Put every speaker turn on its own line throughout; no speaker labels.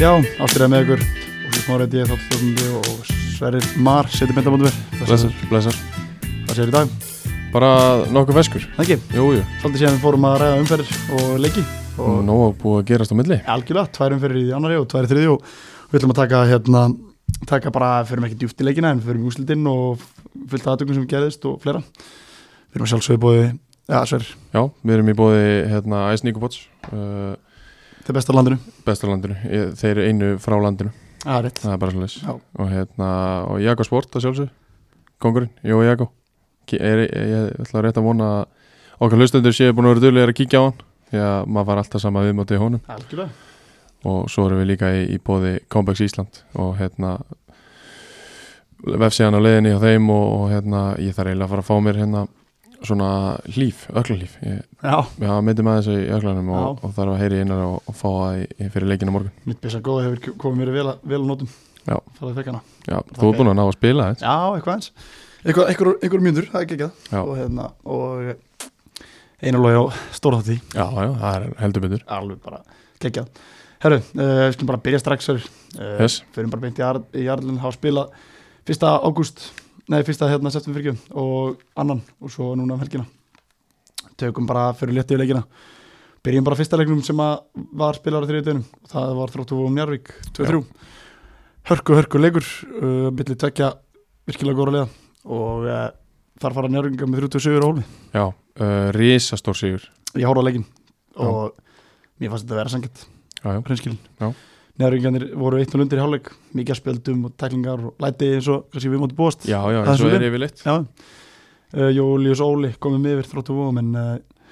Já, aftur eða með ykkur og svo smára ég þátt stjórnandi og Sverrir Mar, setjum þetta mótum við
Blessar, blessar
Það séður í dag,
Bara nokkuð feskur
það ekki
Jú, jú
Svolítið séðan við fórum að ræða umferðir og leiki og
Nó að búið að gerast á milli
algjörlega, tvær umferðir í annari og tvær í þriði og við ætlum að taka hérna taka bara, förum ekki djúft í leikina en förum í úslitinn og fullt aðtökum sem gerðist og fleira Við erum að sjálfsögðu bóði, ja, Sverrir,
Já, við erum í bóði hérna Ice Nico Pots uh,
það besta á landinu
Bestarlandinu Ég- Þeir eru einu frá landinu
Já, rétt
Það er bara svolítið
Já.
Og hérna Og Jago Sport að sjálfsög Kongurinn Jó, Jago Ki- er, ég, ég ætla rétt að vona að Okkar hlustendur séu búin að vera duðlega að kíkja á hann Því að maður var alltaf sama viðmáti í honum
Algjörlega
og svo erum við líka í, í bóði Combex Ísland og hérna vefsíðan á leiðinni hjá þeim og, og hérna ég þarf eiginlega að fara að fá mér hérna svona hlýf, öklarhlýf ég,
Já,
ég meiti með þessu í öklarnum og,
Já.
og þarf að heyri innar og, og fá það í, í fyrir leikinu morgun
mitt besta góða hefur komið mér vel, að- vel að nótum
Já.
Farðið fekk hana
Já, þú er búin að ná að spila þetta
Já, eitthvað eins Eitthvað, eitthvað, eitthvað mjöndur, það er ekki
Já.
það og, hérna, og einar logi á stóra þátti
Já, já, það er heldur betur
alveg bara geggjað Herru, uh, við skulum bara byrja strax uh,
Yes.
Fyrir bara beint í, Ar í Arlinn hafa spilað 1. ágúst Nei, 1. hérna septum fyrir og annan og svo núna um helgina Tökum bara fyrir létti í leikina Byrjum bara á fyrsta leiknum sem að var spilar á þriðutöðunum og það var þróttu um Njarvík 2-3 Hörku, hörku leikur uh, milli tvekja virkilega góra liða og uh, þar fara Njarvíkinga með 37 á hóli
Já, uh, risastór sigur
ég horfði á leikin
Já.
og mér fannst þetta að vera sangett
Já, já, Já.
hreinskilin neðurringarnir voru 1-0 undir í hálfleik mikið af spjöldum og tæklingar og læti eins og kannski við móti búast
já,
Það er
já eins og
svolítið.
er yfirleitt
Já. Uh, Jólius Óli komið með yfir þróttu vóðum en uh,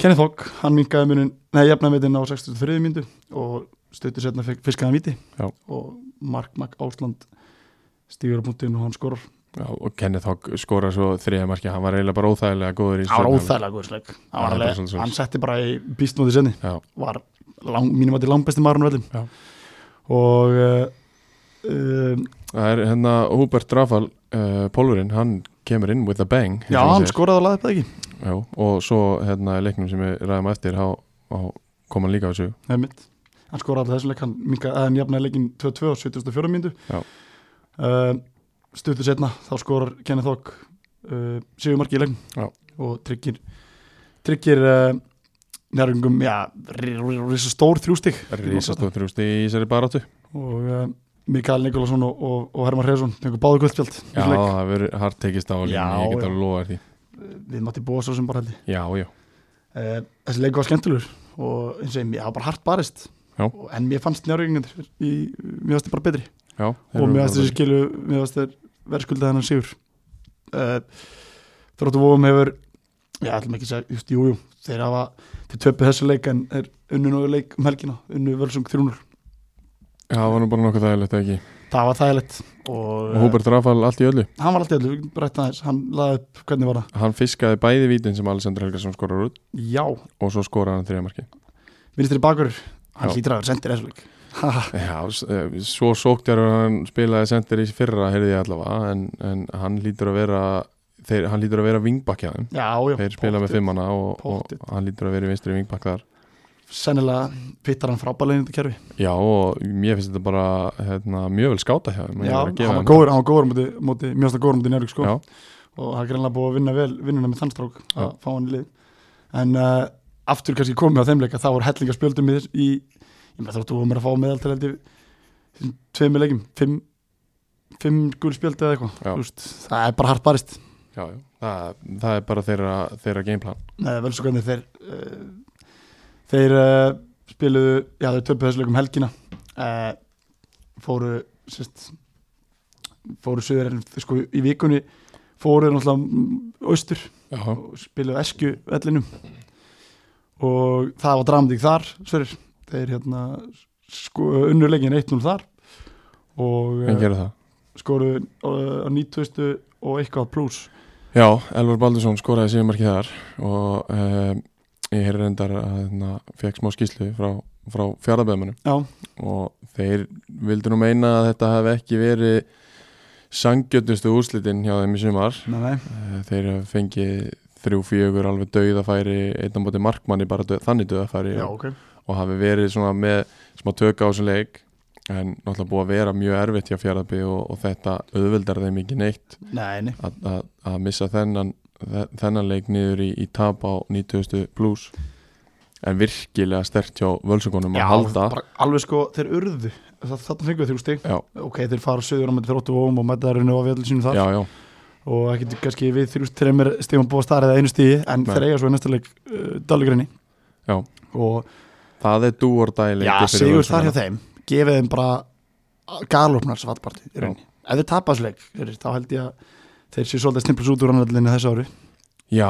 Kenneth Hogg, hann minkaði munin neða jafnametin á 63. myndu og stöttu setna fiskaðan viti
Já.
og Mark Mack Ásland stígur á punktinu og hann skorur
já, og Kenneth Hogg skora svo þriða marki, hann var eiginlega bara óþægilega góður í
það var
seinni hálfleik.
óþægilega góður sleik Það var
Já, það er bara
alveg-
svolítið svoleiðis.
hann setti bara í býstmóti senni
Já.
var lang, mínum að til langbesti maður á vellum
Já.
og uh, um,
Það er hérna Húbert Rafal uh, Pólverinn, hann kemur inn with a bang eins
já,
og
hann sko-
segir.
skoraði að laði upp það ekki
Já, og svo hérna í leiknum sem við ræðum eftir þá þá kom hann líka á þessu
það er mitt, hann skoraði alltaf þessum leik hann, minka, hann jafnaði leikin 2-2 á 74 mínútu
Já.
uh, stuttu setna þá skorar Kenneth Hogg uh, sigumarki í leikin
Já.
og tryggir tryggir uh, nærungum, já, risa stór þrjústig
risastóð þrjústi í þessari baráttu
og uh, Mikael Nikolásson og, og, og Herman Hreðsson tengur báðu guðspjald
Já, það verður hart tekist á línu,
Já,
ég get
já.
alveg lofa þér því
við mátti búa svo sem bara heldur
Já, já,
uh, þessi leik var skemmtilegur og eins og ég, ég hafa bara hart barist
Já.
Og- en mér fannst njárvíkingandur mér fannst þið bara betri
já
og mér fannst þessi skilu mér fannst þið verðskuldað hennan sigur uh, þróttu vóum hefur já, ætlum ekki að segja, just, jú, jú þeir hafa, þeir töpu þessu leik en er unnu nógu leik um helgina, unnu völsung 300,
Já, það var nú bara nokkuð þægilegt ekki
það var þægilegt og
Og Húbert Rafal allt í öllu
eh, hann var alltaf, við getum rætt aðeins hann laði upp, hvernig var það?
Hann fiskaði bæði vítin sem Alessandr Helgarsson skorar út
Já,
og svo skoraði hann þriða marki
minnstri bakur hann
Já.
hlýtur að vera sendir þessu leik
Já, s- eh, svo sóktjar hann spilaði sendir í fyrra, heyrði ég allavega en, en hann lítur að vera þeir, hann lítur að vera vingbakjaðum
Já, já
Þeir spila með
pottþétt.
fimmana og, og
Pottþétt.
hann lítur að vera í vinstri vingbakk þar
sennilega pittar hann frábælegin þetta kerfi
Já og mér finnst þetta bara hérna, mjög vel skáta hjá þeim
já,
Ég
hann
verð að gefa
var
þeim
góður, hann var góður á móti, móti, mjög stað góður á móti njörg sko
Já.
og það er greinlega búið að vinna vel vinnuna með þannstrók að
Já.
fá hann í lið en uh, aftur kannski komið á þeim leika þá voru hellinga spjöldum í, í ég með þróttu og mér að fá meðal til heldur þessum tveimur leikum, fimm fimm gul spjöldi eða eitthvað
Já.
Þú veist, það er bara hart barist
já, já. Það, það er bara þeirra, þeirra gameplan
Nei, vel svo hvernig þeir uh, þeir uh, spiluðu, já þeir töpuðu þessu leikum helgina uh, fóru sérst fóru söður en sko í vikunni fóru náttúrulega mm, austur
Já,
og spiluðu esku vellinum og það var dramdík þar sverir, þeir hérna sko, unnurlegin 1-0 þar og
hann
uh,
gerir það
skoru á 90 og eitthvað pluss
Já, Elvar Baldursson skoraði síðumarki þar og um, ég heyri reyndar að hérna, fekk smá skýslu frá, frá fjárðabæðmanu
já,
og þeir vildu nú meina að þetta hefði ekki verið sangjötnustu úrslitin hjá þeim í sumar
nei, nei,
Eh, Þeir hafa fengið þrjú fjögur alveg dauðafæri einn á móti markmanni bara döð, þannig dauðafæri
já
og,
ok
og og hafi verið svona með smá tök á þessum leik en náttúrulega búið að vera mjög erfitt hjá Fjarðaby og, og þetta auðveldar þeim ekki neitt
Nei, nei,
að- að að missa þennan þe- þennan leik niður í, í tap á 90. plus en virkilega stert hjá völsungunum að halda
bara alveg sko þeir urðu það, þarna fengu þrjú stig
já,
ok, þeir fara söður á með þróttu vóum og mæta þær unni á vjöldlísinu þar
já, já,
og það getur kannski við þrjú streymir stigum búið að stara eða einu stigi en
Nei.
þeir eiga svo í næsta leik uh, Dalgrinni
Já.
og
það er dúordæli
já, sigur þar hjá þeim gefið þeim bara galopnar svartparti í rauninni ef þeir tapast leik fyrir, þá held ég að þeir séu svolítið stimplus út úr annarlinni þessu ári
Já,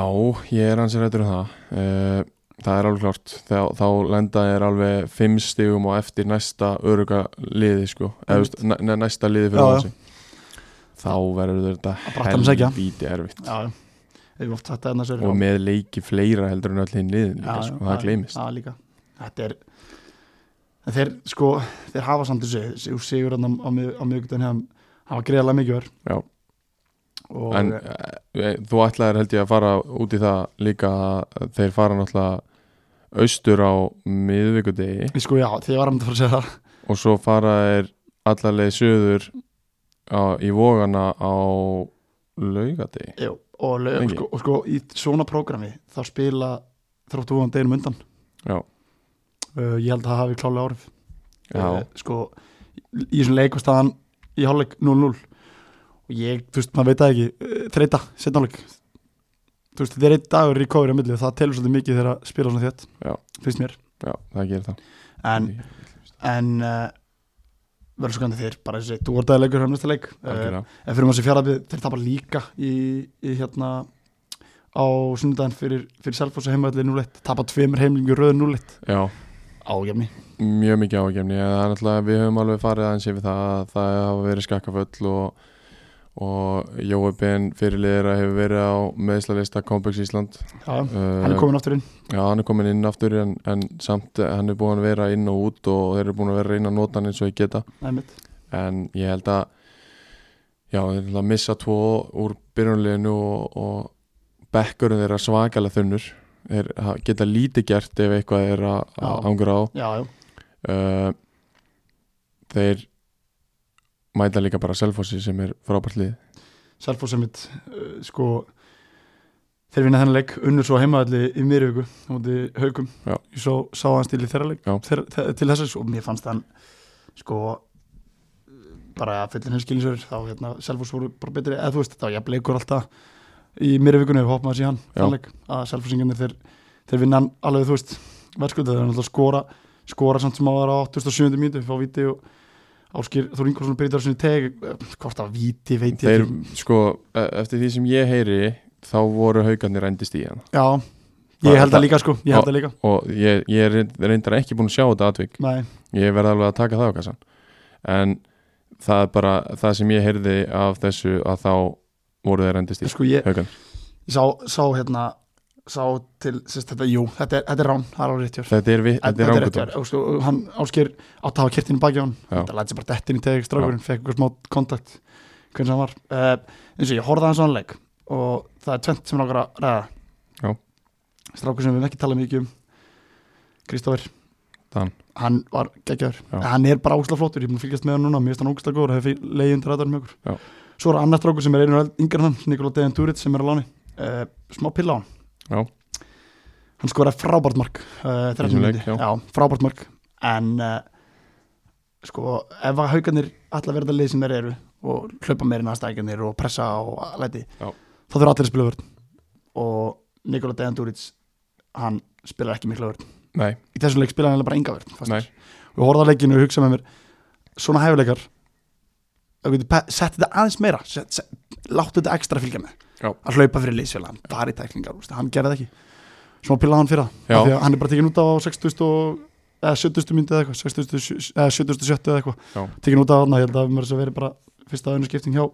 ég er hans rættur um það uh, Það er alveg klart þá, þá lenda er alveg fimm stigum og eftir næsta öruga liði sko, eða
Einmitt.
þú veist, næ- næsta liði fyrir
Já, já.
hansi þá verður þetta
Að bratta hann sækja.
helvíti erfitt
já, við oft þetta en þessu
og með leiki fleira heldur en öll hinn liðin líka, sko, það gleymist
já, líka. þetta er en þeir sko, þeir hafa samt þessu sigur hann á, mið- á miðugdæðin hefðan hafa greiðlega mikið verð
Já.
og
en eh, þú ætlaðir held ég að fara út í það líka að þeir fara náttúrulega austur á miðvikudegi
Ég Sko já, því ég var að mynda að fara að segja það
og svo fara þeir allarleið söður á, í vógana á laugati
Jú, og, le- og,
Lengi.
sko, og sko í svona prógrami þá spila þróttu húan deginum undan
Já.
uh, Ég held að það hafi klálega áhrif
já,
Sko, í í þessum leik var staðan í hálfleik 0-0 og ég, þú veist, maður veit það ekki uh, þreita, setna hálfleik Þú veist, þetta er einn dagur í kóður á milli og það telur svolítið mikið þegar að spila svona þétt
Já.
finnst mér
já, það gerir það
en, en uh, verður svo gandið þeir bara þessi, þú orðaði leikur hann næsta leik uh,
Algjörlega.
En fyrir maður sem fjaraðbyrð, þeir tapar líka í, í hérna á sunnudaginn fyrir, fyrir Selfoss og heimaðallir 0-1, tapar tveimur heimlingu röðu 0-1
já,
ágefni,
mjög mikið ágefni það er náttúrulega, við höfum alveg farið aðeins yfir það að það hafa verið skakkaföll og, og Jói Ben fyrirliðra hefur verið á meðslalista Komplex Ísland
já, hann
hann
er komin aftur inn
Já, hann er komin inn aftur en, en samt eh, hann er búin að vera inn og út og þeir eru búin að vera að reyna að nota hann eins og ég geta
einmitt.
en ég held að já, þeir held að missa tvo úr byrjunleginu og, og bekkurinn þeirra svakalega þunnur þeir ha- geta lítið gert ef eitthvað er að að
Já.
angra á
já, já,
uh, þeir mæta líka bara Selfossi sem er frábært lið
Selfoss einmitt uh, sko þeir vinna þennan leik, unnur svo heimaðalli í miðurvöku, á móti haugum
Já.
ég svo sá hann stíli þeirra leik
Já.
þeir, þeir, til þess og mér fannst hann sko bara fyllin hans skilinsverður, þá hérna Selfoss voru bara betri, eða þú veist, þá ég bleikur alltaf í miðurvökunni, hopp maður síðan
Já.
þannleik, að Selfossingarnir þeir, þeir vinna hann alveg, þú veist, verðskuldið þeir náttúrulega skora, skora samt sem að vera á 87. mínútu, fá víti og Áskir Þór Ingolfsson byrjar sinni teg eh, hvort að víti, veit ég
þeir
ekki.
sko, e- eftir því sem ég heyri þá voru haugarnir endist í hann
Já,
Það-
ég held
það-
það líka sko, ég held það líka
og ég, ég er reynd- reyndar ekki búin að sjá þetta atvik
Nei,
ég verði alveg að taka það á kassan en það er bara það sem ég heyrði af þessu að þá voru þeir endist í
sko ég,
haugan
ég sá, sá hérna sá til, sérst þetta, jú, þetta er, þetta er rán það er alveg rétt hjá
þetta er, vi- þetta
rétt
er
hjá
rángutum
þér. Og sko, hann áskir átt að hafa kertinu baki á hann
Já.
þetta læti sér bara dettin í teg, strákurinn, fekk eitthvað smá kontakt hvernig hann var uh, eins og ég horfði að hann svo hann leik og það er tvent sem langar að ræða
Já.
strákur sem við höfum ekki talað mikið um Kristófur
Dan.
hann var geggjaður,
Já.
hann er bara ógslag flottur ég er búin að fylgjast með hann núna, mér finnst hann ógslag góður hefur leiðið undir aðdæðan með
Já.
okkur svo er annar strákur sem er einu yngar en hann Nikola Dejan Durit sem er á láni uh, smá pilla á hann
Já.
hann skoraði frábært mark uh,
Í þessum leik,
13 myndi,
já.
já, frábært mark en uh, sko, ef að haugarnir allar verða leið sem þeir eru og hlaupa meira en aðstækjanir og pressa og læti
Já.
þá þurfa allir að spila vörn og Nikola Dejan Duric hann spilar ekki mikla vörn
nei,
í þessum leik spilaði hann eiginlega bara enga vörn
nei,
fastur. og horfða leikinu og hugsa með mér svona hæfuleikar sett þetta aðeins meira set, set, láttu þetta ekstra fylgja með
Já.
að hlaupa fyrir liðsfélag, bara í tæklingar úst, hann gerði það ekki, smá pilla á hann fyrir það
Já.
af því að hann er bara tekin út á 60 og, eða 70 myndi eða eitthvað 60, eða 70, 70 eða
Já.
eitthvað tekin út á hann, ég held að mér þess að vera bara fyrsta önnu skipting hjá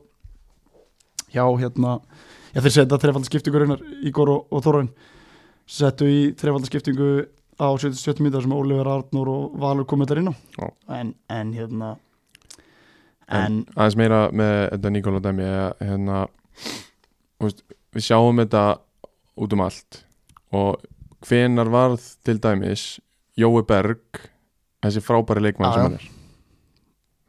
hjá hérna, já þeir setja þrefaldarskiptingu reynar Ígor og, og Þorun settu í þrefaldarskiptingu á 77 mínútur sem Ólífur Arnur og Valur komið þar inn á
Já.
en, en hérna en,
En- aðeins meira með þetta Nikola Demi að, hérna þú veist, við sjáum þetta út um allt og hvenar varð til dæmis Jói Berg þessi frábæri leikmann
Já,
sem hann er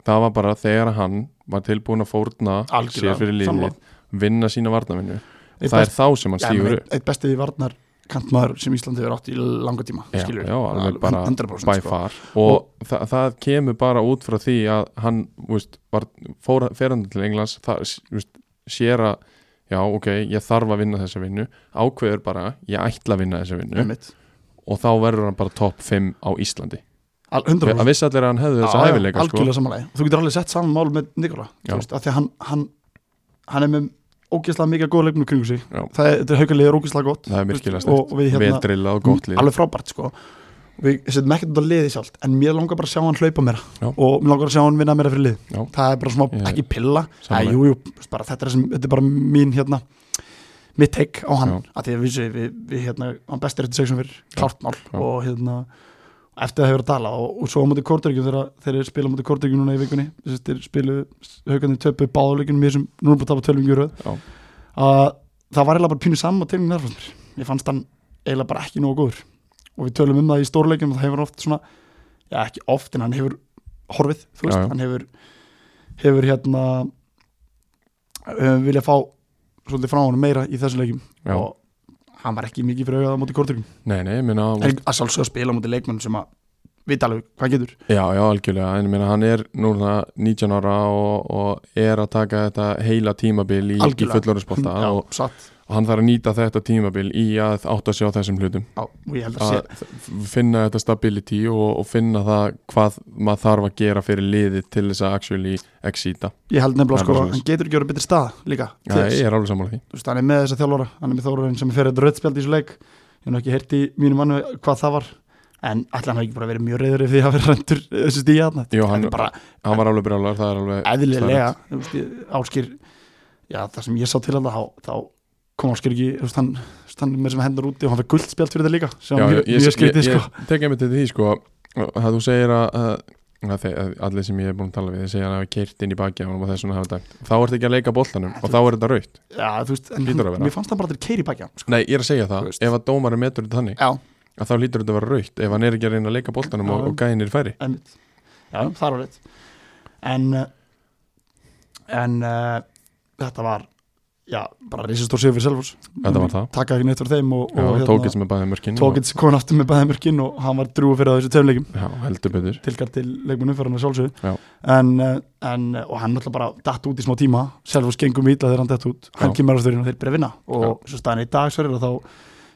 það var bara þegar hann var tilbúin að fórna
Algjörlega,
sér fyrir
sammála.
liðið, vinna sína varnavinnu
Eitt
það er
best-
þá sem hann
Já,
stígur
menn,
upp
eitt bestið varnar kantmaður sem Íslandi hefur átt í langa tíma
Já,
skilur
já, alveg bara
100%
by
sko.
far og, það, það kemur bara út frá því að hann, þú veist, var fór, ferandi til Englands, það, þú veist, sér að já, ok, ég þarf að vinna þessa vinnu, ákveður bara ég ætla að vinna þessa vinnu
Einmitt.
og þá verður hann bara topp 5 á Íslandi
Al-
að
100%
vissi allir að hann hefði
Já,
þessa
já,
hæfileika sko.
algjörlega samanlega þú getur alveg sett saman mál með Nikola
Já.
þú veist, af því að hann, hann, hann er með ógeðslega mikið góða leikmennu kringu sig
Já.
það er, þetta er haukalið er ógeðslega gott
það er virkilega
og, og við
stert,
hérna,
veldrilla og gott lið
alveg frábært sko við setjum ekkert út að liði sjálft en mér langar bara að sjá hann hlaupa meira
Já.
og mér langar að sjá hann vinna meira fyrir lið
Já.
það er bara smá,
Ég-
ekki pilla Æ,
Sammála.
jú, jú, bara, þetta, er sem, þetta er bara mín hérna, mitt teik á hann
Já.
að því að við, við, við hérna, hann bestir eftir 6 fyrir
Já.
klárt mál
Já.
og hérna eftir það hefur að tala og, og svo á móti Kortryggjum þegar þeir eru að spila á móti Kortryggjum núna í vikunni þess að þeir spilu haugandi töpu báðuleikunum mér sem núna er búin að tapa tölvum gjöru
Já.
að það var eiginlega bara pínu saman tegning þar fannst mér ég fannst hann eiginlega bara ekki nógu góður og við tölum um það í stórleikum og það hefur hann oft svona já ekki oft en hann hefur horfið þú veist
Já, já.
hann hefur hefur hérna um, vilja fá svolítið frá hann meira í þessu leikum
Já.
og hann var ekki mikið fyrir augað á móti Kortryggjum
nei, nei, ég meina, þú
En að sjálfsög að spila á móti leikmönnum sem að vita alveg hvað getur
Já, já, algjörlega, en ég meina hann er núna 19 ára og, og er að taka þetta heila tímabil í, í
Algjörlega.
fullorðsbólta
Já,
og,
satt
og hann þarf að nýta þetta tímabil í að átta sig á þessum hlutum
Já, og ég held að sé
að finna þetta stability og, og finna það hvað maður þarf að gera fyrir liðið til þess að actually exita
Ég held
Það
nefnilega
er
sko að
bara svoleiðis.
hann getur ekki verið betri stað líka til
Já,
þess.
ég er alveg sammála því
Þú veist, Hann er með þessa þjálfara, hann er með þjálfara sem er fyrir þetta röddspjald í þessu leik Ég hef nú ekki heyrt í mínu mannu hvað það var En ætla hann hafi ekki bara verið mjög reyður ef því að vera rendur þessu stíði hann
Jú,
Þetta
hann,
er bara
hann var alveg brjálar, það er alveg
eðlilega þú veist, ég- Áskir, já það sem ég sá til hann þá, þá kom Áskir ekki, þú veist, hann, þú veist, hann er með sem hendur úti og hann fekk guldspjald fyrir þetta líka sem
Já,
var mjög,
ég,
mjög
ég,
skrítið sko
ég, ég tek einmitt til því sko að þú segir að, að, að, þe- að allir sem ég er búin að tala við þeir segja að hann hafi keirt inn í baki á honum og þess vegna hafa dæmt þá ertu ekki að leika boltanum og þá er þetta raukt
Já, þú veist, en
Hlýtur að
hann-
vera.
mér fannst það bara til keiri bækja
Nei, ég er að segja
Þú
það,
veist.
ef að dómarinn metur þetta þannig
sko. Já,
að þá lítur þetta að vera raukt ef hann er ekki að reyna að leika boltanum og,
Já.
og gænir færi
einmitt Já, það var rétt En eh, En uh, Þetta var Já, bara reisistór sigur fyrir Selfors
Þetta var það.
Takka ekki neitt fyrir þeim og,
Já,
og hérna
og tókits með bæði mörkin og,
Tókits kom aftur með bæðamörkin og hann var drúið fyrir á þessu tveimleikum
Já, heldur betur
tilkart til leikmennu fyrir hann að
Já.
sjálfsögðu en, eh, en, eh, og hann náttúrulega bara datt út í smá tíma Selfors gengum ítla þegar hann datt út hann
Já.
kemur á styrjun og þeir byrja að vinna og svo staðan í dag sverjur að þá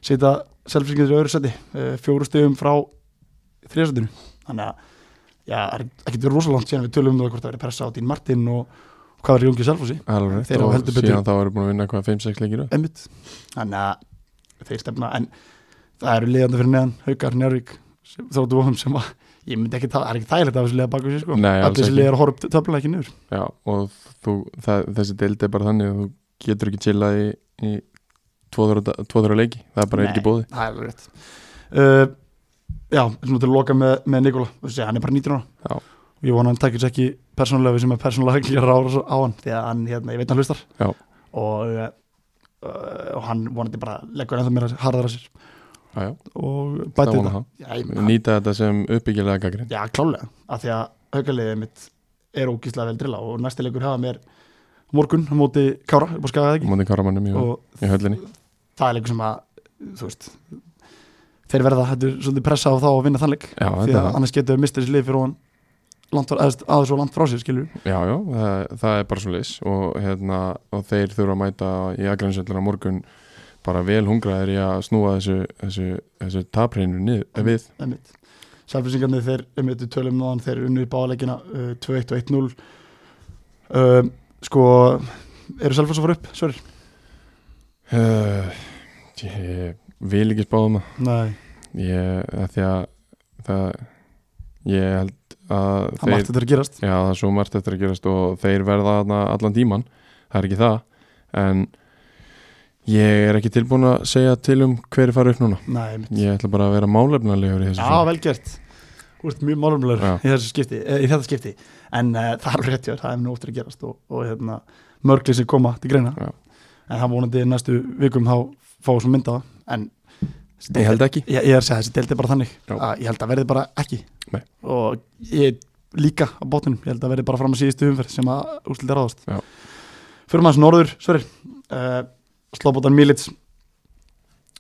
setja Selforsingar í öðru seti eh, fjóru stegum frá þriðasendinu þannig að já, það er ekkert verið rosalangt síðan við tölum um það hvort það verið pressa á Dín Martin og og hvað var í ungi Selforsi
Alveg, rétt.
Þeir hafa
og
heldur betur-
síðan þá eru búin að vinna hvað 5-6 leikir röð.
einmitt þannig að þeir stefna en það eru liðandi fyrir neðan Haukar, Njárvík þóttu vofum sem að ég myndi ekki, það það er ekki þægilegt af þessu liða baku sér sko
Nei, alls
allir þessu
ekki.
liða er að horfa töfla ekki niður
Já, og þú, það, þessi deild er bara þannig að þú getur ekki chillað í, í tvo-þrjá leiki það er bara
Nei,
ekki bóði
það er alveg rétt uh, já, svona til að loka með, með Nikola þú veist, hann er bara 19 ára
Já.
og ég vona að hann takkis ekki persónulega við sem er persónulega ekki að rára á hann því að hann, hérna, ég veit hann hlustar
Já.
og uh, og hann vonandi bara leggur ennþá mér harðar að sér
Já, já,
og
það
bæti
vona
þetta
það.
já, ég,
nýta þetta sem uppbyggilega gaggrinn
Já, klálega, af því að haukaliðið mitt er ógíslega vel drilla og næsti leikur hafa mér morgun á móti Kára, upp á skagaði ekki
mútið karamannum í,
og
í höllinni
það er leikur sem að, þú veist þeir verða, þetta er svolítið pressa á þá að vinna þann leik
Já,
því
þetta er
að
það.
annars getur við mistið þessi lið fyrir ofan langt var- eða aðeins og langt frá sér, skilur
Já, já, það, það er bara svo leis og, hérna, og þeir þurfa að mæta í agrænsveldina morgun bara vel hungraðir í að snúa þessu, þessu, þessu tapreinu niður við
einmitt. Selflýsingarnir þeir, einmitt, við tölum náðan þeir unnu í báleikina uh, 2-1 og 1-0 um, sko eru Selflýs að fara upp, Sverrir?
uh, Ég vil ekki spáðum það
Nei,
ég, að því að það, ég held að
það
þeir,
mætti þetta að gerast
já, það er svo margt eftir að gerast og þeir verða þarna allan tíman það er ekki það en ég er ekki tilbúin að segja til um hver er farið upp núna
Nei, einmitt
ég ætla bara að vera málefnalegur í þessu
Já,
svona.
vel gert Þú ert mjög málumlegur
Já.
í, þessu skipti, eh, í þetta skipti En uh, það er alveg rétt hjá, þér, það er nú óttir að gerast og, og hérna, mörgli sem koma til greina
Já.
En það vonandi í næstu vikum þá fá svo mynda En
ég held ekki
ég, ég er að segja þessi deildi bara þannig
Já.
að ég held að verði bara ekki
Nei.
og ég líka á botninum, ég held að verði bara fram að síðustu umferð sem að úrslit er áðast
Já.
fyrir maður norður, Sverrir uh, Slobodan Milic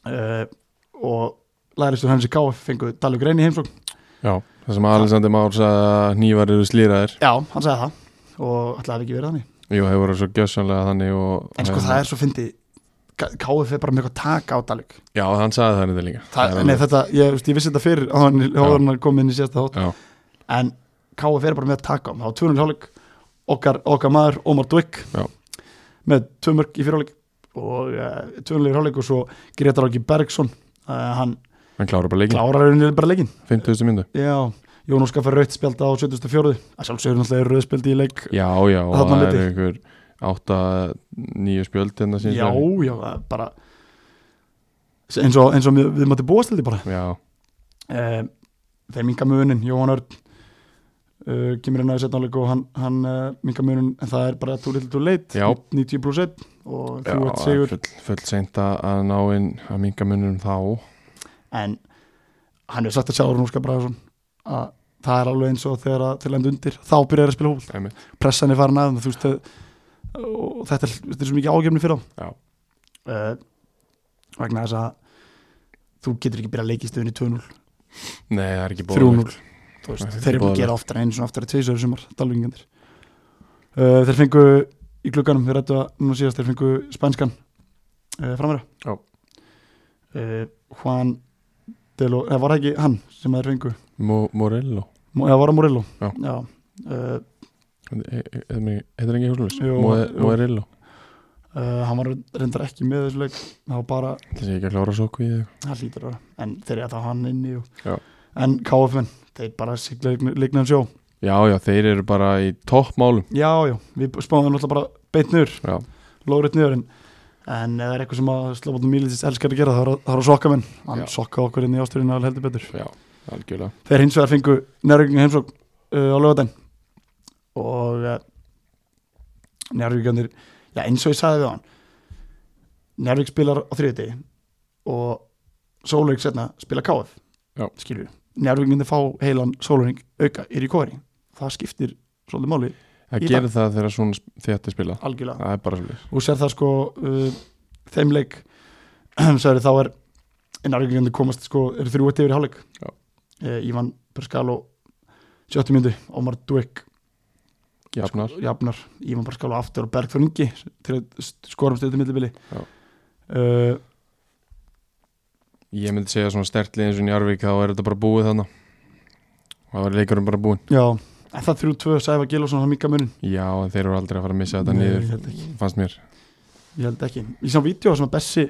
uh, og Læristur Hansi K fengu Dalí Grein í heimsókn
Já, það sem Alexander Már sagði að nývar eru slýraðir
já, hann sagði það og ætlaði hafi ekki verið þannig
Jú, hefur verið svo gjössanlega þannig og eh,
en sko það er svo fyndi KF er bara með eitthvað taka á Dalík
Já, hann sagði það þetta líka
Þa,
Það er
nei,
alveg-
þetta, ég, veist, ég vissi þetta fyrir á hann, á hann komið inn í sérsta hótt
Já,
en KF er bara með að taka á það var tvunum hjáleik, okkar, okkar maður Omar Dwick
Já.
með tvö mörg í fyrirháleik og uh, tvunlegur hjáleik og svo Gretar Áki Bergson uh, hann
hann klára bara leikin
klárar henni bara leikin
50.000 myndu
já, Jón Óskar fær rautt spjald á 74 að sjálfsögur náttúrulega er rautt spjald í leik
Já, já, og
Þarna
það
milli.
eru einhver átta, nýju spjöld hérna síðan
já, já, það er bara eins og, eins og við, við mátti búast til því bara
já,
uh, þeir minga munin Jóhann Örn uh, kemur inn aðeins setnáleik og hann, hann uh, minga munin en það er bara too little too late
Já.
90 pluss 1 og
já
þú ert
það er
sigur
full, full seint að að ná inn að minga munum þá
en hann er sagt að sjá Rún Óskar Braðarsson að það er alveg eins og þegar að til endur undir þá byrjar að spila hól
Einmitt.
pressan er farin að þú veist að- og þetta er, þetta er svo mikið ágefni fyrir þá
Já.
Eh, vegna þess að þú getur ekki byrjað að leikist yfir í 2-0
Nei, það er ekki bóðlegt
3-0 Þú veist,
Þetta er
þeir eru búin að
boðlegt.
gera oftar eins og oftar tveisöður sumar, dalvingandir uh, þeir fengu í glugganum þeir rættu að núna síðast þeir fengu spænskan uh,
Já.
framverða uh, Juan Delo, eða var það ekki hann sem þeir fengu
Mo Morello
Mo- eða var það Morello
Já.
Uh,
Heitir ekki húsluðis?
Jú, jú.
Morello
uh, hann var reyndar ekki með þessu leik það var bara,
Það sé ekki að klára sóku í þig
hann lítur að vera. en þeir eru það hann inni og...
Já.
en KF menn, þeir bara sigla líknan sjó
Já, já, þeir eru bara í toppmálum
já, já, við spáðum náttúrulega bara beint niður
Já,
lóðrétt niður en, en ef það er eitthvað sem að Slobodan Milicis elskar að gera þá er að- þá er að sokka menn hann
Já.
sokkaði okkur inn í ásturinn að heldur betur
já, algjörlega
þeir hins vegar fengu nærvíkinga heimsók uh, á lögadaginn og uh, nærvíkingandir já eins og ég sagði við hann nærvík spilar á þriðuti og sólaug setna spila KF
Já.
skilju, nærvíkingandir fá heilan sólaug auka er í kóri það skiptir svolítið máli
Það
Í
gerir það þegar svona þetta spila
algjörlega
Það er bara svolítið
og sér það sko uh, þeim leik sagði, þá er nærvíkingandi komast sko, eru þrjú eitt yfir í hálfleik
Já.
uh, Ívan Perskalo 70 myndi, Omar Dweck
Jafnar
jafnar, Ívan Perskalo aftur og Bergþór Ingi til að st- skora um stöðu millibili
Já.
uh,
Ég myndi segja svona stertli eins og Njarvík þá er þetta bara búið þannig og það var leikurum bara búin
já, en það þrjú tvö Sæfa Gilvason, hann minga munin
Já, en þeir eru aldrei að fara að missa þetta
Nei, hérna.
niður
ég held ekki.
fannst mér
ég held ekki, ég sá vídeo sem að Bessi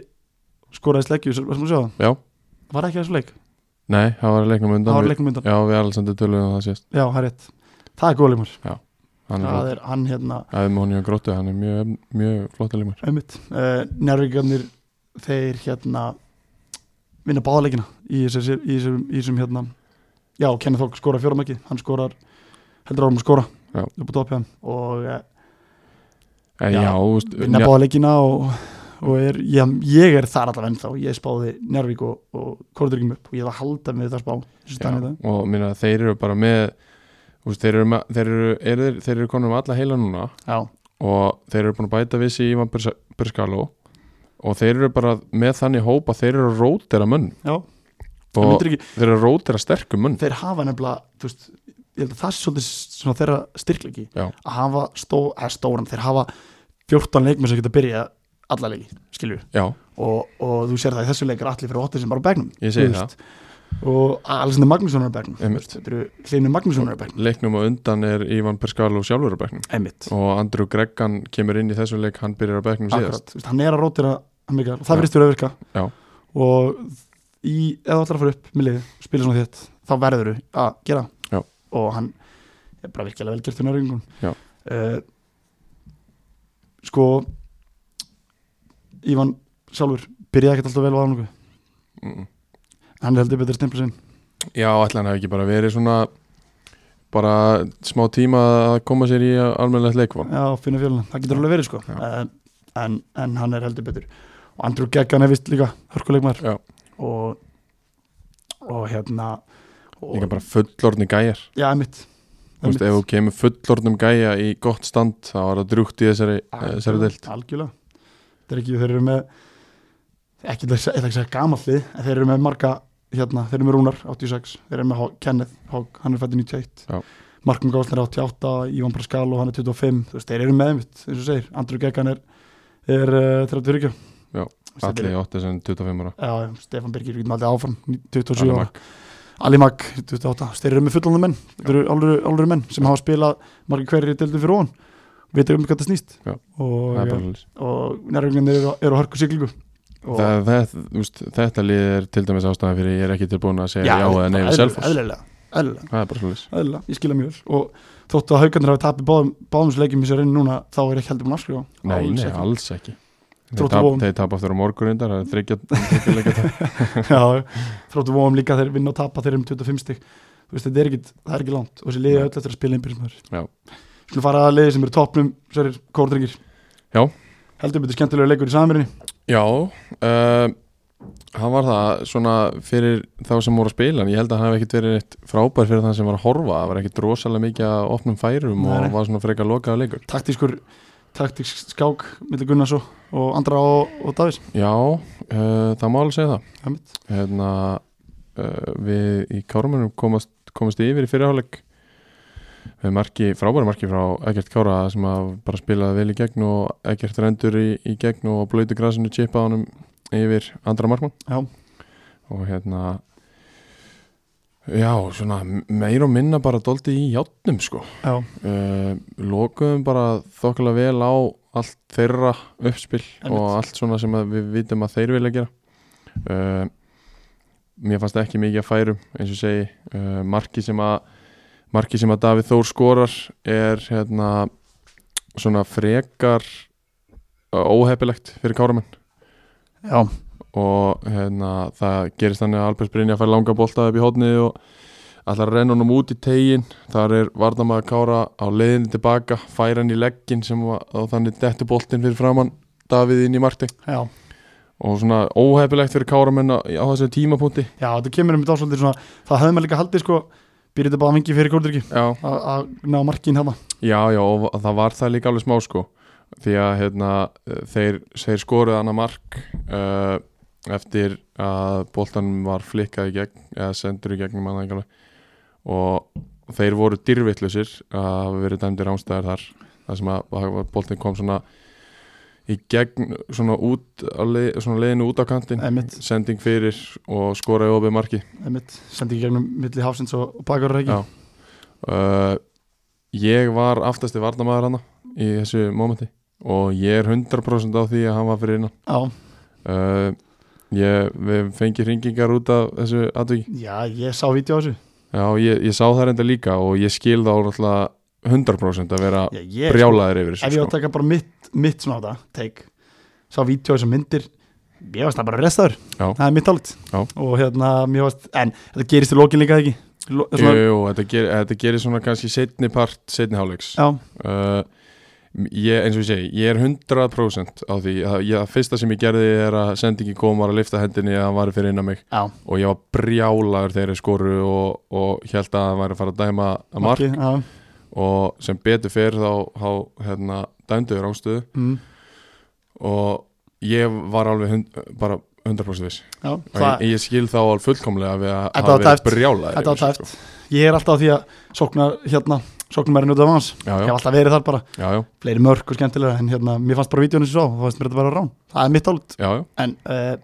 skoraði sleggju, var það að sjá það?
Já,
var það ekki þessu leik?
nei, það var leiknum undan
það var leiknum undan,
Já, við Alexander töluðum að það sést
já, það er rétt það er góð leikmar,
Hann er
það
flott
er hann hérna
Æðum honum hjá gróttu, hann er mjög, mjög flott leikmar
Einmitt, uh, njárvíkarnir þeir hérna vinna báðaleikina í þessum, í þessum, í þessum hérna já, Kenneth Hawk skorar fjóramæki, hann skorar heldur árum að skora
Já.
upp á toppjæðum og uh,
En
Já,
já, þú veist
vinna
Njar-
báðaleikina og, og er, ég, ég er þar allavega ennþá ég spáði njárvík og, og korduríkjum upp og ég ætla að halda með þetta spá þessu
Já,
stæðan í dag
og minna, þeir eru bara með þú veist, þeir, eru, með- þeir, eru, er, þeir, þeir eru konum alla heila núna
já,
og þeir eru búin að bæta við sig Ívan Burskaló og þeir eru bara með þannig hóp að þeir eru að rótera munn
já, það
og
myndir ekki
þeir eru að rótera sterkum munn
þeir hafa nefnilega, þú veist ég held að það sé svolítið svona þeirra styrklegi
Já.
að hafa stó, að stóran, þeir hafa 14 leikmenn sem geta að byrja alla leiki, skilju,
Já,
og, og þú sér það í þessu leik er allir fyrir óttið sem bara á begnum
ég segi
Þú
það
og Alessandr Magnússon er á begnum
Einmitt.
þetta eru Hlynur Magnússon er á begnum
Leiknum og undan er Ívan Burskaló sjálfur á bekknum
einmitt,
og Andrew Greggan kemur inn í þessu leik hann byrjar á bekknum
akkurat,
síðast
Þú veist, hann er að rótira hann mikið, og það
Já.
verðist verið að virka
Já.
og í, eða allar að fara upp með liði, spila svona þétt, þá verður að gera
Já.
og hann er bara virkilega velgjert fyrir
Já.
nörðingun uh, sko Ívan sjálfur byrjaði ekkert alltaf vel á aðlungu
Mm.
hann heldur betur stimpla sinn
Já, ætla hann hafi ekki bara verið svona bara smá tíma að koma sér í almennilegt leikvann
Já, finna fjöluna, það getur alveg verið sko
sko. Já.
Eh, en, en hann er heldur betur og Andrew Geggan er vist líka hörkuleikmar
Já.
og, og hérna og,
líka bara fullorðni gæjar
já, emitt
Þú veist, ef þú kemur fullorðnum gæja í gott stand þá er það drúgt í þessari, eh, þessari deilt
algjörlega þetta er ekki, þeir eru með ekki, það er ekki að segja gamallið en þeir eru með marga, hérna, þeir eru með Rúnar 86, þeir eru með Há- Kenneth Hák, hann er fættið 91
Já.
Markum Gásner 88, Ívan Praskal og hann er 25 þú veist, þeir eru með mitt, eins og þú segir Andrew Gekkan er, er uh, 34
Já, allir í 8 sem 25 ára
Já, Stefan Birgir, við getum aldrei áfram 27
Alveg
ára,
makk.
Ali Mag 28, þeir eru með fullandu menn, þetta eru alvöru, alvöru menn sem hafa spilað margir hverjir í deildum fyrir hún við tegum hvað það snýst
Já.
og,
Það
eh,
er bara svoleiðis.
og nærvögnir eru, eru á hörku siglingu og
Það- það- þú veist, Þetta lið er til dæmis ástæðan fyrir ég er ekki tilbúin að segja já, eða nei við
eðl-
Selfoss
eðlilega, eðlilega,
Það er bara svolítið
eðlilega, ég skila mjög vel og þóttu að haugarnir hafi tapið báðum, báðum sleikum í sér inn núna þá er ekki heldur búin að afskrifa
Nei,
Alls
nei,
ekki.
alls ekki Þeir
Þróttur
tap,
Vogum.
þeir tap aftur á morgunindar það er þryggja þriggja leikja tap.
Já, þróttu vóum líka þeir vinna og tapa þeir um 25 stík þú veist, þetta er ekki, það er ekki langt og þessi liði
Nei.
öll eftir að spila einbjörn maður
Já.
Skulum fara að liði sem eru toppnum, sérir kórdringir
Já.
Heldur betur skemmtilega leikur í samirinni
Já uh, Hann var það svona fyrir þá sem voru að spila en ég held að hann hef ekkit verið eitt frábær fyrir þann sem var að horfa það var ekkit rosalega mikið að opnum færum
Nei, nei.
og var svona frekar lokaða leikur
Taktískur, taktísk skák millir Gunnars og, og Andra og, og Davís
Já, uh, það má alveg segja það
Það er mitt.
hérna, uh, Við í Kárumönum komast, komast yfir í fyrirháleik með marki, frábæra marki frá Egert Kára sem að bara spilaði vel í gegn og Egert rendur í, í gegn og blöytu grasinu chipaði honum yfir andra markmann
Já.
og hérna Já, svona meir og minna bara doldi í játnum sko
Já,
uh, lokuðum bara þokkulega vel á allt þeirra uppspil
Einmitt.
og allt svona sem að við vitum að þeir vilja gera uh, mér fannst ekki mikið að færum eins og ég segi, uh, marki sem að marki sem að Davíð Þór skorar er hérna svona frekar uh, óhefilegt fyrir káramenn
já,
og hérna, það gerist þannig að Albers Brynja fær langa bolta upp í hótnið og ætlar að renna honum út í tegin þar er varnamaður Kára á leiðinni tilbaka fær hann í leggin sem var, og þannig dettu boltin fyrir framann Davíð inn í markti
já
og svona óhefilegt fyrir Kára menn á, á þessu tímapunkti
Já, þetta kemur um þetta ásvöldir svona Það hefði maður líka haldið sko Býrði þetta bara að vingi fyrir kóldryggi
já,
Að ná markin hérna
já, já, og það var það líka alveg smá sko því að hérna, þeir, þeir skoruð annað mark uh, eftir að boltanum var flikkað í gegn eða sendur í gegnum annað ekki alveg og þeir voru dyrvillusir að hafa verið dæmdir ámstæðar þar þar sem að, að boltin kom svona í gegn svona út á leið, svona leiðinu út á kantinn
Einmitt,
sending fyrir og skoraði opið marki
einmitt Sendi ekki gegnum milli hafsins og, og bakar ekki
Já. uh, ég var aftasti varnamaður hana í þessu mómenti og ég er 100% á því að hann var fyrir innan
Já,
uh, ég, við fengi hringingar út af þessu atviki
já ég sá vídeo á þessu
já, ég, ég sá það reynda líka og ég skil þá náttúrulega 100% að vera
já, ég,
brjálaðir yfir
Ef ég á
þessu
að
sko.
taka bara mitt, mitt svona á það Take Sá vídeo á þessu myndir Ég varst það bara restaður
Já.
Það er mitt álit
Já.
Og hérna, mér varst En þetta gerist í lokin líka eða ekki Lo,
Jú,
svona,
jú, þetta, ger, þetta gerir svona kannski setni part, setni hálfleiks
Já,
uh, ég, eins og ég segi, ég er 100% á því að ég, að fyrsta sem ég gerði er að sendingi kom var að lifta hendinni að hann var fyrir innan mig
já
og ég var brjálaður þegar ég skoru og, og held að hann væri að fara að dæma að mark
markið, já,
og sem betur fyrir þá, þá hérna, dæmduður ástuðu
mm,
og ég var alveg hund, bara 100% viss
já
og ég, ég skil þá alveg fullkomlega við að
Þetta
hafa
var
verið
tæpt.
brjálaður
Þetta var
yfir þessu, sko.
tæft Ég er alltaf á því að sóknar hérna Sóknar maður er njótað af hans
sko. já,
Ég
já,
hef alltaf verið þar bara
já, já,
Fleiri mörg og skemmtilega En hérna, mér fannst bara vídjónu sem ég sá Þá fannst mér þetta bara rán Það er mitt álut
já, já.
En uh,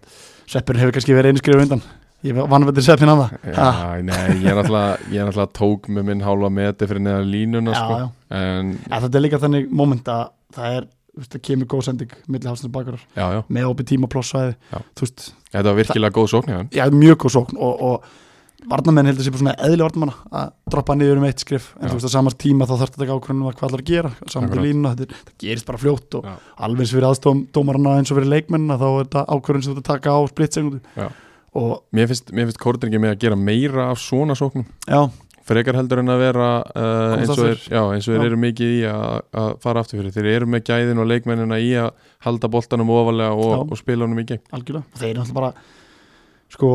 Sveppurinn hefur kannski verið einu skrifu undan Ég vann að þetta sveppin að það
Já, nei, ég er alltaf, ég er alltaf tók með minn hálfa meti fyrir neðan línuna
já,
sko.
já.
en
En þetta er líka þannig moment að það er þú veist, það kemur góð sending milli hafsins bakarar
já, já,
með opið tíma plossvæði
Já.
þú veist,
þetta var virkilega góð sókn hjá hann
já, mjög góð sókn og, og varnamenn heldur sér bara svona eðli varnamanna að droppa niður um eitt skrif en
Já.
þú veist að samar tíma þá þarf þetta ekki ákvörðunum að um hvað allar að gera saman til
Akkurat.
línuna, þetta, er- þetta gerist bara fljótt og
Já.
alveg eins fyrir aðstofdómarana eins og fyrir leikmennina þá er þetta ákvörðun sem þetta taka á splitsegundu
Já.
og
Mér finnst, mér finnst kórdringi með að gera meira af svona sóknum
já,
frekar heldur en að vera uh,
Komast
eins og þeir,
aftur.
já, eins og þeir
Já.
eru mikið í að, að fara aftur fyrir, þeir eru með gæðin og leikmennina í að halda boltanum ofalega og,
Já.
og spila honum í gegn
algjörlega, þeir eru náttúrulega bara sko,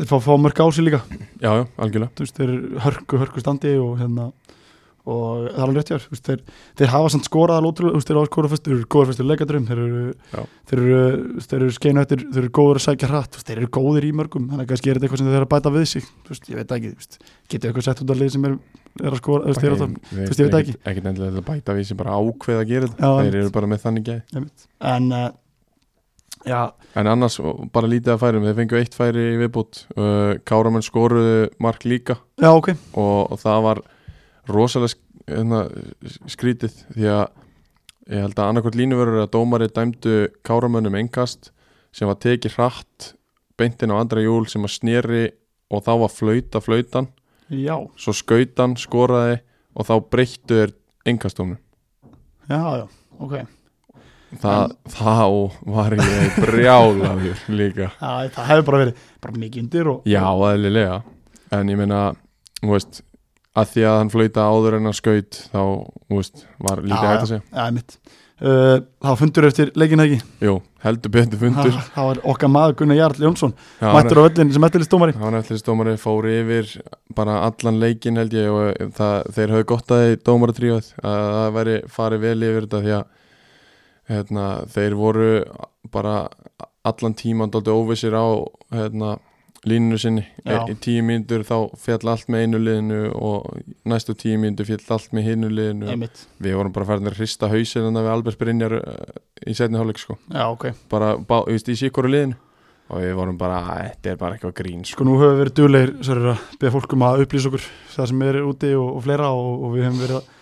þeir fá, fá mörg á sig líka
já, já, algjörlega
þú veist, þeir eru hörku, hörku standi og hérna og það er alveg rétt hjá þér, þú veist, þeir, þeir hafa samt skorað alveg ótrúlega, þú veist, þeir hafa skorað fyrst þeir eru góður fyrst í leikadröfum, þeir
Já.
eru þeir eru, þú veist, þeir eru skeinu eftir, þeir eru góður að sækja hratt, þú veist, þeir eru góðir í mörgum þannig að kannski er þetta eitthvað sem þeir eru að bæta við sig þú veist, ég veit það ekki, þú veist, getur eitthvað sett út af lið sem er, er að skora, þú veist, þeir eru það
þú
veist, ég veit
ekki ekkert endilega til að bæta við sem bara ákveða að gera
Já,
þetta þeir
einmitt.
eru bara með þannig gæði
en, uh, já,
en annars ó, bara lítið að færum, þeir fengu eitt færi í viðbútt uh, Káramenn skoruðu mark líka
já, ok
og, og það var rosalega sk- hérna, skrítið því að ég held að annarkvort línuverur að dómari dæmdu káramönnum engast sem var tekið hratt beintin á andra júl sem að sneri og þá var flauta flautan
já,
svo skautan skoraði og þá breyttu þeir engastónu
já, já, ok
það, þá var ég brjálaður líka
Já, það hefur bara verið bara mikið undir og
Já, aðlilega En ég meina, þú veist að því að hann flauta áður en að skaut þá, þú veist, var lítið
Já,
hægt að segja
Já, mitt uh, Það var fundur eftir leikin ekki
Jú, heldur betur fundur
Ha, Það var okkar maður Gunnar Jarl Jónsson
Já,
Mættur á öllin sem ættilist dómari
Hann ætlis dómari fór yfir bara allan leikin held ég og það, þeir höfðu gott að þeir dómari tríóð að það væri farið vel yfir þetta því að hérna, þeir voru bara allan tíman dálítið óvissir á hérna, línunu sinni e,
Já.
í tíu mínútur þá fjall allt með einu liðinu og næstu tíu mínútur fjall allt með hinu liðinu
Einmitt
við vorum bara farin að hrista hausinn en við Albert Brynjar eh, í setni hálfleik sko
Já, ok
bara bá, þú veist, í síkóru liðinu og við vorum bara, "Æ, þetta er bara eitthvað grín sko.
Sko nú höfum við verið duglegir Sörur að beða fólkum að upplýsa okkur Það sem er úti og, og fleira og, og við hefum verið að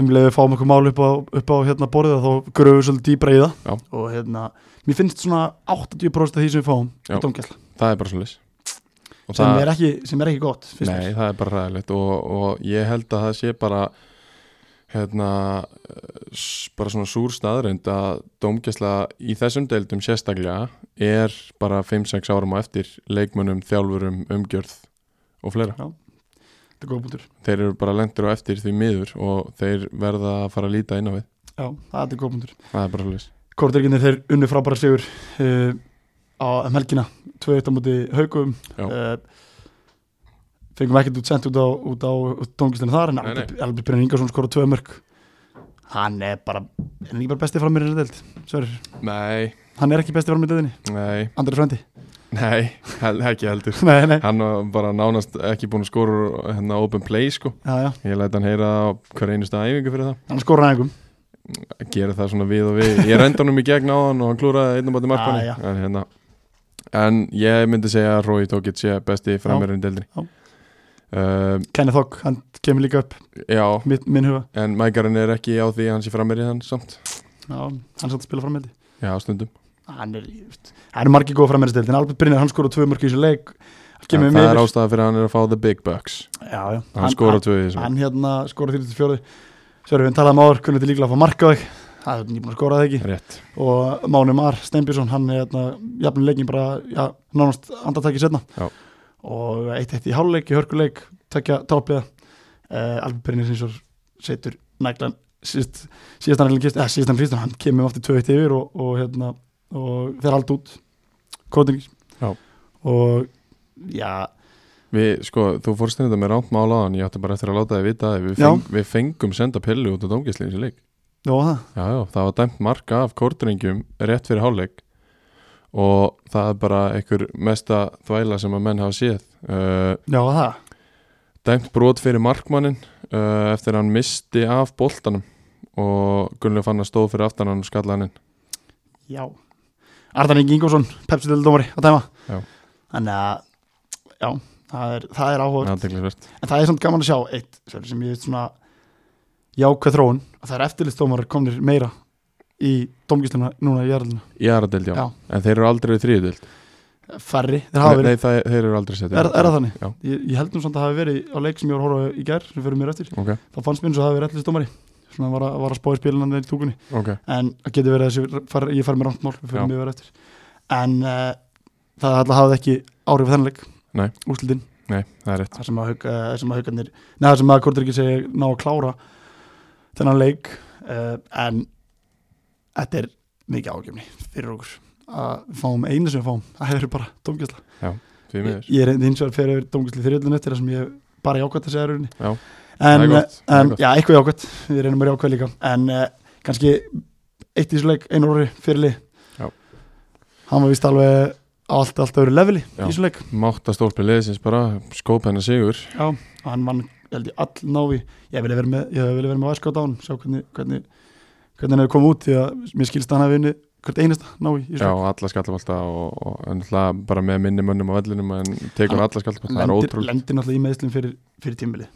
um leið við fáum okkur mál upp á, upp á hérna borðið þá gröfum við svolítið dýbra í það
Já.
og hérna, mér finnst svona 80% af því sem við fáum
Já.
í domgjall
það er bara svolítið og
sem, er ekki, sem er ekki gott finnst mér.
nei, það er bara ræðilegt og, og ég held að það sé bara hérna eh, s- bara svona súr staðrönd að dómgæsla í þessum deildum sérstaklega er bara 5-6 árum á eftir leikmönnum, þjálfurum, umgjörð og fleira.
Þetta er góð bútur
Þeir eru bara lendur á eftir því miður og þeir verða að fara að líta inn á við.
Já, það er góð bútur
Það er bara svolítið.
Kortirginir þeir unnu frábæra sigur uh, á um helgina 2-1 á móti haugum
Já.
uh, fengum ekkert út sendt út á, út á tónlistinu þar en
Nei, nei.
Albert Albert Brynjar Ingarsson skora tvö mörg hann er bara hann er ekki bara besti framir í reyndeld Sverrir,
Nei,
hann er ekki besti framir í reyndinni
nei,
Andri Frendi
nei, hel, ekki heldur.
nei, nei,
Hann var bara nánast ekki búin að skora úr, hérna open play sko.
já, já,
Ég læt hann heyra á hver einustu æfingu fyrir það
hann skora hann engum
Gera það svona við og við Ég rendi honum í gegn á hann og hann klúraði einn og bátti markmanni
Ah,
en, hérna. en ég myndi segja að Rói Tókitt sé besti framverðin deildri
já.
um,
Kenny Thogg, hann kemur líka upp
Já,
mitt, minn huga,
en mækarinn er ekki á því að hann sé framverðin hann samt
já, hann satt að spila framir
Já, stundum
hann er, ég veist, það eru margir góða framir í reyndeld en Albert Brynjar hann skora tvö mörg í þessu leik
en,
kemur
Það
með
er
yfir.
ástæða fyrir að hann er að fá the big bucks
Já, já.
Hann, hann skora tvöði
hann hérna skora 34 Sverri við talaðum áður, kunnum þetta líklega að fá marka þig það er nýbúin að skora það ekki
Rétt
og Máni Mar Steinbjörnsson, hann er hérna jafnir leikin bara, já, nánast andartæki setna
Já.
og eitt eitt í háluleik í hörkuleik, tekja toppliða uh, Albert Brynir sinns og setur næglan síðast, síðast hann næglan kist, eða síðast hann fyrst hann kemur aftur 2-1 yfir og, og hérna og þeir haldi út kótingis
Já.
og já,
Við, sko, þú fórst inn þetta með rámt mál á hann Ég átti bara eftir að láta þið vita að við,
Já.
feng, við fengum senda pillu út á dómgæsli í þessu leik
já það
Já, já, það var dæmt marka af kórdringjum rétt fyrir hálfleik og það er bara einhver mesta þvæla sem að menn hafa séð uh,
já það,
dæmt brot fyrir markmannin uh, eftir að hann misti af boltanum og Gunnlega fann að stóð fyrir aftan hann og skalla hann inn
Já Arðan Ingi Ingjónsson, Pepsi-dildómari að dæma
Já.
Þannig að Já, það er, það er áhuga
Athyglisvert.
En það er samt gaman að sjá eitt Sverrir, sem ég veit svona jákvæð þróun að það er eftirlitsdómarar komnir meira í dómgísluna núna í jarðinu
Í aðradeld, já.
Já.
en þeir eru aldrei í þriðudeld
Færri, þeir hafa
Nei,
verið
nei það, þeir eru aldrei sett
Er, er það þannig?
Já.
Ég, ég held nú samt að það hafi verið á leik sem ég var að horfa á í gær sem fyrir mér eftir,
Ok,
þá fannst mér eins og það hafi verið eftirlitsdómari svona var að, var að spáði spilinandi í túkunni
ok,
en það getur verið að þessi far, ég fari með rámt mál, við
Já.
fyrir mig verið eftir en uh, það alltaf hafði ekki áhrif þennleik,
Nei.
úslitin
nei, það er rétt
það sem að, hauk- eh, sem að haugarnir neða það sem að Kortur ekki segja ná að klára eh, þennan leik uh, en þetta er mikið ágefni fyrir okkur að við fáum einu sem við fáum það hefur bara domgjæsla
því
ég,
miður
ég reyndi hins vegar fyrir domgjæsli þriðlun eftir það sem ég bara jákvæmt að segja rauninni
Já. Það er
en, eh,
gott, það er
en
gott.
já, eitthvað jákvæmt við reynum að vera jákvæmt líka en uh, kannski eitt í þessu leik einu orði fyrirli
Já.
hann var vist alveg á allt, allt öðru leveli í
Já.
þessu leik
máttastólpi leðisins bara skóp hennar sigur
Já, og hann vann held ég all návi ég vilja vera með, ég vilja vera með aðskáta á hann sjá hvernig, hvernig, hvernig hann hefur komið út því að mér skilst að hann hafi unni hvert einasta návi í
Já,
svo
alla skallabólta og, og en náttúrulega bara með minni mönnum á vellinum en tekur
Hann
alla skallabólta, það er
lendir,
ótrúlega
lendir náttúrulega í meðslum fyrir, fyrir tímili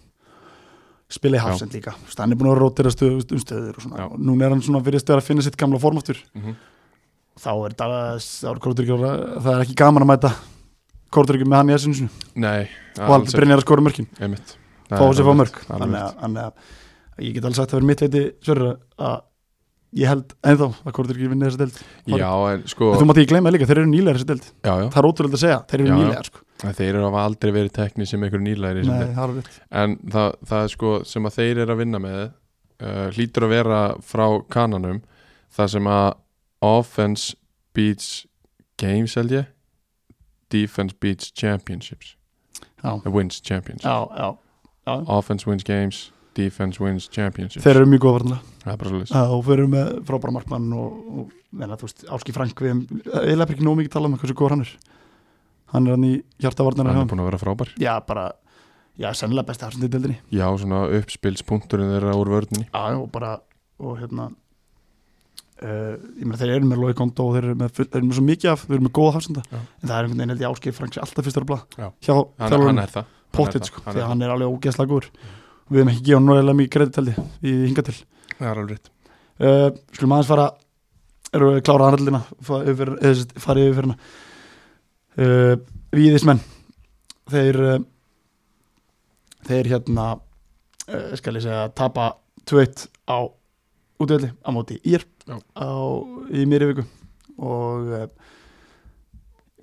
spila í
Já.
hafsend líka Þú veist, hann er búin að rótira stöð, um stöður og
Já.
svona og núna er hann svona fyrir stöður að finna sitt gamla formáttur
mm
þá er það, þá er Kortryggjur það er ekki gaman að mæta Kortryggjur með hann í essinu
Nei,
og hann brinnir að skora mörkin
einmitt
fá sér fá mörg
alveg
þannig að, þannig að ég get alveg sagt að vera mitt leiti sverra að ég held ennþá að Kortur ekki vinna þessa deild
Já, en sko,
en þú mátt ekki gleyma það líka, þeir eru nýlega þessa deild
já, já,
það er ótrúlega að segja, þeir eru
Já, já.
nýlega sko.
En þeir eru hafa aldrei verið tekni sem einhver nýlæri sem
Nei, það er rétt.
en það, það er sko sem að þeir eru að vinna með uh, hlýtur að vera frá kananum þar sem að offense beats games held ég defense beats championships
Já.
Eh, wins championships
já, já, já.
offense wins games, defense wins championships
þeir eru mjög góða varðanlega
það er bara svolítið
og þeir eru með frábæra markmann og, og menna, þú veist, Áski Frank við erum ekki nóg mikið talað um hversu góð hann er hann er hann í hjartavarnar
hann er búin að vera frábær
já, bara, já, sennilega besti hafsandi deildinni
já, svona uppspilspunkturinn þeirra úr vörninni
Já, og bara og hérna uh, ég meina þeir eru með Lói Kondo og þeir eru með, full, þeir eru með svo mikið af, þeir eru með góða hafsenda
Já.
en það er einhvern veginn held ég áskil Franks alltaf fyrstur að blað
Já.
hjá
hann, hann
þjálfurinn
er það hann er
pottit
það,
sko,
hann
því
er
að
það.
hann er alveg ógeðslega góður við hefum ekki gefað nálega mikið kredit held ég í hinga til
það er alveg rétt
uh, skulum aðeins fara eru við klára aðrallina farið yfir, eða sem sagt, fara yfir hérna uh, Víðismenn þeir uh, þeir hérna uh, skal ég segja tapa 2-1 á útvöldi á móti ír
Já.
á, í mér viku og uh,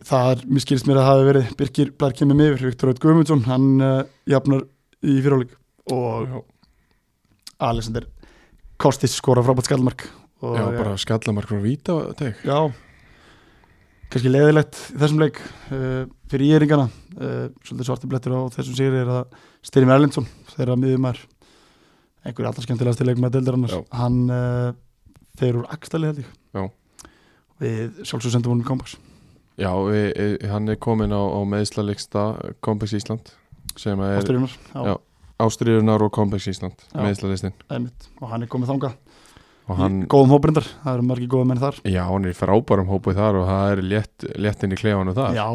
það er, mér skilst mér að það hafi verið Birgir Blær kemur með yfir, Viktor Raut Guðmundsson hann uh, jafnar í fyrirháleik og
já,
Alexander Kostis skora frábært skallmark og
já, bara skallamark frá víta teg
já kannski leiðilegt í þessum leik uh, fyrir íringana uh, svolítið svartir blettir á þessum sigri er að Styrjum Erlendsson þeirra miðumar einhverju alltaf skemmtilegast til leik með deildar annars
Já.
hann uh, fer úr Axtali held ég
Já.
við sjálfsög sendum honum kompaks
já, e, e, hann er komin á, á meðslaliksta Kompex Ísland sem að er
Ásturinnar, já,
Eh, Já. Ástriðunar og Kompex Ísland
Já.
meðslalistin
einmitt og hann er komið þanga
og hann,
í góðum hóprindar, það eru margir góða menn þar
já, hann er í frábærum hópuð þar og það er létt, létt inn í klefanum þar
já,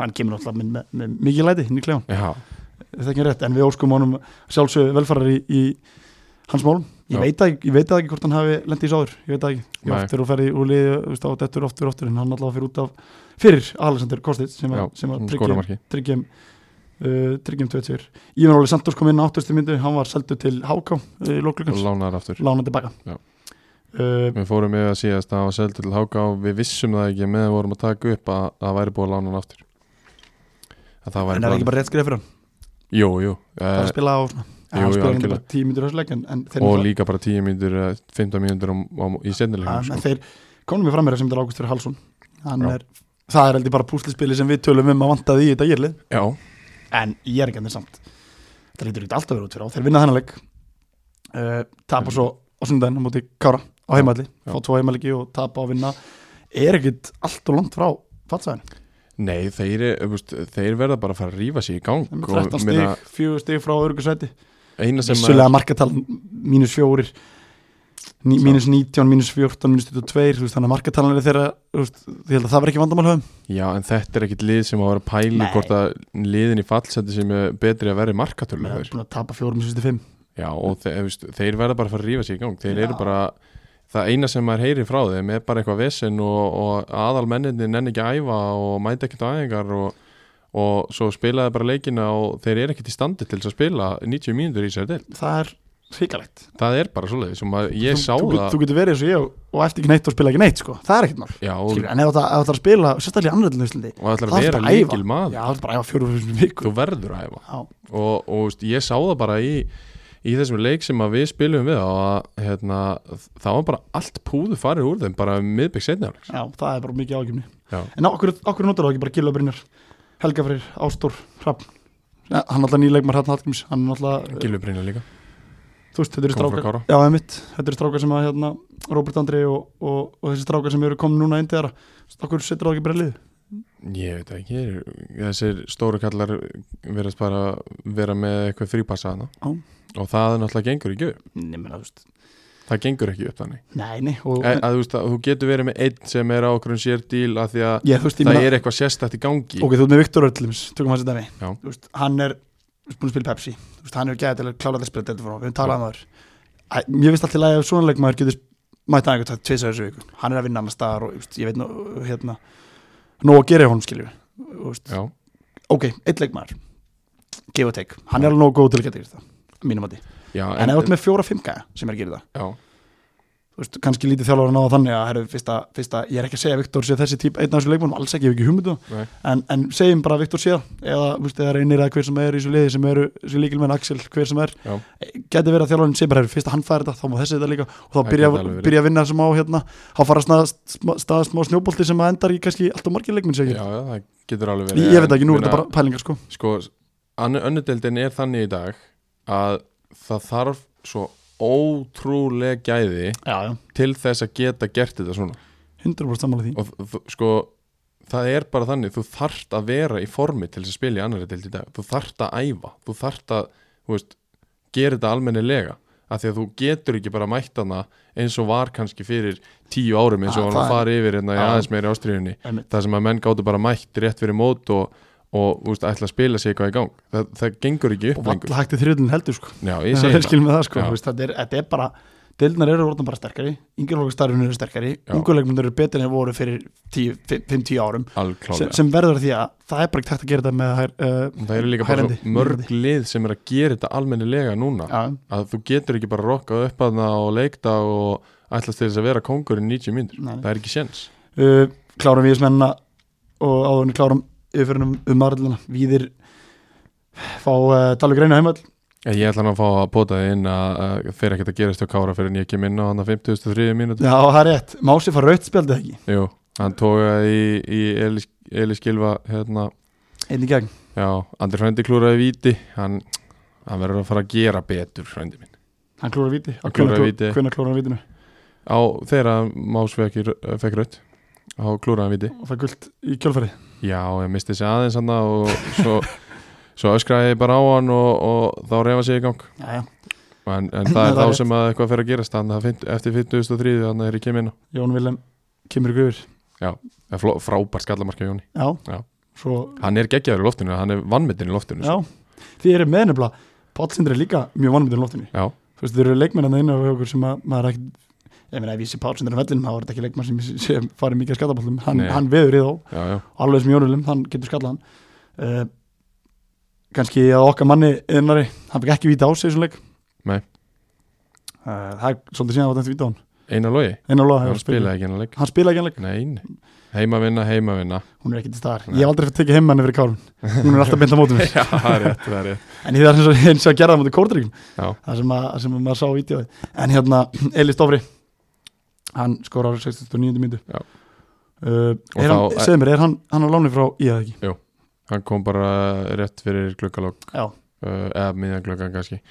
hann kemur alltaf með, með, með mikið læti hinn í klefan
já,
þetta ekki rétt, en við óskum honum sjálfsög velfarar í, í hans málum ég
Já.
veit, það ekki, ég veit það ekki hvort hann hafi lendið í sáður, ég veit það ekki ég
Nei.
oftir og ferði úr liði, þú veist, á dettur oftur oftur en hann alltaf fyrir út af, fyrir Alexander Kostic sem
já,
að, sem að tryggjum
skóramarki
tryggjum, uh, tryggjum tveitir Ívan Óli Santos kom inn á áttustu myndu hann var seldu til HK uh,
og
lóklugans,
lánaðar aftur
lána tilbaka
Já.
uh,
Við fórum yfir að síðast að hann var seldur til Háka og við vissum það ekki meðan við vorum að taka upp að að það væri búið að lána hann aftur að það væri
en er ekki bara rétt skrið fyrir hann
Jú, jú,
það er
eh,
að spila á svona hann
jú, jú,
spila hann
algjörlega.
bara tíu myndur hörsleik en, en þeir,
og
náttúrulega-
líka bara 10 mínútur eða 15 mínútur um, um, í
að,
sendilegum
en
sko.
þeir konum við fram meira sem þetta er Ágúst fyrir Hallsson Hann
Já.
er, það er heldur bara púslispili sem við tölum um að vantaði í þetta írlið
Já,
en ég er ekki annir samt það lítur ekki alltaf verið út fyrir á, þeir vinna þennan leik uh, tapa svo á sundaginn á móti Kára á heimalli
Já.
fá tvo heimalegi og tapa og vinna er ekkit allt og langt frá fatsæðinu,
nei, þeir, er- veist, þeir verða bara að fara að rífa sig í gang
þeim er
og
13 stig
meina,
4 stig frá örgusæti,
eina Sko, sem
vissulega markatal mínus 4 ní,
Sá.
mínus 19, mínus 14, mínus 22 þú veist, þannig að markatalan er þeirra þú veist, ég held að það var ekki vandamál höfum
Já, en þetta er ekkit lið sem á að vera að pæli
Nei.
hvort að liðin í fallseti sem er betri að
Við
vera í
erum
markatölugur
búin að tapa fjórum í sýstu fimm
Já, og þeir, veist, þeir verða bara að fara að rífa sig í gang þeir
Já.
eru bara, það eina sem maður heyri frá þeim er bara eitthvað vesen og, og aðal menninni nenni ekki að æfa og mæta ekkert á æfingar og, og svo spilaði bara leikina og þeir eru ekkert í standi til þess að spila 90 mínútur í sér del
Það er hrikalegt
það er bara svoleiðis og maður, ég
þú,
sá
þú,
það
Þú getur verið eins og ég og- og eftir ekki neitt og spila ekki neitt sko. Það er ekkert mál
já, og,
Skilur, En ef það ef það er að spila, sérstaklega í annaðlega Íslandi
og
það
ætlar að
er
vera
bara að æfa.
leikil maður
Já, það er bara að æfa fjórum fyrir viku
þú verður að æfa
Já,
og, og veist, ég sá það bara í í þessum leik sem að við spilum við á að hérna, það var bara allt púðu farið úr þeim bara um miðbygg setni áleiks
Já, það er bara mikið ágifni
Já.
En okkur, okkur notar það ekki bara Gilva Brynjar Helga Freyr, Ástór, Hrafn ja, Hann er alltaf nýleikmar Hrafn Hallgríms Hann er alltaf, eh,
Gilvi Brynja Eh, líka
þú veist, þetta eru
kom frá
strákar
Kára.
Já, það er mitt, þetta eru strákar sem að hérna, Robert Andri og, og, og þessi strákar sem eru komin núna inn til þeirra Þú veist, Okkur setur það ekki bara í liðið
ég veit ekki, er- þessir stóru kallar verðast bara vera með eitthvað frípassa hana
Já.
og það náttúrulega gengur ekki upp
Nei, menn, þú veist
það gengur ekki upp þannig Eh,
Nei, nei, og,
að, að, þú, veist, að, þú getur verið með einn sem er á okkur um sér díl af því að
ég, þú veist, ég
það
meina
er eitthvað sérstætt í gangi
Ok, þú ert með Viktor Öllums, tökum hans í dæmi
Já.
Þú veist, Hann er þú veist, búin að spila í Pepsi Þú veist, Hann er gæði til að klára þess breyta Við höfum talað um það áður. Æ, Mér finnst alltaf að svona leikmaður getur mæta einhvern tætt tveisar þessu viku Hann er að vinna annars staðar og þú veist, ég veit nú hérna, Nó að gera hjá honum skiljum við Þú veist,
Já.
Ok, eitt leikmaður Give and take, hann er alveg nógu góð til að geta gert það að Mínum að því,
Já,
en ef þú ert með fjóra-fimm gæja sem er að gera það
já,
þú veist, kannski lítið þjálfur að náða þannig að herru, fyrsta, fyrsta, ég er ekki að segja að Viktor sé þessi típa einn af þessu leikmannum, alls ekki, ég hef ekki um hugmyndu
Nei.
en, en segjum bara að Viktor sé það eða, þú veist, eða reynir að hver sem er í þessu liði sem eru, þessu líkilmenn Axel, hver sem er
Já.
geti verið að þjálfurinn sé bara, herru, fyrst að hann fær þetta þá má þessi þetta líka og
Það
þá byrja,
gæti alveg verið.
byrja að vinna sem á hérna, þá fara að staða smá snjóbolti sem að endar í kannski allt og margir leikmenn
já,
segir,
já, það getur alveg
ég,
verið
ég veit ekki, nú er
Meina-
þetta bara pælingar sko,
sko, önnudeldin er þannig í dag að það þarf svo ótrúlega gæði
já, já,
til þess að geta gert þetta svona
100% sammála því
og þ- þ- sko, það er bara þannig þú þarft að vera í formi til þess að spila í annari deild í dag, þú þarft að æfa þú þarft að, þú veist gera þetta almennilega, af því að þú getur ekki bara mætt hana eins og var kannski fyrir tíu árum eins
Ah,
og hann að
það
fara yfir hérna í
Já.
aðeins meiri ástriðunni
Einmitt.
það sem að menn gáttu bara mætt rétt fyrir mót og, og úst, ætla að spila sig eitthvað í gang það, það gengur ekki
og
upp lengur
valla hægt í þriðlun heldur sko
Já, ég
Það er
segi það
skil með það sko,
Já.
þú veist, þetta, er, þetta er bara deildnar eru orðan bara sterkari, yngjörlókastarfinu eru sterkari,
Já.
ungurleikmyndur eru betur en þeir voru fyrir 5-10 árum sem,
alklálega
sem verður því að það er bara ekki hægt að gera þetta með hær, uh,
Það eru líka bara
Hærendi.
svo mörg lið sem er að gera þetta almennilega núna
ja,
að þú getur ekki bara rokkað upp að það og leikta og ætlast til þess að vera kongur í 90 myndir,
Nei.
það er ekki séns
uh, klárum viðismennina og áðurinn klárum yfirfyrinum um aðrallina, viðir fá uh, Dalvik Reyna heimall
En Ég ætla nú að fá að pota þið inn að, að fyrir ekkert að gerast hjá Kára fyrir en ég kem inn á hann að 53 mínúti
Já, það er rétt, Mási fá raut spjaldið ekki
Jú, hann tókaði í, í Elis, Elis Gilva hérna,
einn í gegn,
já, Andri Hrændi klúraði víti hann, hann verður að fara að gera betur Hrændi minn,
hann klóra víti
Hann klórar víti.
hvernig klóra hann vítinu
á þeirra Más fekk í- fekk rautt á klúraði víti
og það gult í kjölfæri
Já, ég misti þessi aðeins hann og svo, svo öskraði ég bara á hann og, og þá reyfa sig í gang
Já, já,
en, en það er
Það er
þá
rétt.
sem að eitthvað fer að gerast þannig að fimt- eftir 53 þannig er ég kemur inn á
Jón Vilhelm kemur í gröfur
Það er fló- frábært skallamarka Jóni
Já,
Já.
svo
Hann er geggjaður í loftinu, hann er vannmyndin í loftinu sko.
Já, þið eru með nefnilega Pállsindri er líka mjög vannmyndin í loftinu
Já.
Þú veist, þið eru leikmennarna inn á okkur sem að maður ekki Ég meina, ef ég sé Pállsindri á vellinum þá er þetta ekki leikmann sem, ég sé- sem farið mikið að skallaballum hann,
Nei.
hann veður í þá,
Já, já,
alveg sem Jónulum hann getur skallað hann uh, Kanski að okkar manni innari hann fikk ekki víta á sig í þessum leik
Nei.
Eh, Það er svolítið síðan að það var dæmt víta á hann
Einar logi
Einar Lóa
Hann
hefur spilað
spilaði ekki hennar leik
Hann spilaði ekki hann leik,
Nein, heimavinna, heimavinna
hún er ekki til staðar
Nei.
Ég hef aldrei fyrir tekið heimann yfir kárun Hún er alltaf beint á mótum mér
Já, það er rétt, það er rétt
En það er eins og, eins og að gera það mútið kórdryggum
Já.
Það sem, að, sem að maður sá vídeoið En hérna, Eli Stofri Hann skorar 69. myndu
Já.
uh,
Og
er hann,
þá-
Segðu mér, er hann, hann á láni frá í það ekki?
Hann kom bara rétt fyrir gluggalokk
Já,
uh, eða miðjan gluggan kannski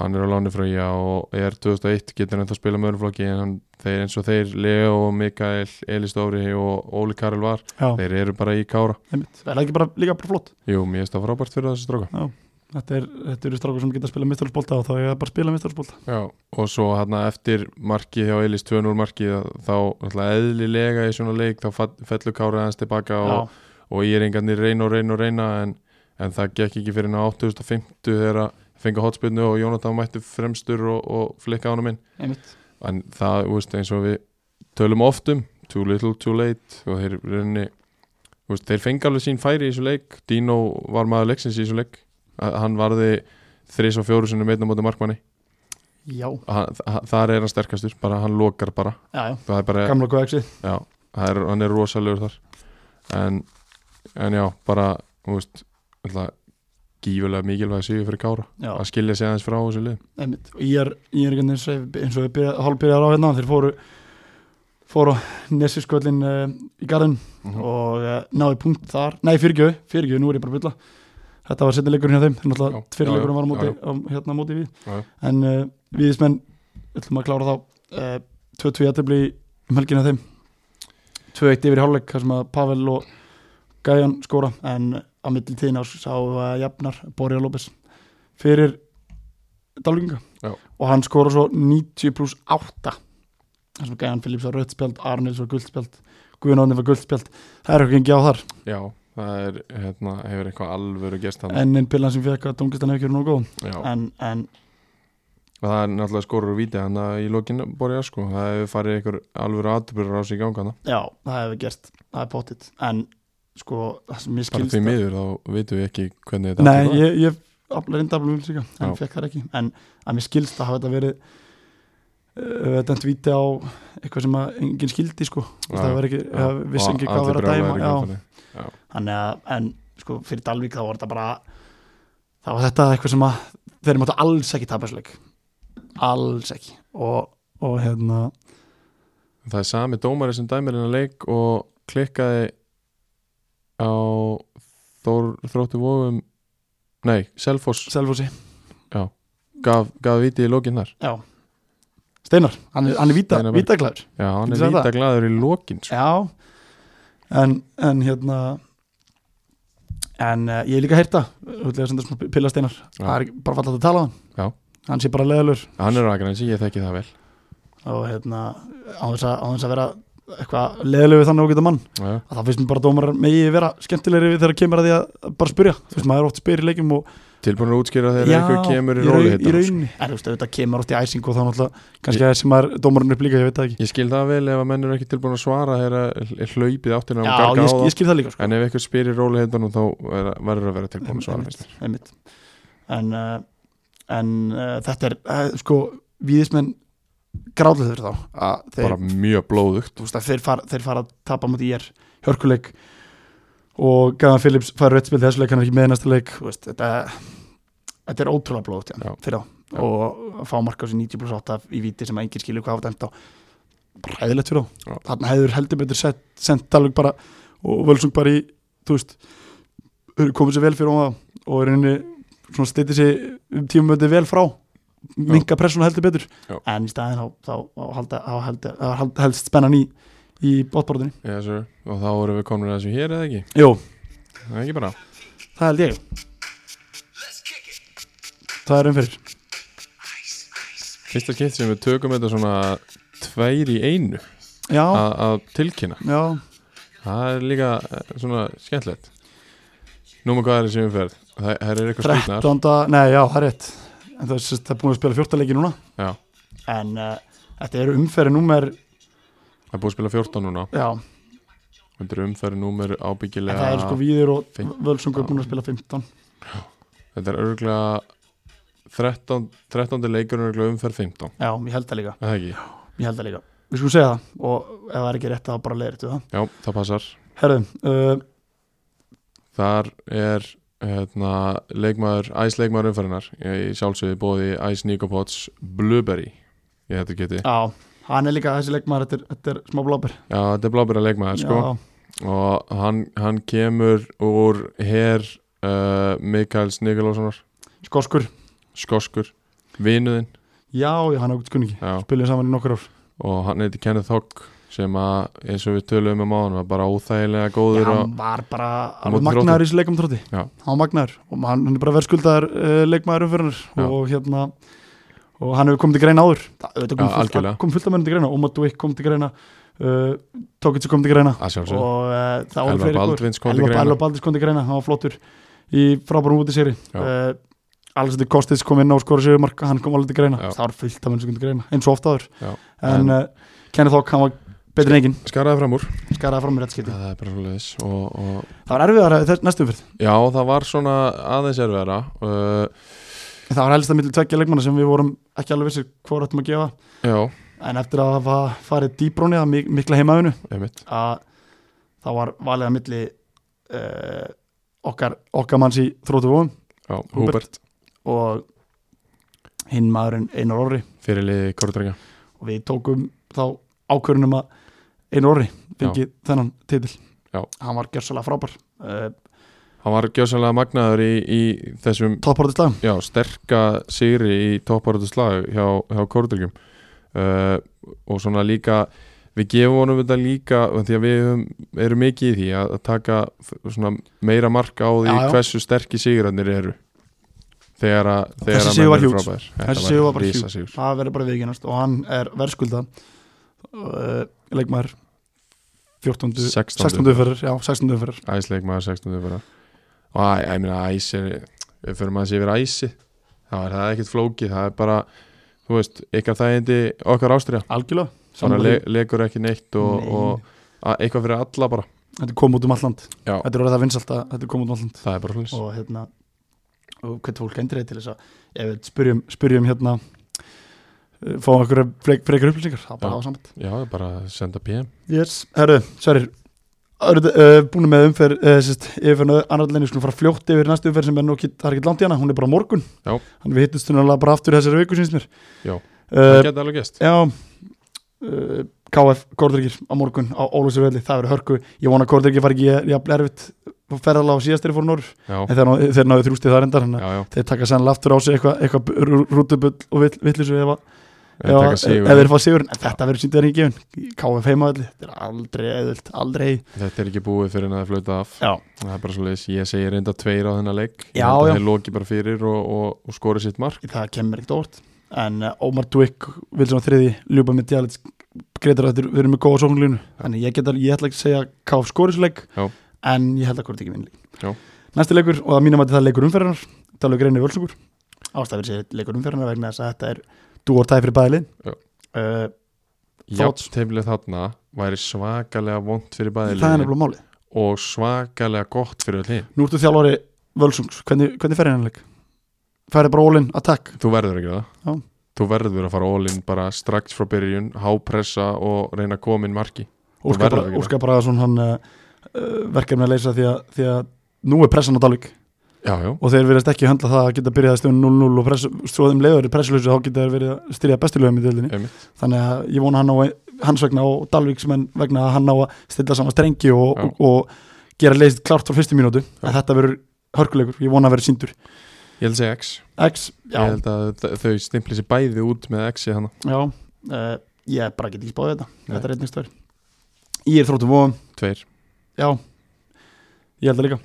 hann er á láni frá ég og er 2001 getur hann það að spila með öðrum flokki en hann, þeir, eins og þeir, Leo, Mikael, Elis Dóri og Óli Karel var
já,
þeir eru bara í kára
einmitt Það er ekki bara líka bara flott
Jú, mér finnst það frábært fyrir þessi stróka
Þetta, er, þetta eru strákur sem geta að spila mistarhúsbólta og þá er bara að spila mistarhúsbólta
Já, og svo hann eftir markið hjá Elis 2-0 markið þá náttúrulega eðlilega í svona leik þá fall- fellur kára aðeins tilbaka og, og ég er engarnir reyna og reyna og reyna en, en það gekk ekki fyrir hann á 8050 þegar að fengi hotspilnu og Jónatan mætti fremstur og, og flikka ánum inn
einmitt
en það, þú veist, eins og við tölum oft um, too little, too late og þeir reyni veist, þeir fengi alveg sín færi í þessu leik Dino var maður leiksins í þessu leik A- hann varði þrís og fjóru sinni meitna móti markmanni
Já,
hann, þa- þar er hann sterkastur, bara hann lokar bara
já, já,
það er bara,
gamla góðaxi
já, það er, hann er rosalegur þar en, en já, bara þú veist, ætla, gífulega mikilvæg sigur fyrir Kára
Já.
að skilja sig aðeins frá þessu lið
Einmitt. og ég er, ég er ekki eins og eins og við hálfbyrjar á hérna þeir fóru fóru á Nessisköllin uh, í garðin og uh, náðu punkt þar nei, fyrirgjöðu, fyrirgjöðu, nú er ég bara að bylla þetta var setni leikurinn hjá þeim þannig
Já,
að fyrir
já,
leikurinn var á
já,
móti,
já.
á, hérna, á móti við
Já, já.
en uh, viðismenn, ætlum að klára þá uh, 2-2 jættibli um helginna þeim 2-1 yfir í hálfleik þar sem að Pavel og Gæjan skóra en á milli tíðin ás sá uh, jafnar Borja López fyrir Dalvinga
Já.
og hann skora svo 90 pluss 8 þar sem Gæjan Phillips var rött spjald Arnils var gult spjald Guðjón Átni var gult spjald það er okkur ekki á þar
Já, það er, hérna, hefur eitthvað alvöru gest hann
enn einn pillan sem fekk að dungistan hefði ekki verið nógu góð
Já,
en, en
og það er náttúrulega skorur og víti hann að í lokinn borja sko, það hefur farið einhver alvöru aðtöpur á sig í ganga
já, það hefði gerst það er pottitt, en sko það sem ég
bara
skilst
því
að-
miður þá vitum við ekki hvernig þetta
Nei,
allt er.
ég, ég afla reynda afla mjög en
Já.
fekk það ekki, en að mér skilst að hafa þetta verið uh, þetta víti á eitthvað sem að enginn skildi sko,
Já,
það var ekki,
já.
ja, vissi
Og
ekki hvað
allir
var að
brjálæðir
dæma
í
já,
kjölfarið.
Þannig að, en sko, fyrir Dalvík þá var þetta bara þá var þetta eitthvað sem að þeir máttu alls ekki tapasleik alls ekki og, og hérna,
Það er sami dómari sem dæmir hennar leik og klikkaði á Þór, þróttu vóðum nei, Selfoss
Selfossi
gaf, gaf viti í lokinn þar
já, Steinar, hann er, hann er víta,
Steinar Berg.
vítaklæður
Já,
Getur
hann er
sagt það?
víta glaður í lokinn sko.
já, en, en hérna en uh, ég hef líka heyrta húllega sem það pilla Steinar
Já.
það er ekki- bara fallað að tala á hann
Já.
hann sé bara leðalur
Hann er aðgrænsi, ég þekki það vel
og hérna, á þess að, á þess að vera eitthvað leðalur við þannig ágæta mann
Já,
að það finnst mér bara að dómarar megi vera skemmtilegri við þegar kemur að því að bara spyrja þú veist maður oft spyr í leikjum og
Tilbúin að útskýra þegar
Já,
eitthvað kemur í
raun-
róli
í
hittar sko.
rauninni en þú veist auðvitað kemur oft í æsing og þá náttúrulega kannski að sem maður dómarinn upp líka ég veit það ekki
Ég skil það vel ef að menn eru ekki tilbúin að svara þegar er hlaupið áttina um
já
garga á
ég,
það
ég skil það líka sko
En ef eitthvað spyr í róli hittanum þá er- verður að vera tilbúin að svara finnst mér.
einmitt, einmitt. en, uh, en uh, þetta er uh, sko víðismenn gráðlega fyrir þá að þeir,
Bara mjög blóðugt
þú veist, að þeir, fara, þeir fara að tapa mútið ég er hörkuleik og Gagan Phillips fær rautt spil þessu leik, hann er ekki með í næsta leik þú veist, þetta, þetta er ótrúlega blóðt
Já.
fyrir þá
Já.
og að fá marka á sér 90 pluss 8 í viti sem enginn skilur hvað hafa dæmt á bara hæðilegt fyrir
Já.
þá þarna hefur heldur betur sett, sendt talveg bara og völsung bara í þú veist, eru komið sér vel fyrir ofan það og er henni svona steytið sér um tíma mötið vel frá minka pressuna heldur betur
Já.
en í staðin þá, þá, þá, halda, þá halda, þá halda, helst spennan í í bóttbórðinni
yes, sir. Og þá erum við komin að þessu hér eða ekki
Jú,
Það er ekki bara
það held ég Það er um fyrir
Fyrsta skipt sem við tökum þetta svona tveir í einu
Já,
a- að tilkynna.
já,
Það er líka eh, svona skemmtilegt. Núma hvað er þessi umferð? Það, það er eitthvað skutnar.
13. Nei, já, það er rétt en það, er sem sagt- það er búin að spila 14 leiki núna
Já,
en uh, þetta eru umferði númer
það er búið að spila 14 núna.
já,
Þetta er umferð númer
en
ábyggilega.
það eru sko víðir og
fimmtán.
völsungur búin að spila 15
Þetta er örgulega 13, 13. leikur og örgulega umferð 15.
Já, ég held það líka,
Er Það ekki?
ég held það líka Við skulum segja það og ef það er ekki rétt þá bara leiðir þetta
Já, það passar.
Herðu, uh,
Þar er hérna, leikmaður, æsleikmaður umferðinar. Ég sjálfsögði bóði æs Nikopots Blueberry. Ég þetta geti.
já, hann er líka þessi leikmaður þetta er, þetta er smá blópir
Já, þetta er blábæra leikmaður sko.
já,
og hann, hann kemur úr herr uh, Mikael Snigalóssonar
Skoskur,
skoskur, vinuðinn
já, já, hann er okkur skunningi
já,
Spilum saman í nokkur ár
og hann heiti Kenneth Hogg sem að eins og við töluðum um á hann var bara óþægilega góður
Já,
á,
hann var bara alveg
móti
magnaður í þessu leikum tróti
Já.
hann var magnaður og hann, hann er bara verðskuldaður uh, leikmaður umfyrir
Já.
og hérna og hann hefur komið til greina áður það auðvitað kom,
Já,
fullt,
algjörlega.
kom fullt af mörnum til greina Oma Dwick kom til greina uh, Tókitsu kom til greina
að sjálfsög
og uh, það var
Elvar
fleiri góður.
Baldvins kom til
Elvar
greina
Elvar Baldvins kom til greina, hann var flottur í frábærum út í séri
Já.
uh, Alessandri Kostis kom inn á skora sér mark, hann kom alveg til greina
Já.
það var fullt af mörnum til greina, eins og ofta áður
Já. En-
en uh, Kenneth Hawk, hann var betur en engin
skaraði fram úr
skaraði fram í rétt skipti
það er bara svolítið og, og,
það var erfiðar næstum fyrir
já, það var svona aðeins erfiðara uh,
En Það var helst að milli tveggja leikmanna sem við vorum ekki alveg vissir hvað rættum að gefa
já,
en eftir að hafa farið dýbróni að mik mikla heimaðinu
einmitt
að eh, það var valið að milli uh, okkar, okkar manns í þrótuvóum
Já,
Hubert.
Húbert,
og hinn maðurinn Einar Orri
fyrir liði Kortrega
og við tókum þá ákvörunum að Einar Orri fengi þennan titil
Já.
hann var gjörsalega frábær uh,
Hann var gjössalega magnaður í, í þessum
topparðislagum
já, sterka sigri í topparötu slag hjá, hjá Kortryggjum uh, og svona líka við gefum honum þetta líka og því að við höfum, erum mikið í því að, að taka f- svona meira marka á því
Já, já.
hversu sterkir sigranir eru þegar að þegar
Þessi
að
sigur
menn
var
eru
huge.
frábærir.
Þessi
Þetta
sigur var bara
risa sigur.
það verður bara viðkynast og hann er verðskulda uh, leikmaður 14.
16.
16. umferðar já, 16. umferðar
Æsleik maður 16. bara og að, ég meina æsi við fyrir maður sé yfir æsi þá er það ekkert flókið, það er bara þú veist, ykkar þægindi okkar ástriða
algjörlega
bara
Sammála
le,
því.
legur ekki neitt og,
Nei.
og að- eitthvað fyrir alla bara
þetta kom út um alland
Já.
þetta er orðið það vinsalt að þetta kom út um alland
það er bara hlutis
og hérna og hvernig fólk endriði til þess að ef við spyrjum, spyrjum hérna uh, fáum okkur frek, frekar upplýsingar það er bara
Já.
á samt
já, það er bara að senda PM
yes, herru, sverir uh, búin með umferð uh, sérst, yfirferð annarleginni, skulum fara fljótt yfir næstu umferð sem er nú ekki, það er ekki langt í hana, hún er bara á morgun
Já.
þannig við hittumst hún alveg bara aftur í þessari viku síns mér
Já. það
uh,
geta alveg gest
já uh, KF Kortrykir á morgun á Ólusurvelli, það verður hörku ég vona að Kortrykir fari ekki jafn erfitt ferðala á síðastri fór Nór
já,
en þeir náðu, þeir náðu þrjústið þar endar hann
já, já,
þeir taka sannlega aftur á sig eitthvað eitthva rútubull og vill- vitleysu ef, að-
við taka
ef,
sigur
ef þeir fá sigurinn en þetta verður síndið hann í gefin KF heimaðalli, þetta er aldrei eðvilt aldrei
þetta er ekki búið fyrir en að það flauta af
Já.
það er bara svo leiðis, ég segir reynda tveir á þennan leik
Já,
ég
já.
held að þeir loki bara fyrir og, og, og skori sitt mark
það kemur ekkert óvart en uh, Ómar Dvík vil svona þriði ljúpa með djalits greitar að þetta verður með góða sóknulínu þannig ég, geta, ég ætla ekki að segja KF skorisleik
Já.
en ég held að hvort ekki
Já.
vinnleik næsti leikur og að mínum að það er leikur umferðarnar tala um greinni völsungur ástæður sér leikur umferðarnar vegna þess að þetta er dúortæði fyrir bæðilið
Já.
uh, Thoughts?
játteimlið þarna væri svakalega vond fyrir
það er
bæðilegin
nefnilega máli
og svakalega gott fyrir öll hin
Nú ertu þjálfari Völsungs, hvernig, hvernig fer henni leik? Færði bara all-in, attack
þú verður ekki það
Já.
þú verður að fara all-in bara strax frá byrjun hápressa og reyna að koma inn marki
Óskar
verður
bara,
að gera.
Óskar bara svona hann uh, verkefni að leysa því að, því að nú er pressan á Dalvik
já, já,
og þeir verðast ekki höndla það að geta byrjað að stjóna 0-0 og press, svo þeim leiður er pressulösu þá geta þeir verið að styrja bestilöfum í dildinni
einmitt
þannig að ég vona hann á að- hans vegna og Dalviks menn vegna að hann ná að stilla saman strengi og,
Já.
og, og gera leysið klart frá fyrstu mínútu
Já.
að þetta verður hörkuleikur, ég vona að verður síndur
ég held að segja X
X, já,
ég held að þ- þau stimpli sér bæði út með X-ið hana
Já, uh, ég bara get ekki spáðið þetta
Nei.
Þetta er einnig stöður Ég er þróttum vóðum,
tveir
já Ég held það líka,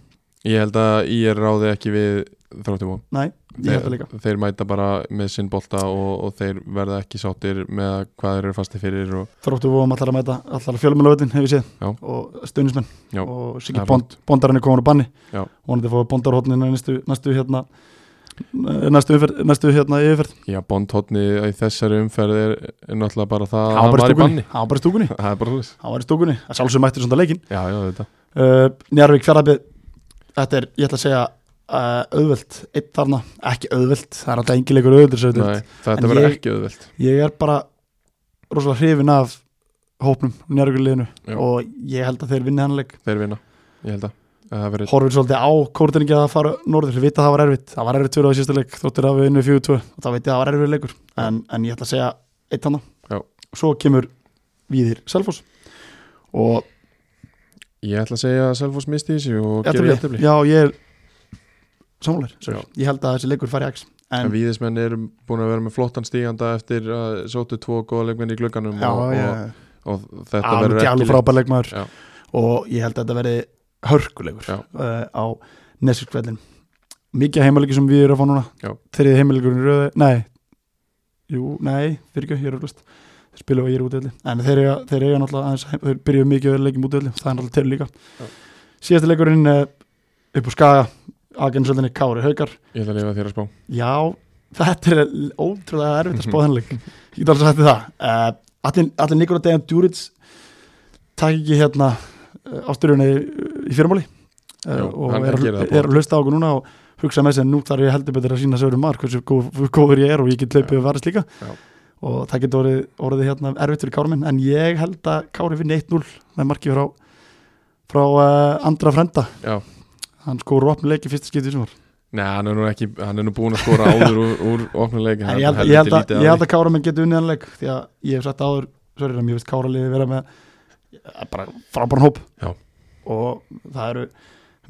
ég held að ég ráði ekki við þráttum og
nei, ég held það
þeir,
líka
þeir mæta bara með sinn bolta og, og þeir verða ekki sáttir með að hvað þeir eru fasti fyrir og
Þróttum vóðum allar að mæta, allar að fjölumilöðin hefur séð
Já.
og staunismenn
Já,
og
það
Siggi
er
bond, Bondarinn er komin á banni
Já.
vonandi að fá Bondarhóttnin næstu, næstu hérna eh, næstu, umferð, næstu hérna yfirferð
já, bondhotni í þessari umferð er er náttúrulega bara það að
Hann
hann
var bara í
var í
stúkunni
banni
Hann var bara í stúkunni
það er bara hlust
Hann var í stúkunni, það sjálfsög mættir svona leikin
já, já, þetta
uh, Njarvík fjaraðbið Þetta er, ég ætla að segja uh, auðvelt, eitt þarna, ekki auðvelt það er alltaf engilegur auðvelt þessu auðvelt
Nei, þetta
En
verður
ég-
ekki auðvelt
ég er bara rosalega hrifin af hópnum njárgjörliðinu
Já.
og ég held að þeir vinni hannleik
þeir vinna, ég held að að það verður
horfir svolítið á kórtinningi að fara norður, þeir vita að það var erfitt, það var erfitt fyrir á í síðasta leik þóttir að við vinnum fjögur tvö og þá veit ég að það var erfitt leikur en, en ég ætla að segja eitt hana
Já.
svo kemur Víðir Selfoss og
ég ætla að segja að Selfoss misti í sig og gerir
jættubli
jættubli
já ég er sammálar, sorry.
Já.
ég held að þessi leikur fari x
en
en,
viðismenn eru búin að vera með flottan stíganda eftir að sótu tvo góða leikmenn í glugganum
já,
og,
já,
og, og þetta
alveg
verður
alveg
ekki
frábær leikmaður
Já.
og ég held að þetta verði hörkulegur
Já.
uh, á Nesirkvellin mikið heimaleiki sem við erum að fá núna
Já.
þriðið heimalekurinn í röðu, nei jú, nei, fyrir ekki, ég er öllust þeir spilum og ég er útöðli, en þeir eiga, þeir eiga náttúrulega, aðeins, þeir byrjuðu mikið að vera leikum útöðli, það er náttúrulega til líka
Já.
síðasti leikurinn uh, upp á Skaga aðgensöldinni Kári Haukar
ég ætla að lifa þér að spá
já, þetta er ótrúlega erfitt að spáða hennileg ég get alveg sagt þér það uh, allir, allir Nikola Dejan Djuric takk ekki hérna uh, ásturjunni í fyrirmáli
Já,
uh, og
hann-
er,
hann
að-
gerir það bara.
er að hlusta á okkur núna og hugsa með sér nú þarf ég heldur betur að sína sögur mark hversu góð, góður ég er og ég get hlaupið að varast líka
Já.
og það getur orðið, orðið hérna erfitt fyrir Kári minn en ég held að Kári vinni 1-0 með marki frá, frá uh, andra frenda
Já.
hann skóru opni leik í fyrsta skipti sem var
Nei, hann er nú ekki, hann er nú búin að skora áður úr, úr opnuleik
En ég held, ég held, að, ég held að Kára menn geti unnið hann leik því að ég hef sagt áður sorry, Rami, ég veist Kára liði vera með eh, bara frábæran hóp
Já.
og það eru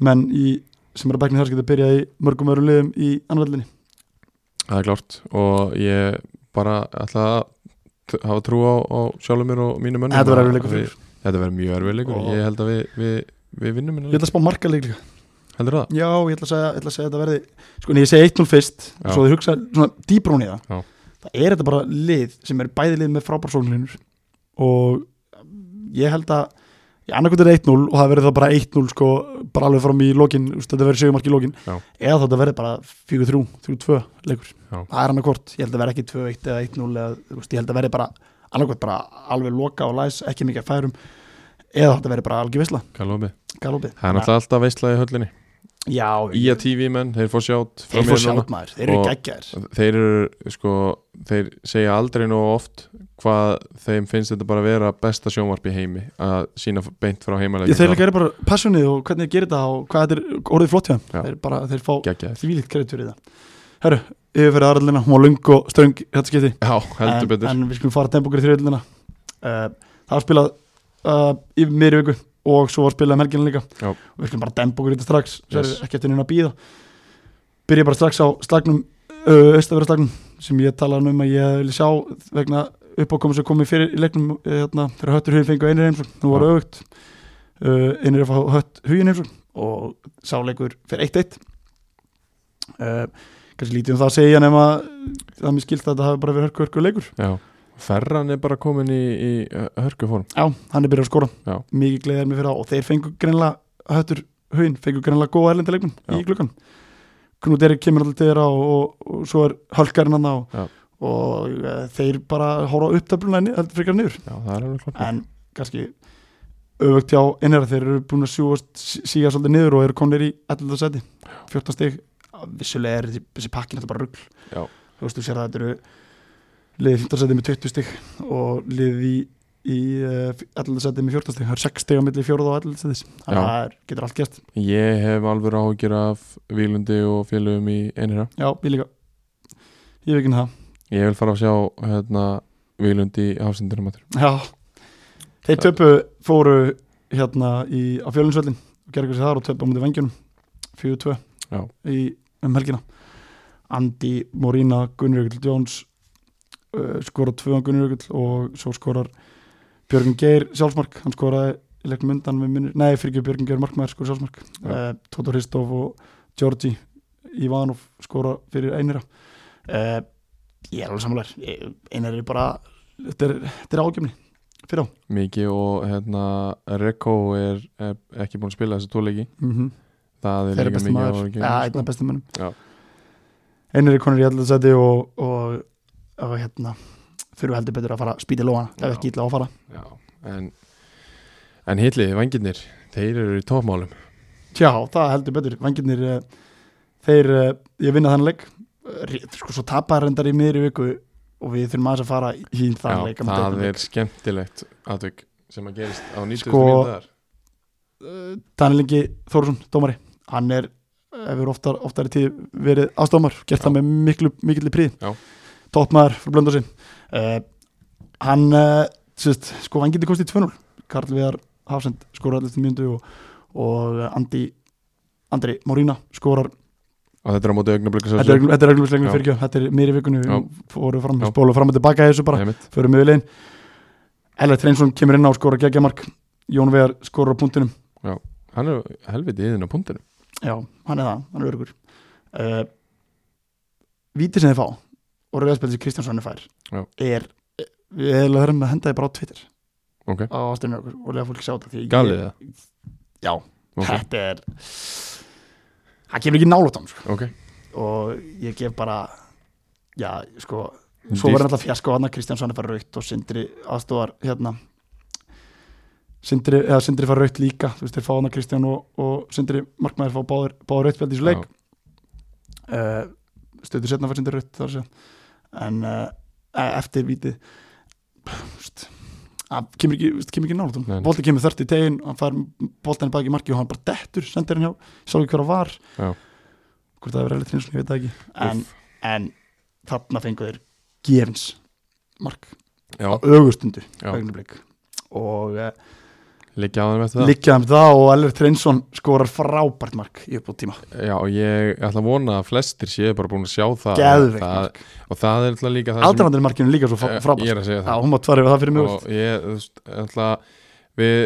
menn í, sem eru að bækni þar geta byrjað í mörgum öðrum liðum í annaðlinni
Það er klárt og ég bara ætla að t- hafa trú á, á sjálfum mér og mínum mönnum
Þetta verður erfiður leikur
að- að
fyrir
við- Þetta verður mjög erfið leikur
Og-
Ég held að við, við, við vinnum
Ég
henni
ætla að spá marga leik líka
Heldur það?
Já, ég ætla að segja, ég ætla að segja þetta verði sko, en ég segi 1-0 fyrst,
Já.
svo þið hugsa svona dýbrún í það
Já.
það er þetta bara lið sem er bæði lið með frábær sóknlinur og ég held að ég annarkvæmt er 1-0 og það verður það bara 1-0 sko, bara alveg fram í lokin úst, þetta verður segumark í lokin
Já.
eða þetta verður bara 4-3, 3-2 leikur
Já.
það er annarkvort, ég held að verði ekki 2-1 eða 1-0 eða, úst, ég held að verði bara annarkvæmt bara alveg loka og læs, ekki mikið af færum eða þetta verður bara algjör visla,
Hvað lofið?
galopið
Það er náttúrulega alltaf veistla í höllinni
Já,
Í að TV menn, þeir fór sjátt frá
Þeir
mér
fór
núna.
sjátt maður, þeir eru
Og-
geggjær
Þeir eru sko Þeir segja aldrei nóg oft hvað þeim finnst þetta bara vera besta sjónvarp í heimi að sína f- beint frá heimalegin
Þeir eru bara passionið og hvernig þeir gerir þetta og hvað þetta er orðið flott hjá þeim.
Já.
þeir, bara, þeir fá
geggjaðir
þvílitt kredit fyrir það Herru, yfirferðið aðraldina, hún var lung og stöng í þetta skipti
Já, heldur
en,
betur
en við skulum fara tempokur í þriðaldina uh, Það var spilað uh, í meiri viku og svo var spilað um helgina líka
Já.
og við skulum bara tempokur í þetta strax yes.
Yes.
ekki eftir neina að býða Byrja bara strax á slagnum uh, austaverðarslagnum sem ég talaði um að ég vil sjá vegna uppákomu sem komið fyrir í leiknum eh, hérna, þegar höttur hugin fengu einir heimsókn nú var
Já.
auðvögt uh, einir að fá hött hugin heimsókn og sáleikur fyrir 1-1 uh, kannski lítið um það að segja nema það er mér skilt að þetta hafi bara verið hörku hörku leikur
Já, Ferran er bara komin í, í uh, hörkuform
Já, hann er byrjað að skora
Já.
Mikið gleðið er mér fyrir það og þeir fengu greinlega höttur haun, fengu greinlega góða erlenda leikmenn
Já.
í glukkan Knut Erik kemur alltaf til þeirra og, og, og svo er hölkarinn hann á
Já.
og e, þeir bara horfa upptöfluna heldur frekar niður
Já, það er alveg klart
en kannski öfugt hjá innherra þeir eru búin að sjúast sí- síga svolítið niður og eru konir í 11. seti 14 stig, vissulega er þessi, þessi pakkin þetta bara rugl
Já.
þú veist þú sér að þetta eru liðið 15 seti með 20 stig og liðið í, í eh, 11. seti með 14 stig það eru 6 stig á milli 4 og 11. setis þannig
Já.
að það er- getur allt gæst
Ég hef alveg áhyggjur af Vílundi og félögum í einhverja
já, ég líka ég veit ekki um það
Ég vil fara að sjá hérna, Vílundi í hafsendunum aftur.
já. þeir töpu fóru hérna í, á fjölinsvöllin og gerðu sér þar og töpu á mútið vengjunum 4-2
Já.
í um helgina Andi, Morína, Gunnrjökull Jones uh, skora tvöðan Gunnrjökull og svo skorar Björgun Geir sjálfsmark hann skoraði í leiknum undan með minnur nei, fyrir ekki Björgun Geir markmaður skora sjálfsmark
Já.
uh, Tóta Hristof og Georgi Ivanov skora fyrir einira uh, ég er alveg samlega einar er bara þetta er, þetta er ágefni fyrir á
Miki og hérna, Rekko er, er ekki búin að spila þessi tóleiki
mm -hmm.
Það er
þeirra
líka
besti
mikið
maður
áhyggjur
ja, einna besti
Já.
mönnum einar er konur í allir seti og, og, og hérna þurfu heldur betur að fara að spýta í lóana það er
Já.
ekki illa á að fara
Já, en, en hitli, vangirnir Þeir eru í topmálum
tjá, það heldur betur, vangirnir eh, þeir, eh, ég vinna þann leik Eh, ré- sko svo tapar reyndar í miðri viku og við þurfum aðeins að fara í þann
Já,
leik á móti
það
Augnablik.
er skemmtilegt atvik sem að gerist á 90
Sko,
sko, mínútar
uh, Daniel Ingi Þórsson, dómari hann er, hefur oftar, oftar í tíð verið aðstofmar, gert
Já.
það með miklu mikilli
Já.
príð, tóttmaður fyrir blönda sinn uh, hann uh, sérst, sko hann getur kostið 2-0 Karl Viðar Hafsend skorar allir mjöndu og, og Andi Andri Morína skorar
Og þetta er á móti
þetta
augnablikasöfsu
er reglumslegnum
Já.
fyrir ekki þetta er meiri vikunni,
Já.
við fórum fram,
Já.
spólu fram og tilbaka í þessu bara fyrir miðurlegin Ellert Reynsson kemur inn á og skorar geggjamark Jón Vegar skorar á punktinum
Hann er helviti í þinn á punktinu
Já, hann er það, hann er örgur uh, Víti sem þið fá og rauðarspil sem Kristjánsson er fær
Já.
er, við erum að höfum að henda þið bara á Twitter
Ok.
á ástæðinu okkur og lega fólk sjá þetta því ég-
Galið það?
Já,
Ok,
þetta er það kemur ekki nálut á hann sko.
ok
og ég gef bara já, sko svo
Dýrt.
verður alltaf fjasko hann að Kristjánsson er fær rautt og Sindri aðstofar hérna Sindri, eða Sindri fær rautt líka þú veist, þeir fá hann að Kristján og, og Sindri markmaður fá báður, báður rautt spjald í þessu leik
Já.
uh, stöður setna fær sindur rutt þar sé en uh, eftir vítið veist, að kemur ekki, veist, kemur ekki nálatum
Nei.
bolti kemur þörft í tegin, hann fær boltan í baki í marki og hann bara dettur, sendir hann hjá, ég sá ekki hver að var
Já.
hvort það hefur verið reynslun, ég veit það ekki en, en þarna fengu þeir gefins mark
já,
á augustundu
já,
augnablik og uh,
liggja á þeim eftir það
liggjaði með það og Elver Trinsson skorar frábært mark í uppbútt tíma
já, og ég ætla að vona að flestir séu bara búin að sjá það,
Geðveikt
það
mark.
og það er alltaf líka það sem-
Aldrandin markinu líka svo
Eh,
frá- frábært
ég er að segja
Já,
það
hún má tvara yfir það fyrir mjög
og ég, þú veist, ætla við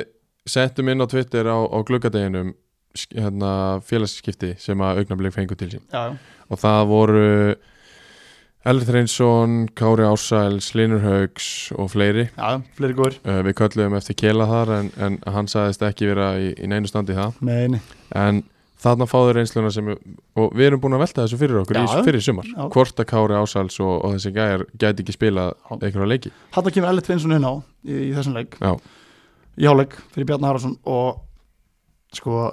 settum inn á Twitter á, á gluggadeginum sk- hérna, félagsskipti sem að augnablik fengu til sín
Já, já.
og það voru Elri Þreinsson, Kári Ársæls, Linur Haugs og fleiri
já, já, fleiri góður
uh, við köllum eftir Kela þar en, en hann sagðist ekki vera í, í neinu standi í það
Nei, nei,
en þarna fáður reynsluna sem og við erum búin að velta þessu fyrir okkur í,
Já.
fyrir sumar
Já.
hvort að Kári Ársæls og, og þessi gæjar gæti ekki spilað
Já.
einhverja leiki
hann kemur Elver Trinsson inn á í, í þessum leik
Já.
í hálfleik fyrir Bjarni Harason og sko,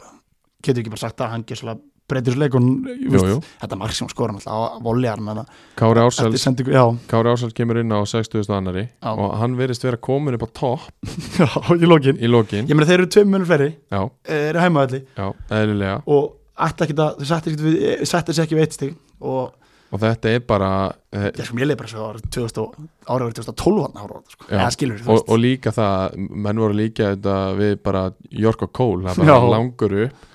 getur ekki bara sagt að hann gjössalega breytir þessu leik og þú
jú,
veist,
jú.
þetta mark sem hún skora alltaf á voljar með það
Kári
eftir
Ársæls,
sendingu, já,
Kári Ársæls kemur inn á 60. annari
Já.
og hann verist vera komin upp á topp
já, í lokin
í lokin
ég meina þeir eru tveim munum fleiri, eh,
já,
eru heimaðalli
já, eðlilega
og ætti ekki að, þau settir ekki við settir sér ekki við eitt stig og
og þetta er bara eh,
ég sko, ég leið bara svo árið 2000 og- árið árið 2012 hann ára, sko,
Já.
eða skilur þú
og,
veist
og líka það, menn voru líka þetta við bara Jork og Kól það bara
Já.
langur upp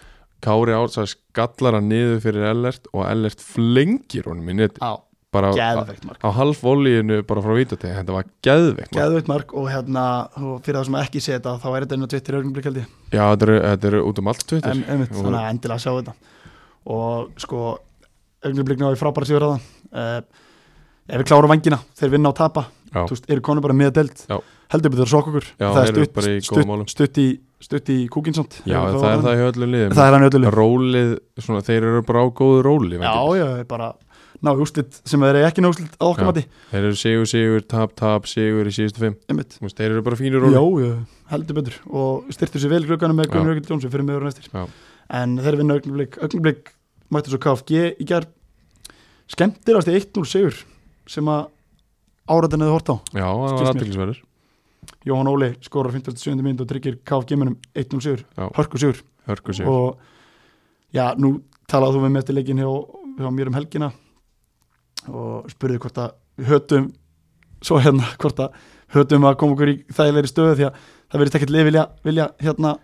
Kári Ársæð skallar hann niður fyrir Ellert og Ellert flengir honum í neti
á,
bara á,
geðveikt mark
á halv volíinu bara frá vítati, þetta var geðveikt mark.
geðveikt mark og hérna og fyrir það sem ekki sé þetta þá er þetta inn á Twitter augnablik held ég
já, þetta eru, þetta eru út um allt Twitter
en, einmitt,
Og-
þannig að endilega sjá þetta og sko augnablik náðu frábæra sigur að það uh, ef við klárum vangina, þeir vinna og tapa
Já.
þú veist, eru konur bara með delt
Já.
heldur betur að sokka okkur
Já,
það er
þeir eru bara í góðum málum.
stutt, stutt í, stutt í kúkinsamt
já, það er það í öllum liðum
það er hann öllu
rólið, svona, þeir eru bara á góðu róli
já,
væntanlega.
já, þeir bara ná í úslit sem þeir eru ekki ná úslit að
Já.
okkar mati
þeir eru sigur, sigur, tap, tap, sigur í síðustu fimm
einmitt,
Þú veist, þeir eru bara fínir róli
já, já, heldur betur og styrtu sér vel glöggana með
Já.
Gunnar Jökull Jónsson fyrir meður og eftir
Já.
en þeir vinna augnablik, augnablik mættu svo KFG í gær skemmtilegast 1-0 sigur sem að áratin hefði hort á
já það var
Skilst mér.
aðtilsverður
Jóhann Óli skorar 57. mynd og tryggir KFG munum 1-0 sigur,
Já.
hörku sigur
hörku sigur
og já, nú talaðu þú við með eftir leikin hjá, hjá mér um helgina og spurði hvort að við hötum svo hérna hvort að hötum að koma okkur í þægilegri stöðu því að það verðist ekkert lið vilja, vilja hérna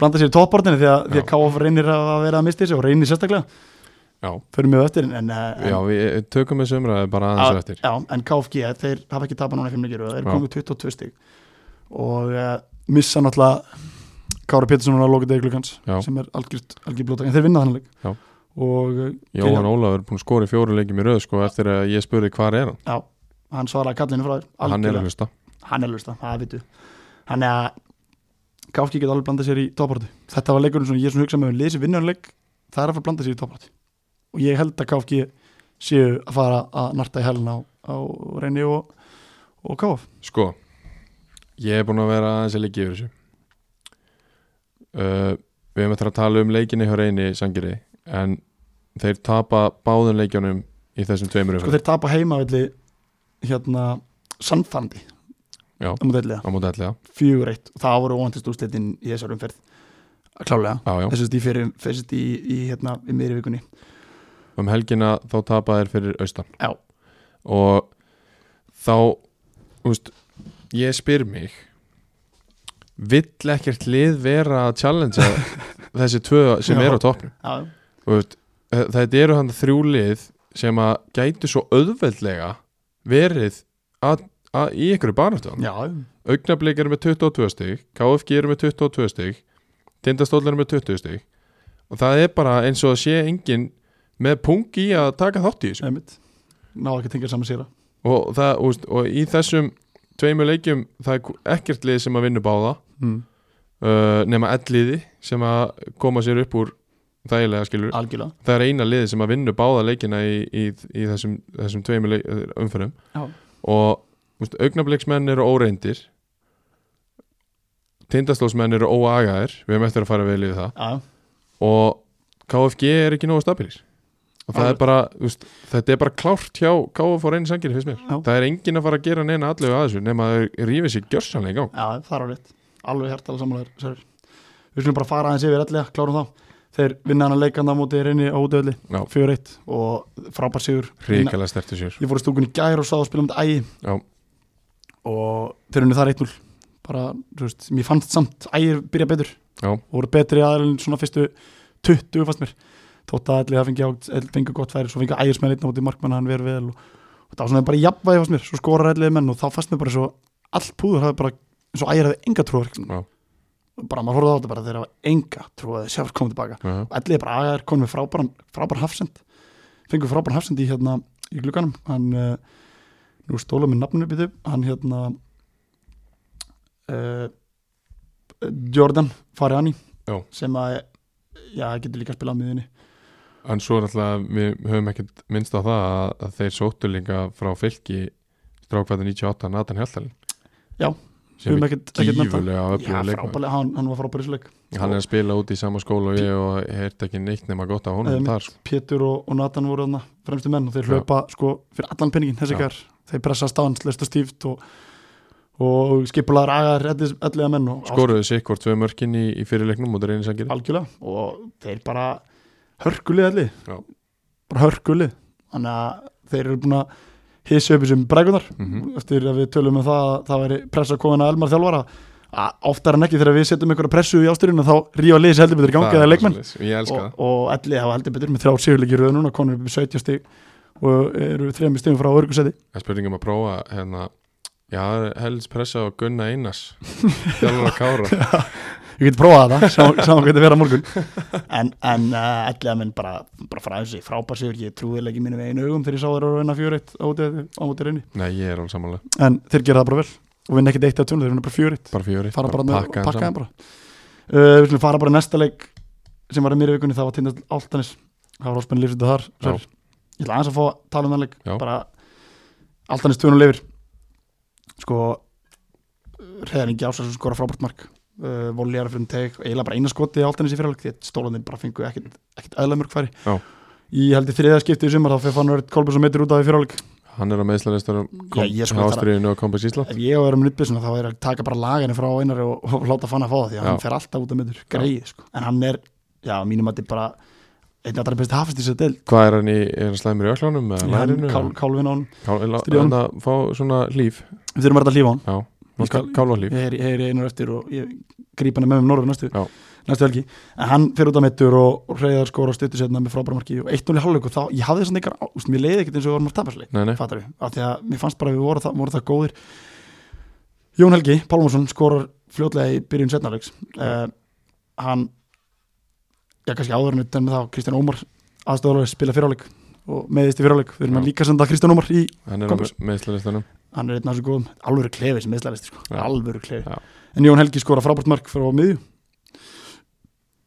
blanda sér í toppartinu því að, því að
Já.
KF reynir að vera að misti þessu og reynir sérstaklega
já
förum við á eftir en, en, en,
Já, við tökum þessu umræðu bara aðeins á eftir
já, en KFG, þeir hafa ekki tapað núna í fimm leikir og þeir
Já.
komið 22 stig og uh, missa náttúrulega Kára Pétursson núna að lóka degi klukkans
Já.
sem er algjört, algjör blóta, en þeir vinna þannig
Já.
og eh,
Jóhann Ólafur er búin að skora í fjóru leikjum í röð sko, eftir að ég spurði hvað er hann
já, hann svaraði kallinu frá þér
Hann er
algjörlega.
að hlusta
hann er lusta, það vitu hann er að KFG geta alveg blanda sér í toppartu þetta var leikurinn sem ég er svona hugsa með lesi vinnanleik það er að fara að blanda sér í toppartu og ég held að KFG séu að fara að narta í helna á, á reyni og, og KF
Sko, ég er búin að vera aðeins að leikja yfir þessu uh, Við hefum eftir að tala um leikinni hjá reyni sangiri en þeir tapa báðum leikjunum í þessum tveimur
sko
umferð
þeir tapa heimavelli hérna sannfandi
Já.
um þetta
á móti ætliða
fjögur eitt og það voru óvæntist úrslitin í þessar umferð klálega
Já, já,
þessast í fyrir þessast í, í hérna í miðri vikunni
um helgina þá tapa þeir fyrir austan
Já.
Og þá, þú veist, ég spyr mig Vill ekkert lið vera að challengea þessi tvö sem
Já.
eru á toppnum
já,
Þú veist, eh, þetta eru hann þrjú lið sem að gætu svo auðveldlega verið að, að í einhverju baráttan
já,
augnablik eru með 22 stig KFG eru með 22 stig Tindastóll eru með 20 stig og það er bara eins og að sé engin með punkt í að taka þátt í þessu
einmitt ná ekki að tengja saman sér
og, það, þú veist, og í þessum tveimur leikjum það er ekkert lið sem að vinna báða
mm.
uh, nema elliði sem að koma sér upp úr þægilega skilur
algjörlega
það er eina liði sem að vinna báða leikina í, í, í þessum, þessum tveimur leik, umförum
Já.
og úst, augnabliksmenn eru óreindir tindastlósmenn eru óagaðir við hefum eftir að fara vel yfir það
já,
og KFG er ekki nógu stabilir og það
Alveg.
er bara, úst, þetta er bara klárt hjá KF og reyni sangir fyrst mér
Já.
það er enginn að fara að gera neina allu að þessu nema að þau rífi sér gjörsanlega í gang
já, það er á rétt alveg hjartalega samanlegar sér. við skulum bara fara aðeins yfir allega, klárum þá þeir vinna hann að leika hann á móti reyni á útöðli
Já.
4-1 og frábær sigur Vinna-
ríkilega stertu sér
ég fór í stúkun í gær og sá að spila um þetta ægi
Já.
og þeir unni þar 1-0 bara, þú veist, mér fannst samt ægir byrja betur
Já.
og voru betri aðeins svona fyrstu 20 fannst mér þótt að allir það fengi, á- Elliði fengi gott færi svo fengi ægir smæl einn á móti markmann hann verið vel og, og það var svona bara jafnvægi fannst mér svo skorar allir menn og þá fannst mér bara svo allt púður hafði bara eins og ægir hafði enga trú á verkefninu.
Já.
bara maður horfði á þetta bara þeir hafa enga trú að þeir sjálf komið tilbaka
Já.
Ellið er bara aðeins konum með frábæran, frábæran hafsend fengur frábæran hafsend í hérna í glugganum hann, uh, nú stóla með nafninu býtu hann hérna uh, Jordan Fariani
Já.
sem að já, getur líka að spila á miðunni
En svo er alltaf, við höfum ekkert minnst á það að, að þeir sóttu líka frá fylki strákvæta 98 Nathan Hjaltalinn
Já,
sem er
ekkert,
gífurlega
Já,
öflugur leikmaður
frábælega, hann, hann var frábæri svo leik
Hann er að spila út í sama skóla og ég og heyrði ekki neitt nema gott af honum
Eða mitt.
þar sko.
Pétur og, og Nathan voru þarna fremstu menn og þeir
Já.
hlaupa sko fyrir allan penningin þessi
Já.
ykkar, þeir pressast á hann slöst og stíft og, og skipulaðar agar elliða menn og
Skoruðu sig hvort tvö mörkin í, í fyrirleiknum og það reynir sækir
algjörlega og þeir bara hörkulið allir
Já.
bara hörkulið þannig að þeir eru búin að hissa upp þessum bregunar
Mhm.
eftir að við tölum um það að það væri pressa kofana Elmar þjálfara að oftar en ekki þegar við setjum einhverja pressu í ásturinu þá rífa liðis heldur betur í gangi eða leikmenn
Ég elska
og, og allir hafa heldur betur með þrjá sigurleiki röðu núna konur upp í 70 stig og eru þremi stigum frá örgusæti
það Það spurningum að prófa hérna Já, helst pressa á Gunna Einars Þjálfur að kára
ég geti prófað það, sá- saman hvað þetta vera á morgun en, en uh, allir að minn bara, bara frá þessi frábær sigur, ég trúði ekki mínum einu augum þegar ég sá þeir að vinna fjöreitt á móti á móti reyni,
Nei, ég er alveg samanlega
en þeir gera það bara vel og vinna ekkert eitt af tjónu, þeir vinna bara fjöreitt
Bara fjóri,
fara bara með,
pakka
pakka þeim bara uh, við slum fara bara í næsta leik sem var í mér í vikunni, það var tindast áltanis það var áspenn lífsvita þar
Já.
Sverrir. ég ætla aðeins að fá að tala um þann leik
Já.
bara áltanis tjónu lifir sko reyðan ekki ásæðs skora frábært mark uh, voljar fyrir um teg, eiginlega bara eina skoti áltanis í fyrirleik, því að stólanir bara fengu ekkit, ekkit eðla mörg færi
Já.
í heldur þriða skipti í sumar þá fyrir fann verið Kolbjörnsson meitur út af í fyrirleik
Hann er að meðslaristarum
Já, ég sko þarf-
Ástriðinu og Kompis Ísland
ef ég á að vera með nýttbjörsuna þá er að taka bara laginu frá einari og, og láta fann að fá það því að
Já.
hann fer alltaf út af myndur greið sko. en hann er, já, að mínum að þetta er bara einn af það bestu hafist í þessu del
Hvað er hann í, er hann slæmur í öklánum?
hann, kál, kálfin á hann, stríðanum.
Hann að fá svona líf
við þurfum að ræta að hlífa hann
Já,
Ég skal-
kálva líf
ég heyri- ég heyri einar eftir og ég gríp hann með mér norður næstu,
Já.
næstu helgi en hann fer út af myndur og reyðar skora og stuttur setna með frábæra marki og 1-0 í hálfleik og þá, ég hafði þess að neikar, úst, mér leiði ekkert eins og við varum að tapasleik
Nei, nei,
fattar við, af því að mér fannst bara að við vorum það, voru það góðir Jón Helgi Pálmarsson skorar fljótlega í byrjun setnarleiks uh, hann já kannski áður en utan með það Kristján Ómar aðstofalari spila fyrirháleik og meðist í fyrirháleik, við erum
Já.
að líka senda Kristján Ómar í,
hann er á
Kompás.
meðslaristanum
hann er einn af þessu góðum alvöru klefi sem meðslæðist, sko,
Já.
alvöru klefi
Já.
en Jón Helgi skorar frábært mark frá miðju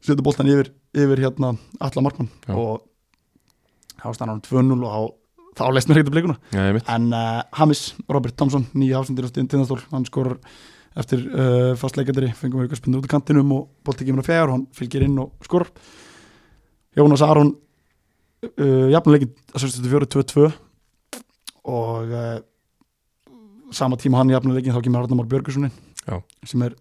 setur boltan yfir, yfir hérna alla markmann
Já.
og þá stannar hann 2-0 og þá, þá leist mér ekkert að blikuna
Já, ég mitt
en uh, Hamis, Robert Thompson nýja hafsendir á stíðin tindastól, hann skorar eftir uh, fastleikandri, fengum við eitthvað spynnu út í kantinum og bolti kemur að fjær hann fylgir inn og skorar Jónas Aron uh, jafnleikin að 64-22 og uh, sama tíma hann jafnleikin þá kemur Arnamár Björgurssoni
Já.
sem er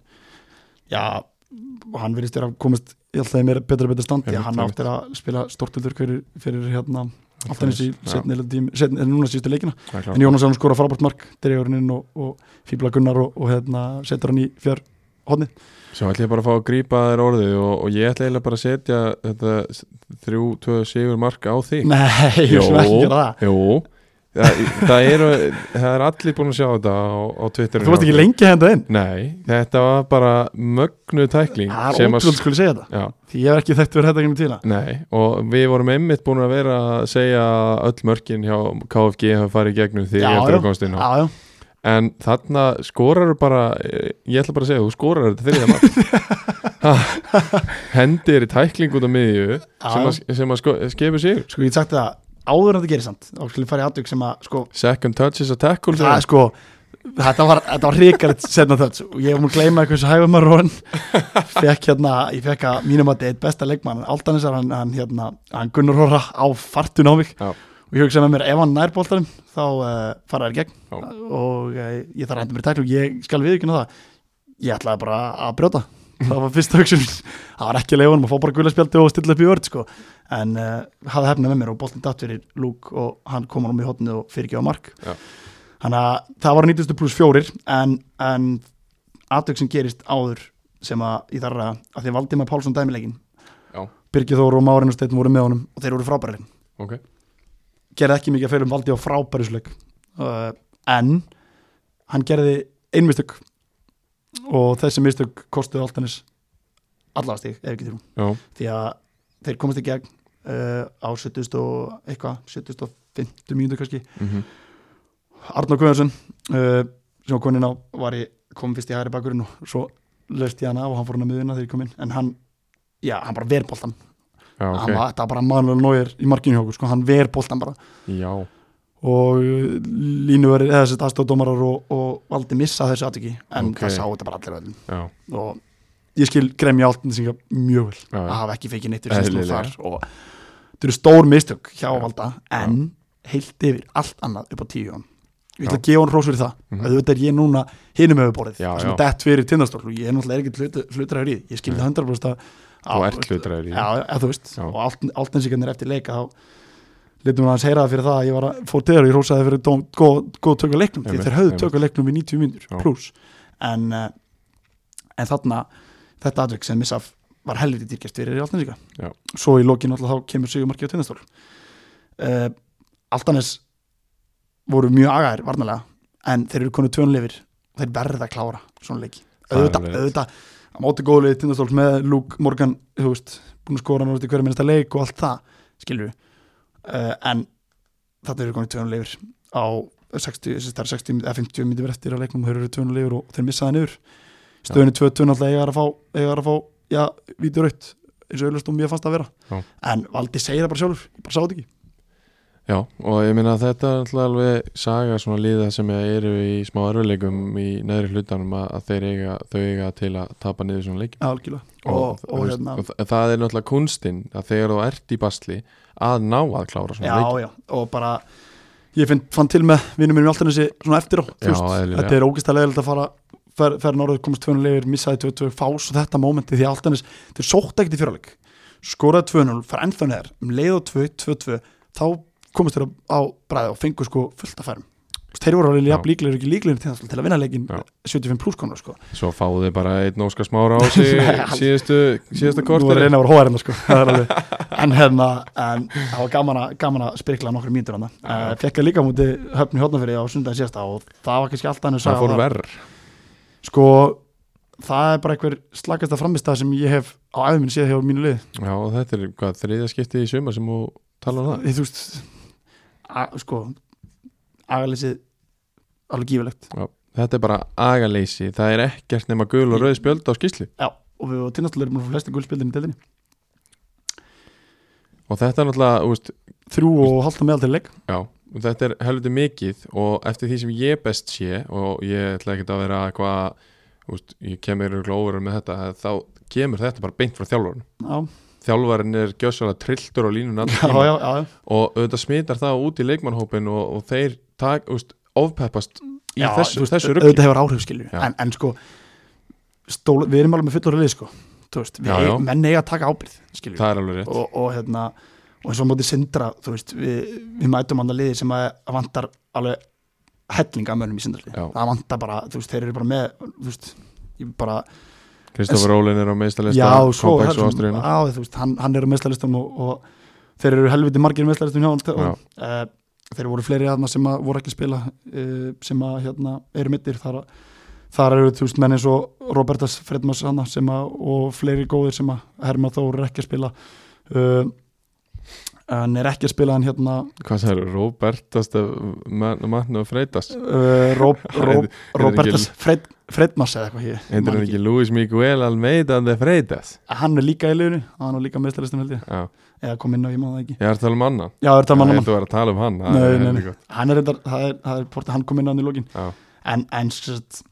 já, og hann virðist vera að komast ég held að það er meira betra betra standi
Einmitt,
hann
einmitt.
áttir að spila stortildur fyrir, fyrir hérna Aftanis í setni tími, setni, en núna síðustu leikina en Jónas Jón skora frábært mark dregur hann inn og, og fýbla Gunnar og, og hérna, setur hann í fjör hodni
Svo ætla ég bara að fá að grípa þér orðið og, og ég ætla eiginlega bara að setja þetta s- þrjú, tvö, sigur mark á þig
Nei, ég
Jó.
sem ekki gera það
Jú Það, það, eru, það er allir búin að sjá þetta á, á Twitterinu
Þú varst ekki lengi að henda inn
Nei, þetta var bara mögnu tækling
Það er
sem að-
ótrúld skulle segja þetta
Já,
Því ég hef ekki þekkt verið þetta ekki með tíla
Nei, og við vorum einmitt búin að vera að segja að öll mörkin hjá KFG hafa farið í gegnum því
Já, já.
eftir að komast inn á
Já, já,
en þarna skorar bara eh, ég ætla bara að segja, þú skorar þetta þriðja mark Ha, hendir í tækling út á miðju sem að, sem að sko, skefur sig
sko ég hef sagt það áður en þetta gerir samt og skulle fara í aðdug sem að sko,
second touches a tackle
það er
þeirra.
sko Þetta var, þetta var ríkaritt setna þöld og ég hef múin að gleyma eitthvað sem hægum að róin fekk hérna, ég fekk að mínum að þetta er eitt besta leikmann, Aldanisar hann, hann, hérna, hann Gunnar Róra á fartun á mig
Já.
og ég hugsaði með mér ef hann nær boltanum þá uh, fara þær í gegn eh,
Já.
og uh, ég þarf að henda mér í tæklu, ég skal viðkynna það ég ætlaði bara að brjóta það var fyrsta hugsun það var ekki að leifa hann, maður fá bara gullaspjaldi og stilla upp í vörð sko. en uh, hafði hefnað með mér og boltin datt fyrir lúk og hann kom hann um í hotnið og fyrirgjáða mark
Já.
þannig að það var 90 pluss fjórir en, en atveg sem gerist áður sem að í þarra að því Valdimar Pálsson dæmilegin
Já.
Birgir Þór og Márin og Steinn voru með honum og þeir voru frábæri
ok,
gerði ekki mikið að feilum valdi á frábærisleik uh, en hann gerði einmistök og þessi mistök kostuði Altanis allavastig, ef ekki þrjú
já,
því að þeir komast í gegn uh, á 70 og eitthvað 75 mínútu kannski
mm
Arnur Guðarsson uh, sem var konin á var í, kom fyrst í hægri bakurinn og svo löst ég hann af og hann fór hann að miðuna þegar ég kom inn en hann, já, hann bara verboltan
já,
okay.
ok
hann var, þetta var bara manulega nógir í markinu hjá okkur sko, hann verboltan bara
já,
og uh, línuverið eða þessi aðstofdómarar og, og valdi missa þessu atviki en
Ok.
það sá þetta bara allir öllum
já,
og ég skil gremja áltinsingar mjög vel
já,
að
já,
hafa ekki fekið neitt fyrir sýslu
Eðlilega.
þar og þetta eru stór mistök hjá
Já.
valda en heilt yfir allt annað upp á tíu hann ég ætla að gefa hann hrós fyrir það
Mhm.
að auðvitað er ég núna hinum hefur borðið
Já,
það sem
já.
er dett fyrir tindastól og ég er náttúrulega ekki hlutræður í því. ég skil
Nei.
það 100% að-
þú
að-
ert hlutræður í
já, eða þú veist,
Já.
og allt, allt einsikarnir eftir leika þá litum við hans heyra það fyrir það að ég var að fór til þeirra og ég rósaði fyrir dóm, góð, góð tökur leiknum því
Einmitt,
þeir höfðu
einmitt.
tökur leiknum í 90
Já.
mínútur pluss en, eh, en þarna þetta atvik sem missaf var helviti dýrkjast fyrir Altanesika
Já.
svo í lokin alltaf þá kemur Sigurmarki á tindastól uh, Altanes voru mjög agaðir varnalega en þeir eru konu tvönleifir þeir verða að klára svona leiki
Það er
auðvitað,
rétt.
auðvitað á móti góðlið tindastóls með Luke Morgan þú veist, búin að skora náttúrulega hverja minnsta leik og allt það, skilur við uh, en þetta eru komið tvönulegur á 60, þessi, það er 60 eða 50 myndir eftir að leiknum, þeir eru tvönulegur og þeir missaði niður stöðunni 2-2 náttúrulega eiga að fá, eiga að fá já, vítur raut, eins og auðvitað stóðum ég fannst það að vera
Já.
en Valdi segir það bara sjálfur, ég bara sá þetta ekki
já, og ég meina að þetta er alltaf alveg saga svona liða sem eru í smá erfileikum í neðri hlutanum að, að þeir eiga, þau eiga til að tapa niður svona leik
Já, algjörlega,
og,
og, og hérna
og þa- það er náttúrulega kunstinn að þegar þú ert í basli að ná að klára svona
já, já, og bara ég finn, fann til með vinnum mínum í Altanesi svona eftir á,
Já,
þú veist,
eðlilega.
þetta er ógæst að leiðilegt að fara fer, fer norður, komast tvönu leifir, missaði 22 fá svo þetta mómenti því að Altanes þeir sótt ekkert í fyrirleik, skoraði 2-0 fara ennþá neðar, um leið og 2-2-2 þá komast þeir á bræði og fengu sko fullt af færum Þú veist, þeir voru alveg
Já.
jafn líklegir og ekki líklegir til, þess- til að vinna leikin
Já.
75 pluss konar sko
leik svo fáðu þið bara einn óskar smára á sig
Nei, hann-
síðustu,
Nú
síðustu
er
kortir
reyna að vera hóðarinn sko það er alveg. En hérna En það var gaman að, gaman að sprikla nokkru mínútur hann uh,
Já.
Fekk að líka múti höfni hóðnafyrir á sundaginn sérsta Og það var kannski alltaf hann
það fór verð
Sko Það er bara einhver slakasta framistað sem ég hef Á æðum minn séð hjá mínu lið
já, og þetta er hvað, þriðja skipti í sumar sem þú tala um það
Þú veist að, Sko Agaleysið Alveg gífilegt
já, þetta er bara agaleysi það er ekkert nema gul og rauð spjöld á skýsli
Já Og við varum tinnastulegur Mér fór flesti guldspildin í deildinni
og þetta er náttúrulega, úst,
Þrjú og halvta meðal til leik
Já, og þetta er helviti mikið og eftir því sem ég best sé og ég ætla ekkert að vera eitthvað úst, ég kemur glóður með þetta að þá kemur þetta bara beint frá þjálfarinn
Já,
þjálfarinn er gjössalega trilltur á línun
já, já, já,
og auðvitað smitar það út í leikmannhópin og, og þeir tak, úst, ofpeppast í
já
þessu,
þú
þessu ruggi
auðvitað hefur áhrif skilju
Já.
en, en sko stól, við erum alveg með fullur lið sko Þú veist, við, e-
Já, já.
menn eiga að taka ábyrð skilju
það er alveg rétt
og, og hérna og eins og á móti sindra þú veist, við, við mætum annað liði sem að að vantar alveg hellinga mönnum í sindarlið
Já.
það vantar bara, þú veist, þeir eru bara með þú veist, ég bara
Kristofur Rólin er á meistalista
já, svo, hérna- það er
kompaks og
svona-
ástriðina
já, þú veist, hann, hann er á meðslæðlistum og, og þeir eru helviti margir meðslæðlistum hjá
Já.
hann uh,
Eh,
þeir voru fleiri aðna sem að voru ekki að spila uh, sem að hérna eru mittir þar, að- þar eru þú veist menn eins og Robertas Fredmas hana sem að og fleiri góðir sem að Herma Þór er ekki að spila uh, en er ekki að spila hann hérna
hvað það er, Róbertast mann og freytast
uh, Rob, Rob,
er ekki-
Robertas Fred, Fredmas eða eitthvað ég
heitir
man
hann ekki Luis Miguel Almeida de Freytas
hann er líka í liðinu, hann er líka meðslæðlistum held ég,
já,
eða kom inn á ég maður það ekki
ég er að tala um annan
já, er það mann
Ég
að
held að vera að tala um hann það
Nei,
er
nei,
heldur
nei.
gott.
hann er reyndar, það er, það er portið, hann kom inn að hann í lokin
Já.
en, en sérst,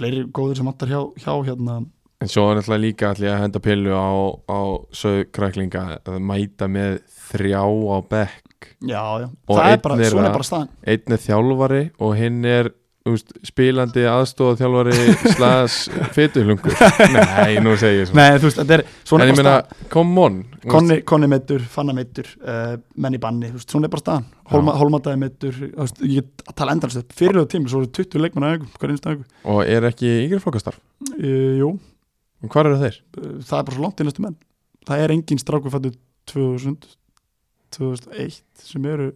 fleiri góðir sem vantar hjá, hjá hérna
En svo er alltaf líka allir að henda pillu á, á sögkræklinga að mæta með þrjá á bekk
já, já,
Og
það er
einn
bara,
þeirra-
svona er bara staðan
Einn er þjálfari og hinn er úst, spilandi aðstóð þjálfari slas fytuhlungur nei, nú segi ég svona
Nei, þú veist, þetta er
en
svona
ég
bara
meina,
staðan
come on þú veist,
Konni, konni meittur, fanna meittur, uh, menn í banni, þú veist, svona er bara staðan Hólma,
Já.
Hólmadaði meittur, þú veist, ég get að tala endalist upp Fyrirlega tímil, svo eru 20 leikmann aðeins, hver einstu aðeins
og er ekki yngri flokkastarf
uh, Jú,
hvað eru þeir?
uh, það er bara svo langt í næstu menn Það er engin strákur fættu 2000, 2001 sem eru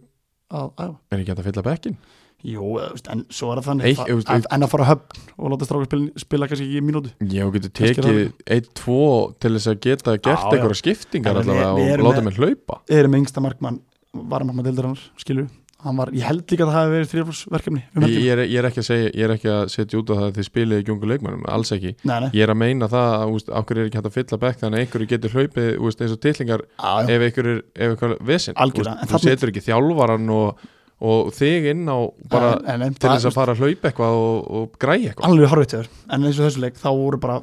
að æfa
er ekki hægt að fylla bekkin?
Jú, eh, þú veist, en svo er það þannig
Eitt,
það-
þú veist,
að- En að fara á höfn og láta strákur spila, spila kannski ekki í mínútu
já, þú getur
Kannski er
tekið 1-2 til þess að geta gert
Já, já.
einhverja skiptingar
En við-
allavega
við
og
erum
láta
með-
mér hlaupa
Erum yngsta markmann, varamarkmann deildar hans, skilur Hann var, ég held líka að það hafi verið þrjáflósverkefni um
ég,
helgina.
ég, er, ég, er ekki að segja, ég er ekki að setja út á það að þið spilið ekki ungu leikmönnum, alls ekki
Nei, nei.
ég er að meina það að úst, okkur er ekki hægt að fylla bekk þannig að einhverju getur hlaupið úst, eins og tillingar
Já, já.
ef einhverju ef einhverju vesinn
Algjörlega, en
þú
þarna-
setur ekki þjálfaran og, og þig inn á bara
En- en- en
til
það-
þess að fara sko. að hlaupa eitthvað og, og græja eitthvað
alveg horfiðtöður en eins og þessu leik þá voru bara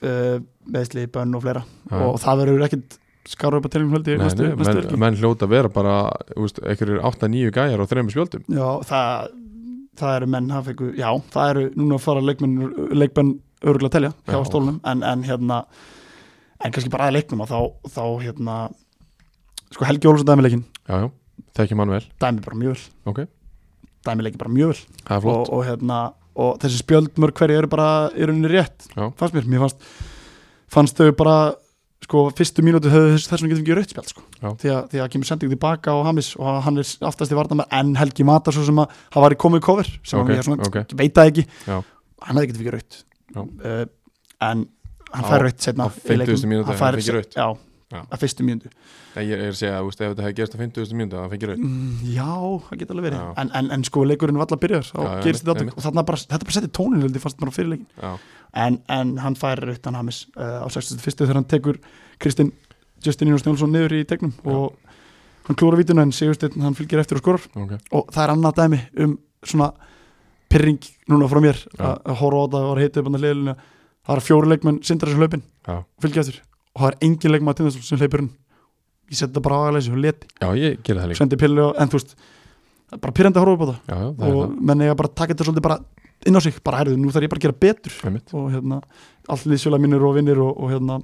uh, meðsli, bönn og fleira
Já.
og það verður ekkit skára upp að teljum höldi
Nei,
næstu,
nei,
næstu
menn,
helgi
menn hljóta að vera bara úst, einhverjir 8-9 gæjar og þreymur spjöldum
já, það, það eru menn það fengu, já, það eru núna að fara leikmenn, leikmenn örgulega að telja hjá
Já.
stólunum en, en hérna en kannski bara að leiknum að þá, þá hérna sko Helgi Ólfsson dæmi leikin
já, já, þekkjum hann vel,
dæmi bara mjög vel
ok,
dæmi leikin bara mjög vel
það er
og,
flott
og hérna og þessi spjöld mörg hverju eru bara í rauninni rétt
Já.
fannst mér, mér fannst fannst þau bara sko fyrstu mínútu höfðu þess, þess vegna getum ekki rautt spjald sko.
Já.
því að, því að kemur sending tilbaka á Hamis og hann er aftast í varnamær en Helgi Matar svo sem að hann var í komið í cover sem
Ok,
okay. ég svona,
ok.
okay. veit það ekki
Já.
hann hefði getum ekki rautt
Já.
uh, en hann
Á-
fær rautt setna
á 50. mínútu
hann
hann
fær
fengi rautt.
já,
Já.
að fyrstu mínútu
Nei, ég er að segja, úst, ef þetta hefði gerst á 50. mínúti það fengir raun
Mm, Já, það geta alveg
Já.
verið en, en, en sko leikurinn var byrjar
Já, já,
og gerist þetta
einmitt,
atvik og þarna bara, þetta bara setti tónin held ég fannst bara fyrir leikin
já,
en, en hann færir utan Hamis uh, á 61. þegar hann tekur Kristinn Justin Jóns Njálsson niður í tegnum
Já.
og hann klúra vítuna en Sigursteinn hann fylgir eftir og skorar
ok
og það er annað dæmi um svona pyrring núna frá mér
Já.
að að horfa á það og heita upp hann að leiðinu það er fjóri leikmenn sindra þessu hlaupin
Já.
fylgja eftir og það er engin leikmenn að tindastóð sem hleypur hann ég seti þetta bara á aðalæsi og leti
Já, ég gerði það líka
sendi pillu og- en þú veist það er bara pyrrandi að horfa upp á það
Já, já, það er
og menn eiga bara að taka þetta svolítið bara inn á sig bara herðu, nú þarf ég bara að gera betur
það Einmitt.
og hérna, allt liðsfjöla mínir og vinnir og, og hérna,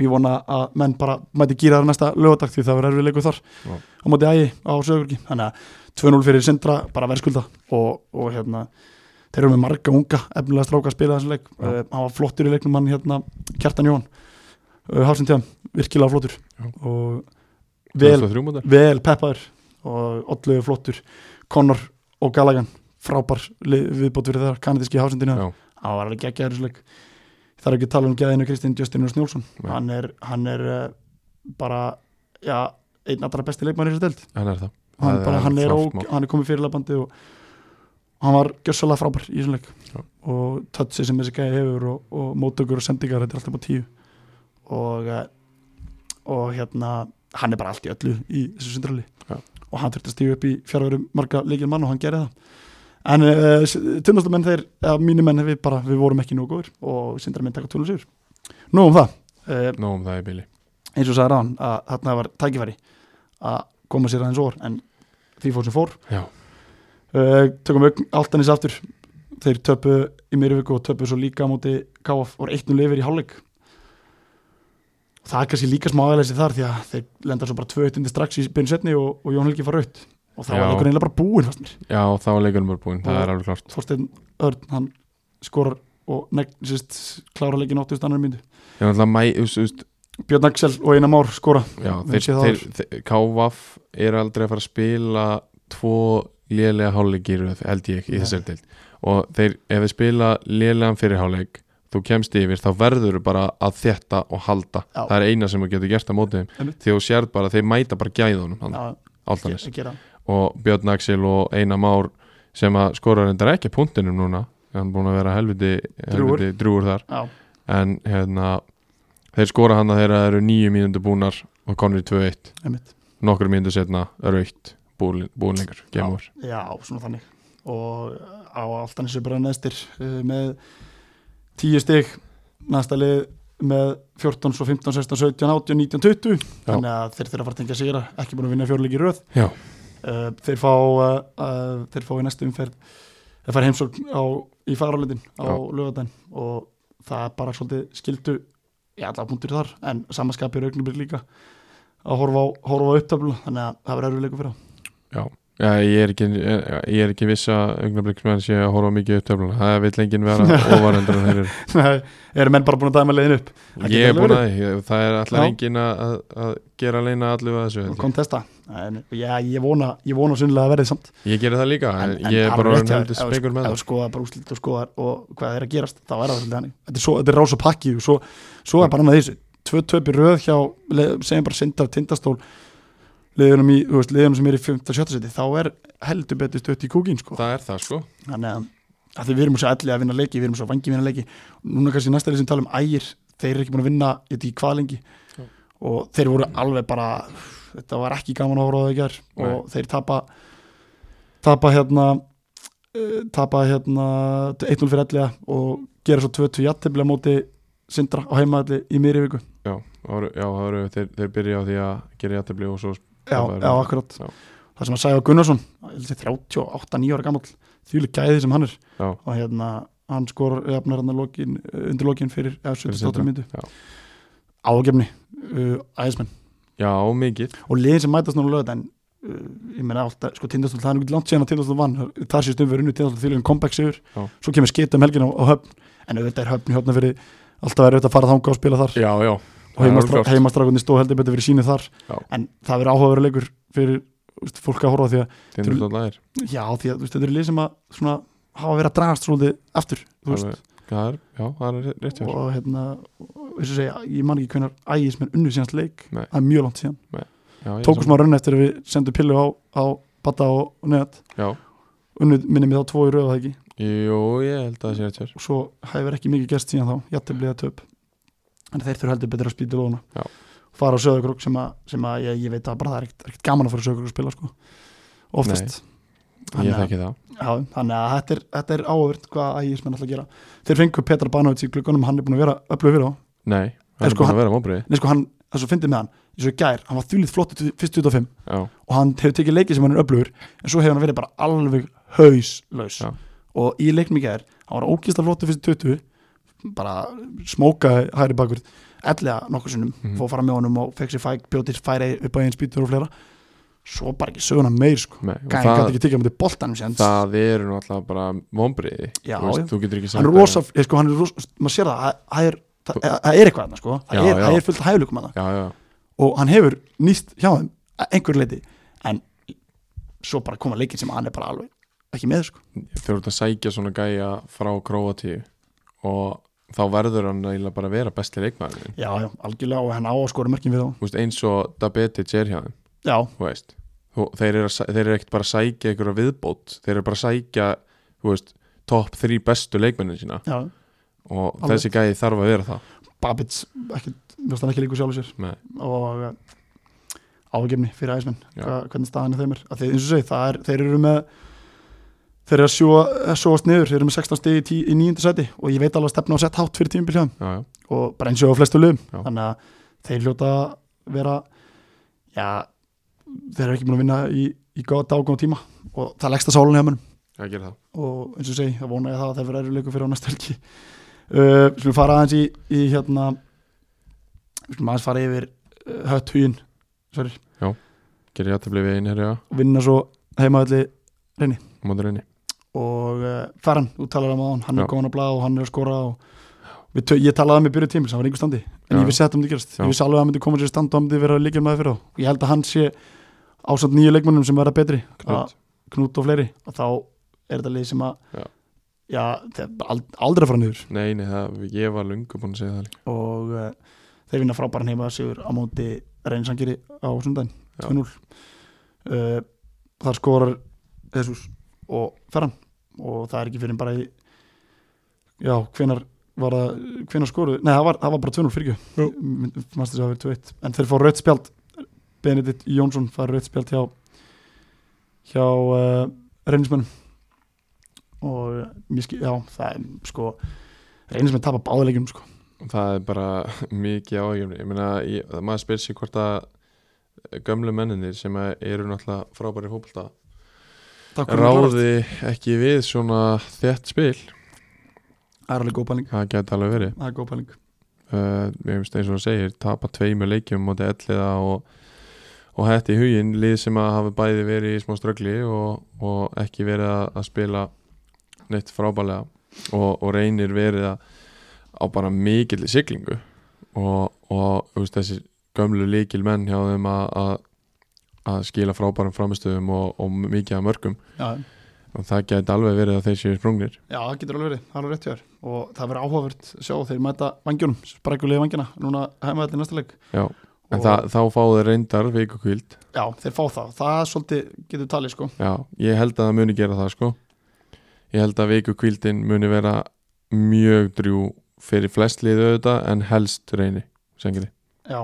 ég vona að menn bara mæti gýra það næsta lögadag því það verður erfið leikur þar
Já.
á móti ægi á sögurki, þannig að 2-0 fyrir sindra, bara verðskulda og, og hérna, þeir eru með marga unga efnilega stráka að spila þessum leik
Já.
uh, hann var flottur í leiknum hann hérna Kjartan Jón, uh, Hafsindján virkilega flottur
Já.
og vel
2003 módel.
vel peppaður og allu flottur Connor og Gallaghan frábær lið- viðbót fyrir þeirra kanadíski hásendinu
Já.
hann var alveg geggjaður í þessu leik það er ekki að tala um geðinu Kristinn Justin Jóns Njólsson
Nei.
hann er, hann er eh, bara já, einn allra besti leikmann í þessu deild
Hann er það
hann,
Það
bara, hann, er,
klárt
óg,
mál.
hann er komið fyrir labandi og hann var gjössalega frábær í þessum leik
Já.
og touchið sem þessi gæði hefur og, og mótökur og sendingar, þetta er alltaf á tíu og eh, og hérna, hann er bara allt í öllu í þessu syndrali
Já.
og hann þurfti að stíga upp í fjárveru marga leikil mann og hann gerði það en uh, tundastumenn þeir, eða mínir menn við bara, við vorum ekki nógu góður og syndra minn taka tölum sigur nú um það, uh,
Nóg um það í bíli
eins og sagði ráðan að þarna var tækifæri að koma sér aðeins orð en því fór sem fór
Já,
uh, tökum augn Altanis aftur þeir töpu í Myrjövíku og töpu svo líka á móti KF og eittnum lifir í hálfleik og það er kannski líka smá aðeinsi þar því að þeir lenda svo bara tvö eittundi strax í byrjun setni og, og Jón Helgi fara raut og það var
Já.
leikurinn eiginlega bara búinn fast mér
já þá er leikunum bara búinn Það
Og-
er alveg klart
Þorsteinn Örn, hann skorar og negn, sérst, klára leikin 80 annar myndu,
Ég er náttúrulega mæ úst, úst,
Björn Axel og Einar Már skora
Já,
Við
þeir,
séð það
þeir, þeir Kávaf er aldrei að fara að spila Tvo lélega hálfleikir Held ég í
Nei.
þessari deild Og þeir, ef þeir spila lélegan fyrir hálfleik Þú kemst yfir, þá verður bara að þétta og halda
Já.
Það er eina sem þú getur gert á móti þeim
Einmitt.
Því þú sér bara, þeir mæta bara gæðunum
Já,
Áltanis
ge- gera.
og Björn Axel og Einar Már sem að skora reyndar ekki punktinum núna hann er búin að vera helviti,
Drjúgur.
helviti drúur þar
Já,
en hérna þeir skora hann að þeirra eru nýju mínúndu búnar og konur í 2-1
einmitt
nokkur mínúndu setna raukt búin lengur gemur
Já, svona þannig og á Altanissu bara neðstir uh, með 10 stig næsta lið með 14, svo 15, 16, 17, 18, 19, 20 þannig að þeir þeirra fara að tengja sigra ekki búin að vinna fjórleiki í röð
Já.
eh, uh, þeir fá uh, uh, þeir fá í næstu umferð það fær heimsókn á, í faralöndin á
Já.
lögadaginn og það er bara svolítið skildu í alla punktur þar en samaskapir augnumir líka að horfa á, horfa á upptöflu þannig að það verður erfiðleikum fyrir þá.
Já, ég er ekki, ég, ég er ekki viss að augnabliksmenn sé að horfa mikið upp töfluna það vil enginn vera ofarendur en þeir eru
Nei, eru menn bara búin að dæma leiðin upp Það getur
Ég er
alveg
búin að því, ég- það er alltaf
Já.
enginn að, að, að gera leina allu að þessu
og
held ég.
kontesta en, já, ég vona, ég vona sunnilega að verðið samt
Ég gerir það líka, en,
En- en
ég er
alveg rétt sko,
bara orðin
hjá
heldur
þér,
spekur með
ef
það
þú skoðar bara úslit og skoðar og hvað er að gerast, þá er það svolítið hannig þetta er, svo, þetta er rás og pakki og svo, svo er bara annað í þessu, tvö töpi röð hjá le- segjum bara sindar tindastól liðunum, í, þú veist, liðunum sem er í 5-7 seti, þá er heldur betur stött í kúkin sko.
Það er það sko
þannig að, að því við erum svo elli að vinna leiki við erum svo vangi að vinna leiki núna kannski næsta lið sem tala um ægir, þeir eru ekki búin að vinna ég veit ekki hvað lengi
Já.
og þeir voru alveg bara þetta var ekki gaman að horfa á það í gær og þeir tapa tapa hérna eh, tapa hérna 1-0 fyrir elliða og gera svo 2-2 jættibli á móti sindra á heimaðalli í miðri viku
Já, það voru, já, það voru, þeir, þeir byrja á því að gera jættibli og svo
já,
Tapaði
já,
röð.
akkurat
Já.
það sem að Sæfa Gunnarsson 38-9 ára gamall þvíli gæði sem hann er
Já.
og hérna hann skor öfnar hann lokin, undir lokin fyrir eða
Fyrir
78
Sindra,
myndu
já.
ágefni uh, æðismenn
Já, mikið
og liðin sem mætast núna lögð en uh, ég meina alltaf, sko tindastól það er nú ekki langt síðan að tindastól vann þar sé stumfur unni tindastól þvílum comeback sigur
Já.
svo kemur skita um helgin á, á höfn en auðvitað er höfn í höfna fyrir alltaf er auðvitað að fara þanga og spila þar
Já, já,
og
Það er
heimastra-
alveg klárt.
heimastrakunni stóð heldur betur fyrir sínu þar
Já.
en það verður áhugaveru leikur fyrir þú veist, fólk að horfa á því að
tindur alltaf er
Já, því að þú veist, þetta eru lið sem að svona, hafa verið að dragast svolítið aftur þú veist,
Alveg. Það er, já, það er rétt hjá þér.
og hérna og eins og segja, ég man ekki hvernig ægismenn unnu síðanst leik,
Nei.
það er mjög langt síðan
Já, ég er
tókum
sammála.
smá raun eftir að við sendum pillu á, á Batta og, og Neðat,
Já,
unnu minni mig þá tvo í röðu það ekki,
jú, ég held að það sé rétt hjá þér.
og svo hefur ekki mikið gerst síðan þá, jættibliða töp en þeir þurfa heldur betur að spýta lóna
Já.
fara á söðugrúk sem að, sem að ég, ég veit að bara það er ekkert, ekkert gaman að fara söðugrúk að spila sko. oftast Þannig
Ég
að-
þekki það
Já, þannig að þetta er, þetta er áhverð hvað ægismenn ætla að gera. Þeir fengu Petra Banovic í gluggunum, hann er búin að vera öflug fyrir þá.
Nei, það
En
er
sko,
búin að vera móbrið
Nei, sko, hann, það er svo fyndið með hann, eins og í gær, hann var þjúlið flott í fyrst 25
Já,
og hann hefur tekið leikið sem hann er öflugur, en svo hefur hann verið bara alveg hauslaus.
Já.
Og í leiknum í gær, hann var ógísla flott í fyrst 20, bara smókaði hæri bakur, ellega nokkur sinnum,
Mhm.
fór að fara með honum og fekk sér fæk, bjótið færi upp á einn spýtur og fleira, svo bara ekki söguna meir, sko.
nei, og
Gæði
það,
ekki tekið hann til boltanum síðan,
það eru nú alltaf bara móbriði
Já, já.
þú, veist, þú getur ekki
hann er
sagt að-
rosa, ég, sko, hann er rosa maður sér það, það- það er, það það er eitthvað hann, sko. það,
Já,
er,
já.
það er fullt af hæfileikum hann
Já, já,
og hann hefur nýst hjá þeim að einhverju leiti en svo bara koma leikir sem hann er bara alveg ekki með sko.
þeir eru að sækja svona gæja frá Króatíu og þá verður hann eiginlega bara að vera besti leikmaðurinn
já, já, algjörlega og hann á að skora mörkin við þá
Þú veist, eins og Dabetic er hjá þeim
já,
þú veist. Þú- þeir eru, að sæ- þeir eru ekkert bara að sækja einhverja viðbót þeir eru bara að sækja þú veist, topp þrý bestu leikmennin sína
já,
og
Alveg.
þessi gæji þarf að vera það
Babits ekki, mjögst hann ekki líku sjálfur sér
Nei.
og ágefni fyrir æsmenn
Já.
hvernig staðan er þeim er að þeir, eins og segi, það er, þeir eru með þeir eru að sjóa- sjóast niður þeir eru með 16 stegi í, tí- í 9. seti og ég veit alveg að stefna á sett hátt fyrir tímbil hjá þeim
já, já.
og bara eins og á flestu liðum
Já.
þannig að þeir hljóta að vera já, þeir eru ekki búin að vinna í, í gott ágóðum tíma og það er leggsta sálun hjá mér
Ég geri það.
og eins og segi, það vona ég það að þeir vera erfiðleikum fyrir á næsta helgi uh, við skulum fara aðeins í, í hérna við skulum aðeins fara yfir uh, hött hugin sorry,
Geri ég að það blið einherja á
vinna svo heimaðalli
mótur einni
og uh, Ferran, þú talar um að hann hann
Já.
er góðan að blaða og hann er að skora og við, tö- ég talaði um í byrju tímil, hann var einhver standi en
Já.
ég vissi að þetta myndi gerast,
Já.
ég vissi alveg að hann myndi koma sér í stand og hann myndi vera líkjum með það fyrir þá ég held að hann sé ásamt nýju leikmönnum sem verða betri
Knut.
að knút og fleiri og þá er þetta lið sem að
Já.
já, þeir bara ald- aldrei að fara niður
nei, nei, það, ég var lungu búin að segja það líka
og uh, þeir vinna frábæran heima sigur á móti reynsangeri á sundaginn
Já.
2-0 uh, þar skorar Jesus og Ferran og það er ekki fyrir bara í já, hvenar var það hvenar skoruðu, nei það var, það var bara 2-0 fyrir
Jú.
ekki, mannstu þess að það var 2-1 en þeir fá rautt spjald Benedikt Jónsson fær rautt spjald hjá hjá uh, reynismennum og eh, mér skil, já, það er sko reynismenn tapa báðilegjum sko
það er bara mikið áhengjöfni ég meina, ég, maður spyr sér hvort að gömlu menninir sem að eru náttúrulega frábæri fókbalta
Takk fyrir að klárast.
ráði ekki við svona þett spil
Það er alveg góð pæling
það geti alveg verið
Það er góð pæling
uh, ég veist eins og það segir, tapa tveimu leikjum og elliða og, og hætti í huginn, lið sem að hafa bæði verið í smá ströggli og, og ekki verið að, að spila neitt frábælega og, og reynir verið að á bara mikill siglingu og, og þú veist, þessi gömlu líkil menn hjá þeim að, að, að skila frábærum framistöðum og, og mikið að mörgum
Já,
og það geti alveg verið að þeir séu sprungnir
Já, það getur alveg verið, það er alveg rétt hjá þér og það verður áhugavert sjá þeir mæta vangjunum sprækulega vangjana, núna heima þetta í næsta leik
Já, en
Og-
það, þá fá þeir reyndar vikukvíld
Já, þeir fá það, það svolítið getur talið sko
Já, ég held að það muni gera það sko Ég held að vikukvíldin muni vera mjög drjú fyrir flest liðu auðvitað en helst reyni sengri.
Já,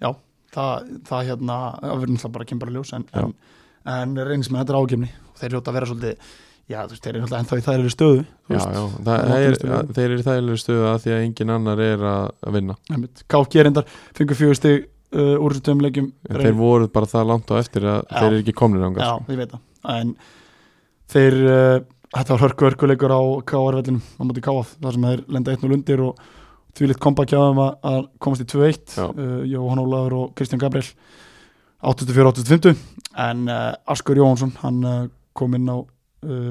já, það, það hérna, það verður náttúrulega bara kemur að ljós en,
Já.
en, en reynismenn þetta er ágefni og þeir hljóta að vera svolítið, já þú veist, þeir eru náttúrulega ennþá í þær eru stöðu
Já, já, það,
það
það
er
er,
næstu liðum.
þeir eru í þægilega stöðu að því að engin annar er að að vinna
Káki er endar, fengur fjögur stig uh, úr þessum tveim leikjum
en þeir voru bara það langt á eftir að
Já.
þeir eru ekki komnir ánga
Já, ég veit það En þeir, uh, þetta var hörku hörkuleikur á KR-vellinum á móti KF þar sem þeir lenda 1-0 undir og þvílitt kompa kjáðum um að að komast í 2-1
Já.
uh, Jóhann Ólafur og Kristján Gabriel 84-85 en uh, Askur Jóhansson hann uh, kom inn á uh,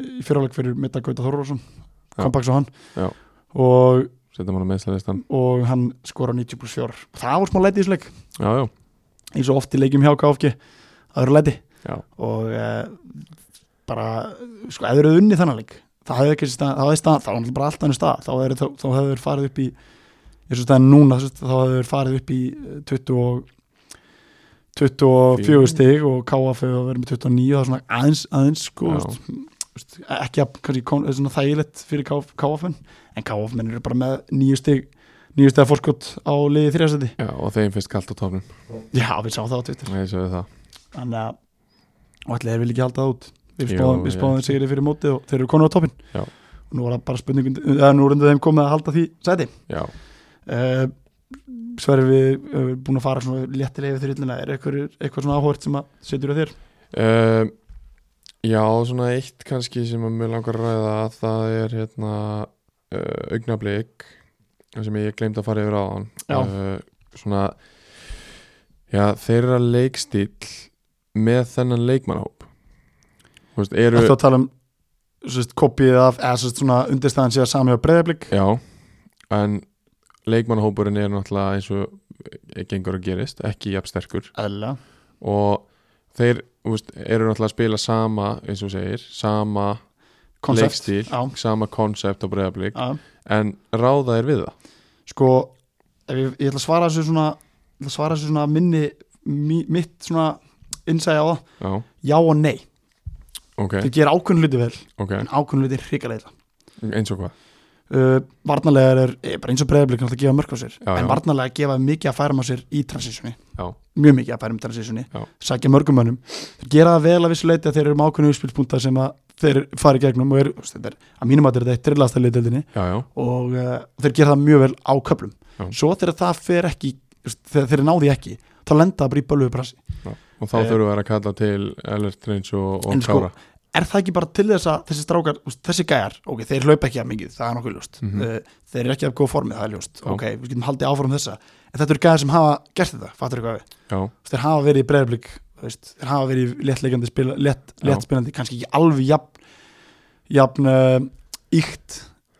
í fyrirleik fyrir Mitta Gauta Þorvarsson
Já.
kompaks á hann
Já.
og,
Settum hann að meðslæðistan
og hann skora 90 pluss 4 það var smá læti í þessu leik
Já, já,
eins og oft í leikjum hjá KFG það eru læti
Já.
og e, bara sko, ef þeir eru unni þannan leik það hefði ekki stað, það hefði stað, þá er bara allt annað stað þá hefur þá, þá hefur farið upp í eins og staðan núna, þú veist, þá hefur farið upp í eh, 20 og 24 stig og KF hefur verið með 29, það er svona aðeins aðeins sko,
Já.
þú veist, þú veist, ekki að kannski kon- svona þægilegt fyrir KF, KF -menn, en KF menn eru bara með nýju stig nýju stig að fórskot á liði þrjastæti
já og þeim finnst kalt á tofnum
já, við sáum það á Twitter
Nei, svo er það
þannig að og allir þeir vilja ekki halda það út við
Jú,
spáðum, við
ég
spáðum
held
þeir sigri fyrir mótið og þeir eru konur á toppin
Já.
og nú var það bara spurning eða nú reyndu þeim komið að halda því sæti
Já,
uh, Sverri við erum búin að fara svona léttilega yfir þrjullina er eitthvað, eitthvað svona áhört sem að setur á þér
Um, já, svona eitt kannski sem að mjög langar að ræða það er hérna uh, augnablík sem ég glemt að fara yfir á hann
Já.
svona já, þeirra leikstíl með þennan leikmannhóp Þú veist, eru
Þetta að tala um sérst, kopið af eða sérst, svona undirstæðan sé að sami á breyðablík
já, en leikmannhópurinn er náttúrulega eins og gengur að gerist, ekki jafn sterkur
eðlilega
og þeir úst, eru náttúrulega að spila sama eins og þú segir, sama
koncept
leikstíl
Já.
sama konsept á breyðablík
Já.
en ráða er við það
sko ef ég, ég ætla að svara þessu svona ég ætla að svara þessu svona minni mi, mitt svona innsæði á það
já,
já og nei
ok,
þeir gera ákveðin hluti vel
ok,
en ákveðin hluti hrikalega illa.
eins og hvað
uh, varnarlegar er eh, bara eins og breyðablík náttúrulega gefa mörg á sér
Já,
en
já.
varnarlega gefa mikið að færum á sér í transitioni
já,
mjög mikið að færum í transitioni
Já.
sækja mörgum mönnum þeir gera það vel að vissu leiti að þeir eru með ákveðinu uppspilspunta sem að þeir fara í gegnum og er, þú veist, þetta er, að mínum að þetta er þetta drillast að leitildinni
já, já,
og uh, þeir gera það mjög vel á köplum
Já.
svo þegar það fer ekki þú veist, þegar þeir náði ekki þá lenda það bara í bölvuðu prassi
og þá
Eh,
þurfum við að kalla til Ellert Reyns og,
En
og
sko,
Kára
er það ekki bara til þess að þessi strákar, þú veist, þessi gæjar ok, þeir hlaupa ekki að mikið, það er nokkuð ljóst mm
Mhm.
þeir eru ekki að góða formið, það er ljóst
Já.
ok, við getum haldið áfram þessa en þetta eru gæjar sem hafa gert þetta, fattur eitthvað við
já,
Þú veist, þeir hafa verið í breyðablík þeir hafa verið í léttleikandi spila, létt,
Já.
léttspilandi, kannski ekki alveg jafn, jafn uh, íkt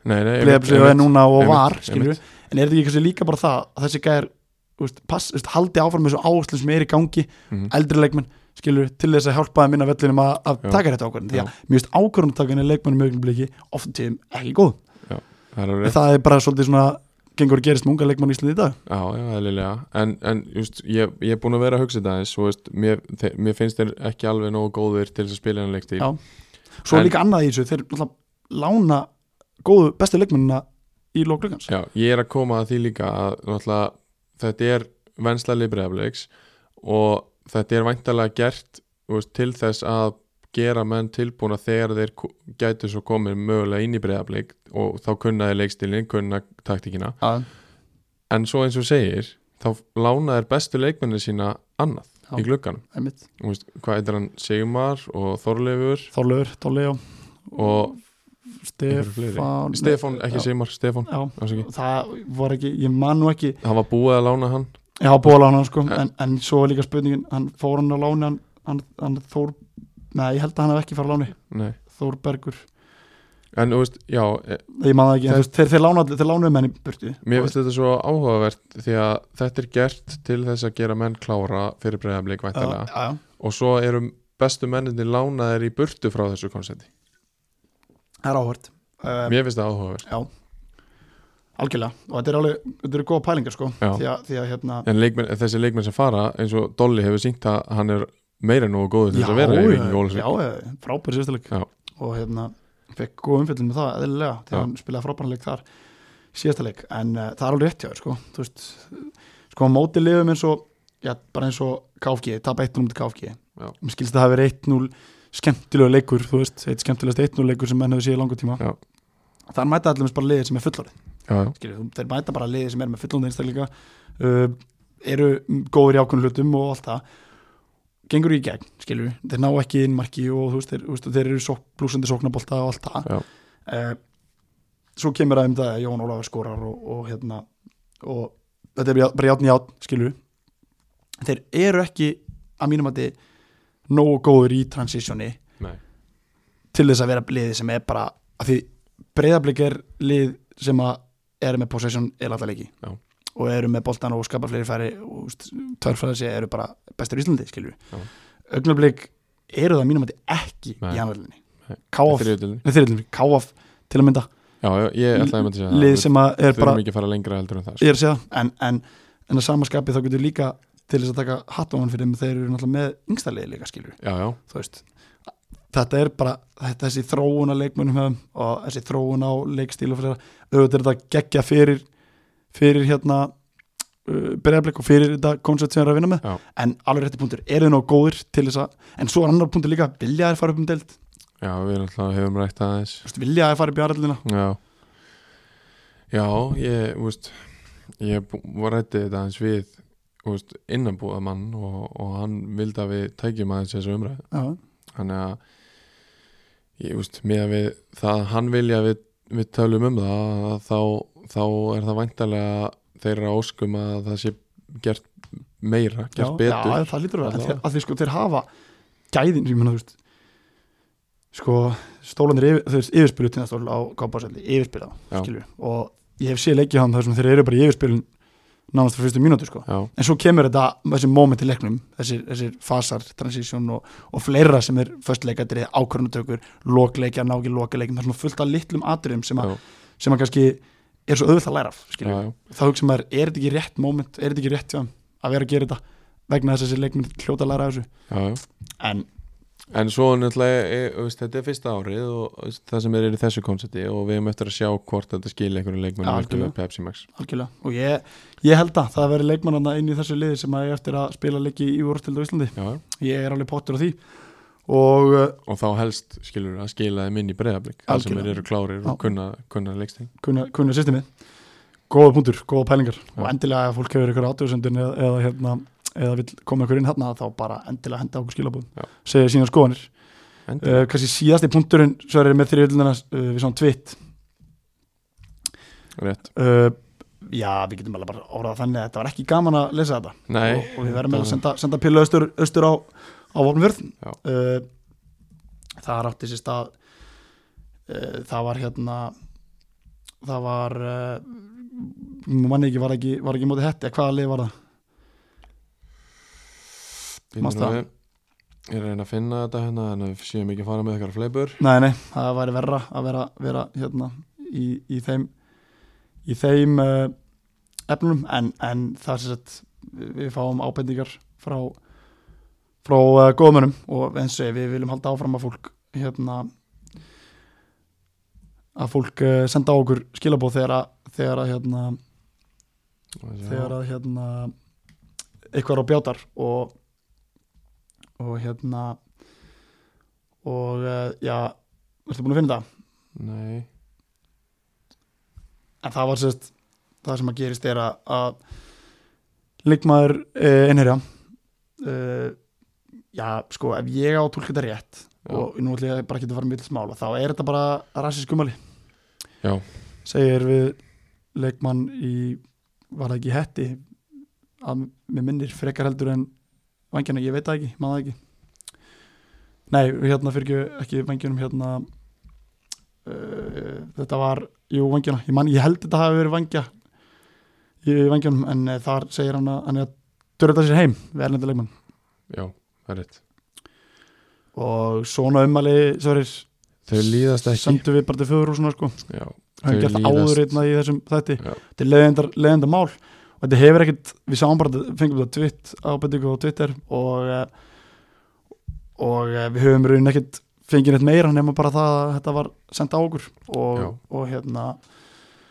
nei, nei
breyðablík og er núna og
einmitt,
var, skilur
einmitt.
en er þetta ekki kannski líka bara það að þessi gæjar þú veist, pass, þú veist, haldi áfram þessu áherslu sem er í gangi
Mhm.
eldri leikmenn skilur til þess að hjálpa þeim inn á vellinum að, að
Já.
taka þetta ákvörðin því
Já.
að mjög ákvörðunatakan er leikmennum augnabliki ofta tíðum ekki góð
það er alveg rétt.
það er bara svolítið svona gengur að gerist með unga leikmenn í Íslandi í dag
Já, já, eðlilega En, en just, ég, ég er búin að vera að hugsa þetta eins og veist, mér, þe- mér finnst þeir ekki alveg nógu góðir til þess að spila hennar leikstíl
Já. svo
En-
líka annað í þessu þeir náttúrulega lána góðu bestu leikmennina í lóklugans
Já, ég er að koma að því líka að náttúrulega þetta er vensla libriðafleiks og þetta er væntalega gert þú veist, til þess að gera menn tilbúna þegar þeir ko- gætu svo komið mögulega inn í breyðafleik og þá kunna þeir leikstilin, kunna taktíkina
Já.
en svo eins og þú segir þá lána þeir bestu leikmenni sína annað í glugganum
einmitt
Þú veist, hvað heitir hann Sigmar og Þorleifur
Þorlaugur, Dolly og
og einhverju fleiri.
Stefán
Stefán, ekki
Mm, já.
Sigmar, Stefán
Já,
afsakið.
það var ekki, ég man nú ekki
hann var búið að lána hann
Já, bóla hann sko,
Ja.
en, en svo er líka spurningin hann fór hann á láni, hann, hann, hann Þór, nei, ég held að hann hef ekki fara á láni
Nei.
Þórbergur,
en þú veist, já, eh,
ég man það ekki en,
Þeir-
þú veist, þeir, þeir, lána, þeir lánuðu menn í burtu
mér finnst þetta svo áhugavert því að þetta er gert til þess að gera menn klára fyrir breyðablik
já,
væntalega
já,
og svo eru bestu menninni lánaðir í burtu frá þessu konsepti
það er áhört um,
mér finnst það áhugavert
Algjörlega, og þetta er alveg, þetta eru góða pælingar sko
Já.
því að, því að hérna
en leikmenn, þessi leikmenn sem fara eins og Dolly hefur sínt að hann er meira en nógu góður til þess að vera í Víkingi
já,
Ólafsvík
já, frábær sérstileg
Já.
og hérna, fekk góð umfjöldin með það eðlilega,
Já.
þegar hann spilaði frábærleik þar síðastaleg, en uh, það er alveg rétt hjá þér sko, þú veist sko, á móti liðum eins og, já, bara eins og KFG, tap 1-0 til KFG
Já.
mér skilst að það hafi verið 1-0 skemmtilegu leikur, þú veist, eitt skemmtilegast 1-0 leikur sem menn hefur séð í langa tíma
Já.
þar mæta allir bara liðið sem er fullorðið
já, já,
skilur, þú- þeir mæta bara liðið sem er með fullandi einstaklinga uh, eru góður í ákveðnum hlutum og allt það gengur í gegn, skilur þeir ná ekki inn marki og þú veist, þeir, þú veist, þeir eru sók, blúsandi sóknabolta og allt það
Já.
uh, svo kemur aðeim það að Jón Ólafur skorar og, og hérna og þetta er bara járn- bara játn í játn, skilur þeir eru ekki að mínum að þið nógu góður í transitioni
nei,
til þess að vera liðið sem er bara að því breyðablik er lið sem að er með possession eða alltaf leiki
Já.
og eru með boltan og skapa fleiri færi og törfræðis eru bara bestur í Íslandi skilju
Já.
augnablik eru það mínum að þetta ekki
Nei.
í anverðinni
Nei.
Káaf,
þriðutöldinni
nei, þriðjudeildinni, Káaf til að mynda
já, já, ég ætlaði að segja
lið
það
sem að er
við
bara
þurfum ekki að fara lengra heldur en það sko.
ég er að segja það, en, en, en að samaskapi þá getur líka til þess að taka hatt ofan fyrir þeim þeir eru náttúrulega með yngsta liði líka skilju
já, já,
þú veist þetta er bara þetta, þessi þróun á leikmönnum hefum og þessi þróun á leikstíl og fyrir auðvitað er þetta geggja fyrir fyrir hérna uh, bregðarblik og fyrir þetta koncept sem er að vinna með
Já.
en alveg rétti punktur, eru þið nóg góðir til þess að en svo er annar punktur líka, vilja þær fara upp um deild Þú
já, við náttúrulega hefum rætt aðeins
veist, vilja þær fara upp í aðræðlina
Já Já, ég, þú veist ég bú- var rættið þetta hans við þú veist, innanbúða mann og, og hann vildi að við tækjum aðeins þessu umræðu
já,
þannig að ég, þú veist, með að við það að hann vilja að við, við tölum um það að þá, þá er það væntalega þeirra óskum að það sé gert meira,
já,
gert
já,
betur
það lítur að,
Allavega.
að, að því sko þeir hafa gæðin, ég meina þú veist sko, stólanir yfir, þú veist, yfirspilu til næstól á kápásalli, yfirspilu
Já.
skilju, og ég hef séð leikið hann þar sem þeir eru bara í yfirspilun nánast frá fyrstu mínútu sko
Já,
en svo kemur þetta, þessi moment í leiknum þessir, þessir fasar, transition og, og fleira sem er föstleikadrið, ákvörnutökur lokleikja, ná ekki lokaleikjum það er svona fullt af litlum atriðum sem,
Já.
að sem að kannski er svo auðvitað að læra af
já,
skilju,
já,
þá hugsa maður, er þetta ekki rétt moment, er þetta ekki rétt hjá hann að vera að gera þetta vegna þess að þessi leikminn hljóta að læra af þessu
já, já.
en
En svo náttúrulega, e, veist, þetta er fyrsta árið og þú veist, það sem er í þessu konsepti og við erum eftir að sjá hvort þetta skilja einhverju
Ja,
leikmennum ekki
algjörlega.
með Pepsi Max.
algjörlega, og ég, ég held að það veri leikmannana inn í þessu liði sem að ég eftir að spila leiki í úrstildu á Íslandi
Já, já.
ég er alveg pottur á því og uh,
og þá helst skilur að skila þeim inn í breyðablík, það sem
Algjörlega.
þeir eru klárir
Já.
og kunna, kunna leikstil.
kunna, kunna systemið góða punktur, góða pælingar
Já.
og endilega ef fólk hefur ykkur átöðsöndun eða, eða, hérna, eða vil koma ykkur inn hérna þá bara endilega henda okkur
Já.
skilabúðum segja sína skoðanir
Eh,
uh, kannski síðasti punkturinn svo er með þriðlunarna uh, við svona tvitt
Rétt.
uh, já, við getum alveg bara orðað þannig að þetta var ekki gaman að lesa þetta
Nei,
og, og við verðum með
þetta-
að senda, senda pillu austur, austur á, á vopnvörð
Já.
uh, það rátti sér stað uh, það var hérna það var uh, manni ekki var ekki, var ekki móti hætti, hvaða lið var það
Bíddu
manstu
nú
það?
við. Ég er að reyna að finna þetta hérna en við séum ekki að fara með eitthvað fleipur.
nei, nei, það væri verra að vera, vera hérna í, í þeim í þeim uh, efnum en, en það er sér sett við við fáum ábendingar frá frá uh, góðmönnum og eins og ég, við viljum halda áfram að fólk hérna að fólk uh, senda á okkur skilabóð þegar að þegar að hérna þegar að hérna eitthvað er á bjátar og og hérna og uh, já ertu búin að finna það?
Nei,
en það var sérst það sem að gerist er að, að leikmaður eh, einherja uh, já, sko, ef ég á að tólka þetta rétt
Já.
og nú ætlum ég bara að geta að fara mjög til smála þá er þetta bara rassiskumali
Já.
segir við leikmann í, var það ekki í hetti að mér minnir frekar heldur en vangjana, ég veit það ekki, maður það ekki nei, hérna fyrir ekki, ekki vangjunum hérna uh, þetta var jú, vangjana, ég, man, ég held þetta hafi verið vangja í vangjunum en uh, þar segir hann að hann er að dörða sér heim við erlendu leikmann
já, það er rétt
og svona umali Sörir,
þau líðast ekki
sendu við bara til fjöðurhúsuna sko.
já,
hann
Þau
gert það
líðast.
áður einna í þessum þætti
Já.
þetta er leiðendar, leiðendar mál og þetta hefur ekkert, við sáum bara þetta- fengum þetta tvitt ábendingu á Twitter og eh, og eh, við höfum í raunin ekkert fengið neitt meira nema bara það að þetta var sendt á okkur og,
Já.
og hérna,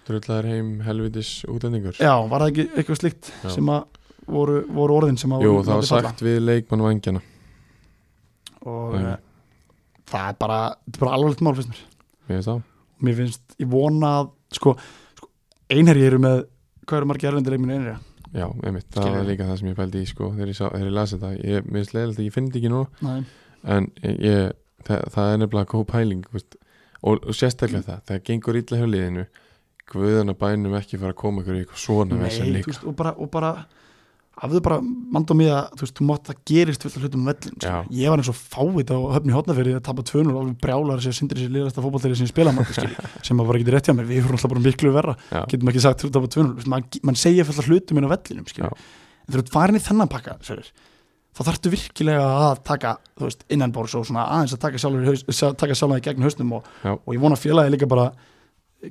drullar heim helvitis útlendingur
já, var það ekki eitthvað slíkt
Já.
sem að voru, voru orðin sem að
jú,
voru
það var
látið falla.
sagt við leikmann vangjana
og
Já.
eh, það er bara, þetta er bara alvarlegt mál fyrst mér
mér veist það,
mér finnst, ég vona að sko, sko einherji eru með hvað eru margir erlendir leikminu einherja
já, einmitt það
Skilurðu.
var líka það sem ég pældi í sko þegar ég, sá- þegar ég las þetta, ég, mér veist leiðilegt að ég finn þetta ekki nú
Nei.
en ég, það, það er nefnilega góð pæling þú veist, og, og sérstaklega það það gengur illa hjá liðinu guðan að bænum ekki fara að koma ykkur í eitthvað svona
Nei,
vesen
þú
líka
veist, og bara, og bara hafðu bara mand og mig að þú veist, þú mátt að gerist fullt af hlutum um vellin sko.
Já.
ég var eins og fáið á höfni hótnafyrir að tapa 2-0 og alveg brjálar sér sindri sér liðasta fótballtæri sem ég spila mann, skil, sem að bara getur rétt hjá mér við vorum alltaf bara miklu verra,
Já.
getum ekki sagt þú tapa 2-0, Þú veist, mann man segja fullt af hlutum inn á vellinum, skil,
Já.
en þú veist, farin í þennan pakka sérir, þá þarftu virkilega að taka, þú veist, innanborðs og svona aðeins að taka sjálfur í haus- sjá- taka sjálfan í gegn hausnum og,
Já.
og ég vona að félagi líka bara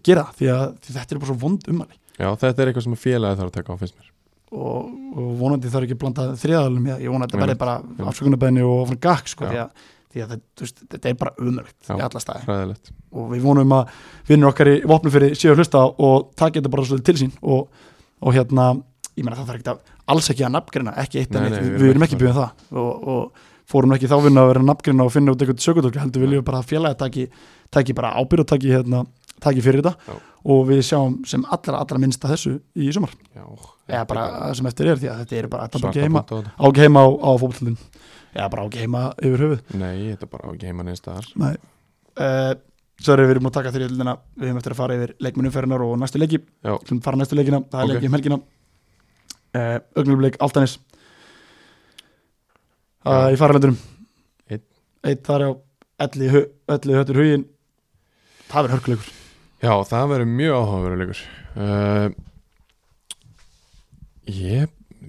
gera það, því að því þetta er bara svo vond ummæli
já, þetta er eitthvað sem félagi þarf að taka á finnst mér
og, og vonandi þarf ekki að blanda þriðaðalum ég vona að þetta
Nei,
verði bara
nei.
afsökunarbeðinu og áfram gakk sko,
Já.
því að, því að þetta, þú veist, þetta er bara umöðlegt
Já.
í alla staði
hræðilegt,
og við vonum um að vinnur okkar í vopnum fyrir séu að hlusta og taka þetta bara svolítið til sín og, og hérna, ég meina það þarf ekki að alls ekki að nafngrina, ekki eitt
Nei,
en
nei,
eitt,
við
við,
erum
við erum
ekki
ekki byggjum það og, og fórum ekki þá vinna að vera nafngrina og finna út eitthvað sökutólk, heldur við
Nei.
lífum bara að félagi taki, taki bara ábyrð og taki, hérna, taki fyrir þetta
Já.
og við sjáum sem allra, allra minnsta þessu í sumar
já,
eða bara það sem eftir er því að þetta er bara þetta er bara
svarta
ekki heima,
punkt á þetta.
á ekki heima á, á fótbollin eða bara á ekki heima yfir höfuð
nei, þetta er bara á ekki heima neins þar
Nei uh, Sörri, við erum að taka þrjöldina við höfum eftir að fara yfir leikmennumferðinar og næstu leiki
Já.
Skulum fara næstu leikina, það er
Ok.
leiki um helgina uh, Ögnulubleik, Altanis uh,
Já.
Eh, í faralendunum
Einn.
Eitt þar á elli, hu- elli höttur hugin Það verður hörkuleikur
já, það verður mjög áhugaverulegur uh, ég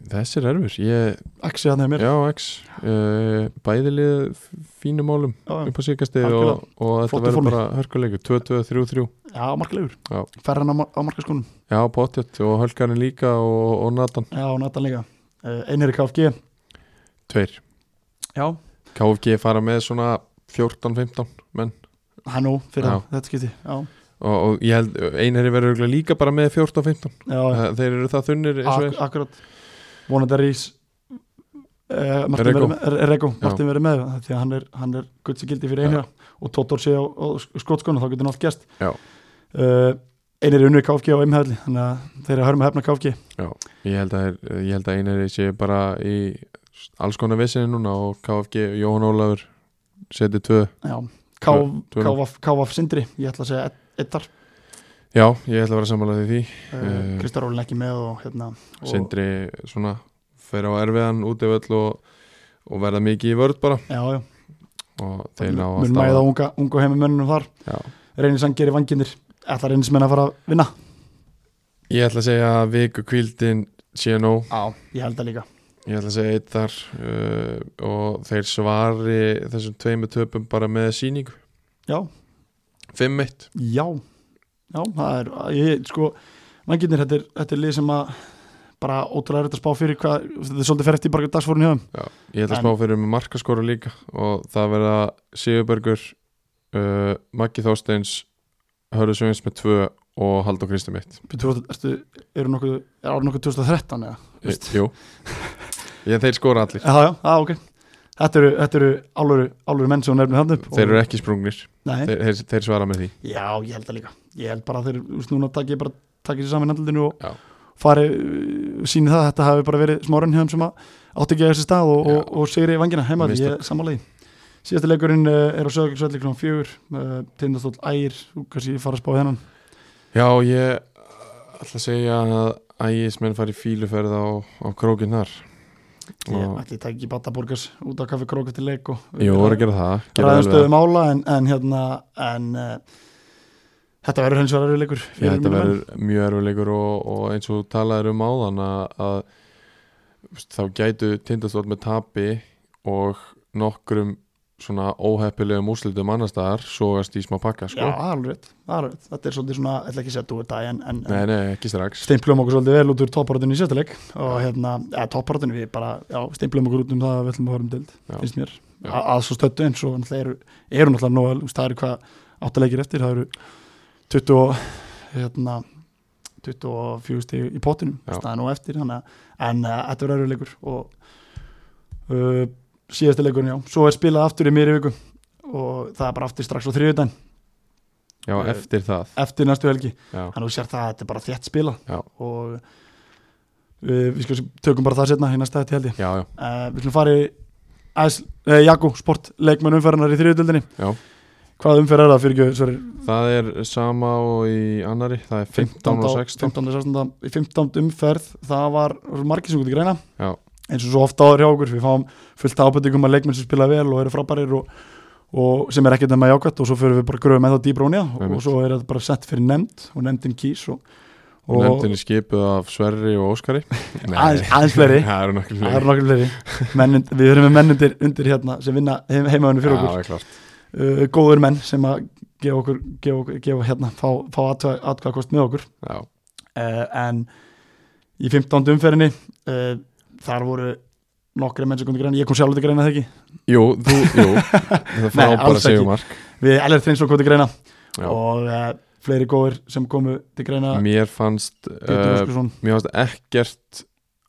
þessi er erfur, ég
Axi þannig að mér
já, X uh, bæðilið fínum málum
Já,
upp á síkastið og,
Algjörlega.
og þetta
Flottu
verður
formi.
bara hörkuleikur 2-2-3-3
já markleikur
Já.
Ferran á, mar- á markaskunum
Já, pottet og hölkarinn líka og, og Nathan
Já, og Nathan líka uh, Einherri KFG
Tveir
Já,
KFG fara með svona 14-15
hann nú fyrir
Já.
hann, þetta skipti já,
og, og ég held einherri verður örugglega líka bara með 14-15
já,
Þeir eru það þunnir eins og
ak
er
akkurat vonandi að Rís uh, Martin
Rego.
verið með, er- er Rego,
Já.
Martin verið með því að hann er, hann er gutt sem gildi fyrir einhverja og Tóttor sé á, á skotskona þá getur hann allt gæst
Já.
uh, einir unni KFG og einhverli þannig að þeir eru að hörma hefna KFG
Ég held að, þeir- ég held að einherri sé bara í alls konar vissinni núna og KFG Jóhann Ólafur seti 2
já,
Tvö- tvö-
KF, KF Sindri ég ætla að segja eittar
Já, ég ætla að vera sammálaði því
uh,
Eh.
Kristar Rólin ekki með og hérna og,
Sindri svona fer á erfiðan út í völl og, og verða mikið í vörð bara
já, já,
og þeir ná að
mun mæða unga, ungu heimumönnum þar
Já.
reynisang gerir vanginir ætla reynismenn að fara að vinna
Ég ætla að segja að viku kvíldin sé nóg,
Já, ég held það líka
ég ætla að segja eitt þar uh, og þeir svari þessum tveimu töpum bara með síningu
Já,
5-1
já, já það er, ég, sko, mannginnir þetta, er- þetta er lið sem að bara ótrúlega er þetta spá fyrir hvað, þetta er svolítið fer eftir bara dagsfórun hjá þeim
Já, Ég ætla að
En-
spá fyrir með markaskora líka og það verða Sigurbergur uh, Maggi Þorsteins Hörðu Sjöfins með 2 og Halldór Kristi mitt
Býtu, þú- ertu, eru nokkuð, er árið nokkuð 2013 eða?
e,
Veist.
Jú Ég, þeir skora allir
Já, já, já, Ah, ok Þetta eru, þetta eru álöru, álöru menn sem hún nefnir hann upp
Þeir eru ekki sprungnir,
Nei,
þeir, þeir, þeir svara með því
já, ég held það líka Ég held bara að þeir, þú veist, núna takk ég bara takk ég sér saman í andlutinu
Já.
og fari, síni það að þetta hafi bara verið smá raunhjöfum sem að átti ekki að þessi stað og, og,
Já.
og sigri vangina heima því
Mistök.
ég samanlegi síðasta leikurinn uh, er á sögurkjöldsvelli kl. 4 uh, tindastóll ægir, þú kannski fara að spá í hennan
Já, ég ætla að segja að ægismenn fari í fíluferð á, á krókinn þar
ég
og
ætli það ekki bata borgars út af kaffi krók eftir leik og uh,
ég voru að gera það gera
ræðum
vel við
stöðum ála en, en hérna en uh, þetta verður hins vegar erfiður leikur
Já,
fyrir
þetta
mínu menn.
verður mjög erfiðleikur og, og eins og þú talaðir um áðan að, að veist, þá gætu tindastótt með tapi og nokkrum svona óheppilegum úrslitum annar staðar sogast í smá pakka
Já,
sko.
alveg, rétt, alveg rétt. þetta er svolítið svona, ég ætla ekki að segja dúið dag en, en,
Nei, nei, ekki strax
stimplum okkur svolítið vel út úr topparöðinu í sérstileik og hérna, eða topparöðinu við bara, já, stimplum okkur út um það að við ætlum að fara um dild,
Já.
finnst mér
Já.
A að svo stöttu eins og náttúrulega eru, eru náttúrulega nóg, þú veist, það eru hvað áttalegir eftir, það eru 20 og hérna 24 stig í pottinum
Já.
það er nóg eftir, þannig að en uh, þetta verður leikur og uh, síðasti leikurinn, já, svo er spilað aftur í mér viku og það er bara aftur strax á þriðudaginn
Já, eftir það
eftir næstu helgi
Já,
þannig að þú sér það að þetta er bara þétt spila
Já.
og við, við skur, tökum bara það setna í næsta þetta held ég
já, já,
uh, við slum fara í AS, eh, Jakko Sport leikmenn umferðarnar í þriðutöldinni
já
hvað umferð er það fyrir ekki sorry,
Það er sama og í annari Það er 15 og 16
15, og 16. Í 15 umferð það var það voru margir sem gúti greina
Já.
eins og svo ofta áður hjá okkur við fáum fullt ábyrtingum að leikmenn sem spila vel og eru frábærir og, og sem er ekkert nema jákvæmt og svo fyrir við bara gröfum með þá dýbra ónja og,
Einmitt.
og svo er þetta bara sett fyrir nefnd og nefndin kýs og,
Og nefndin er skipuð af Sverri og Óskari
aðeins, aðeins fleiri
Það eru nokkur
Það eru nokkur fleiri Mennind, Við erum með menn undir, undir hérna sem vinna heim, heimaðunni fyrir
Já, það er klart
okkur uh, Góður menn sem að gefa okkur, gefa okkur gefa hérna, fá, fá atkvæðakost með okkur
Já,
uh, En í 15. umferðinni uh, þar voru nokkri menn sem kom til greina, ég kom sjálf til greina þegar ekki
Jú, þú, jú Það
Nei,
fá
alls
bara
ekki.
segumark
Við Ellert Þreinsson kom til greina
Já.
og uh, fleiri góður sem komu til greina
Mér fannst
Pétur
uh,
Óskarsson,
Mér fannst ekkert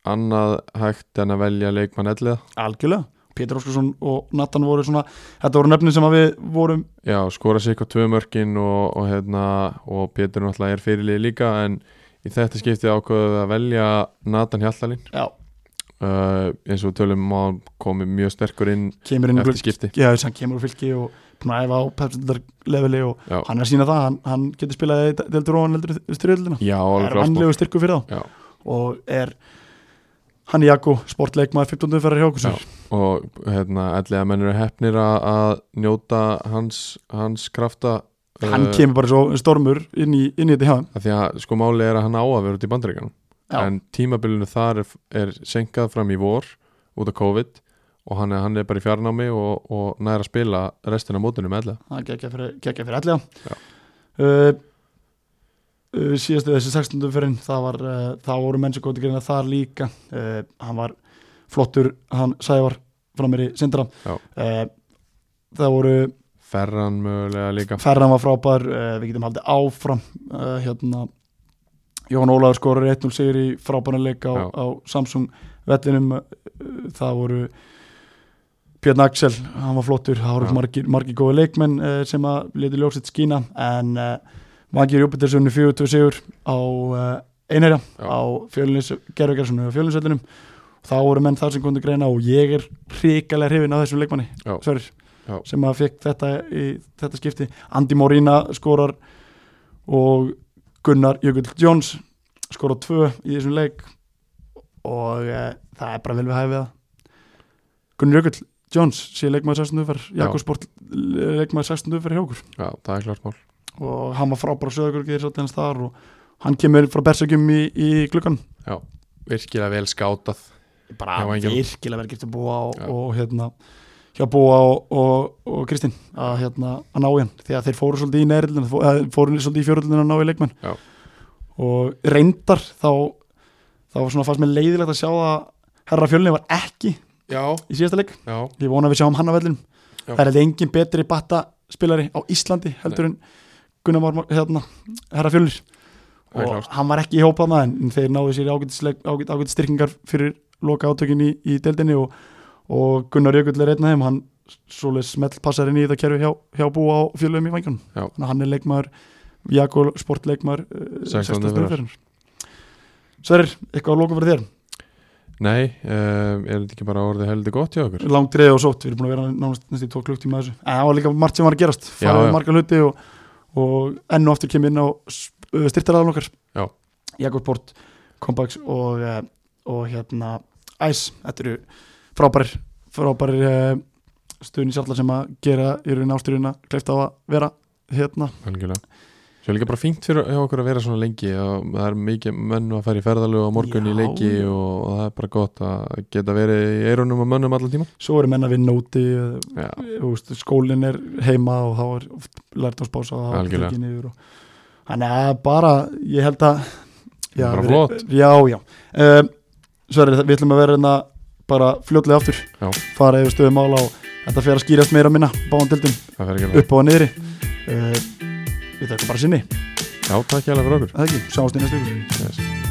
annað hægt en að velja leikmann ellið
algjörlega Pétur Óskarsson og Nathan voru svona þetta voru nöfnin sem að við vorum
Já, skora sig eitthvað tvö mörkin og, og, hérna, og Pétur náttúrulega er fyrirlið líka en í þetta skiptið ákveðu að velja Nathan Hjallalín
já,
uh, eins og við tölum að hann komi mjög sterkur inn
kemur inn í
eftir skipti
já, þess að hann kemur úr fylki og búin að æfa á pepsildar leveli og
Já,
hann er að sína það, hann, hann getur spilað í deltur og hann heldur styrjöldina
já alveg
er
klart sko.
vannlegu styrku fyrir þá
Já.
og er hann er Jakko, sportleikmaður 15. umferðar hjá okkur sér.
og hérna, ellið að menn eru hefnir að, að njóta hans, hans krafta
hann
uh,
kemur bara svo stormur inn í, inn í þetta hjá hann
að því að sko máli er að hann á að vera út í bandaríkanum
Já.
en tímabilinu þar er, er senkað fram í vor út af COVID og hann er, hann er bara í fjarnámi og, og næra að spila restina af mótinu með allega
hann gekkja fyrir, gekkja fyrir allega
Já.
uh, uh, síðastu þessi 16. umferðin það, var, uh, það voru menn sem góti greina þar líka uh, hann var flottur hann sævar frá mér í sindra
Já.
uh, það voru
ferran mögulega líka
Ferran var frábær, uh, við getum haldið áfram uh, hérna Jón Ólaður skorur 1-0 sigur í frábæran leik á,
Já.
á Samsung vellinum, uh, það voru Björn Axel, hann var flottur það voru
Já.
margir, margir góði leikmenn uh, sem að leti ljósitt skína en uh, Vangir Júpitersunni 4-2 sigur á uh, Einherja
Já.
á fjölunins, gerðugerðsunni á fjölunsvellinum þá voru menn þar sem kom til greina og ég er hrikalega hrifin af þessum leikmanni
Já.
Sverrir,
Já.
sem að fekk þetta í þetta skipti Andi Morína skorar og Gunnar Jökull Jóns skorar tvö í þessum leik og e, það er bara vel við hæfið það Gunnar Jökull Jóns sé leikmaður 16. umferð
Já.
Jakob Sport eh, leikmaður 16. umferð hjá okkur
já, það er klart mál
og hann var frábæra sögurgeir svolítið hans hérna þar og hann kemur frá Berserkjum í, í gluggan
virkilega vel skátað
bara
Já, Vangir.
virkilega vel gift að búa og,
Já.
og hérna hjá búa og, og, og Kristinn að hérna að ná í hann því að þeir fóru svolítið í neðrildin fóru svolítið í fjöröldin að ná í leikmenn
Já.
og reyndar þá þá var svona fannst mér leiðilegt að sjá að herra fjölni var ekki í
já,
síðasta leik
já,
ég vona að við sjáum hann á vellinum
Já.
það er heldur engin betri batta spilari á Íslandi heldur en Gunnar Már Már- hérna, herra fjölnir
það er
og
klart
hann var ekki í hópaðna en en þeir náðu sér ágætt styrkingar fyrir loka átökin í, í deildinni og, og Gunnar Jökull er einn af þeim hann svoleið smelt passar inn í þetta kerfi hjá, hjá búa á fjölum í vangjum
Já.
hann er leikmaður, Jakko sportleikmaður uh,
16.
16. umferðar Sverir, eitthvað að loka fyrir þér
Nei, um, er þetta ekki bara orðið heldur gott hjá okkur?
langt reyði og sótt, við erum búin að vera nánast næst í tvo klukktíma að þessu, en það var líka margt sem var að gerast
Já,
farið
já.
marga hluti og, og enn og aftur kemur inn á styrtaraðan okkar
Já.
Jakob Port, Kompaks og, eh, og hérna Æs, þetta eru frábærir frábærir eh, stuðnisjallar sem að gera í raunin ástyrjuna kleift á að vera hérna
Algjörlega. Svo er líka bara fínt fyrir hjá okkur að vera svona lengi og það er mikið menn að fara í ferðalög á morgun í
Já.
leiki og, og það er bara gott að geta verið í eirunum og mönnum allan tíma.
svo eru menna við nóti eh,
Já,
þú veist, skólinn er heima og þá er oft lært á spása og þá er
Algjörlega.
tekið niður og þannig að bara, ég held að já,
Bara
við-
flott.
já, já. Um, Sverri, við ætlum að vera hérna bara fljótlega aftur
Já.
fara yfir stöðum ála og þetta fer að skýrast meira og minna báðan dildum
það fer ekki að
upp og niðri uh, við þakka bara sinni,
Já, takk hjá fyrir okkur.
er það ekki, sjáumst í næstu ykkur
Yes.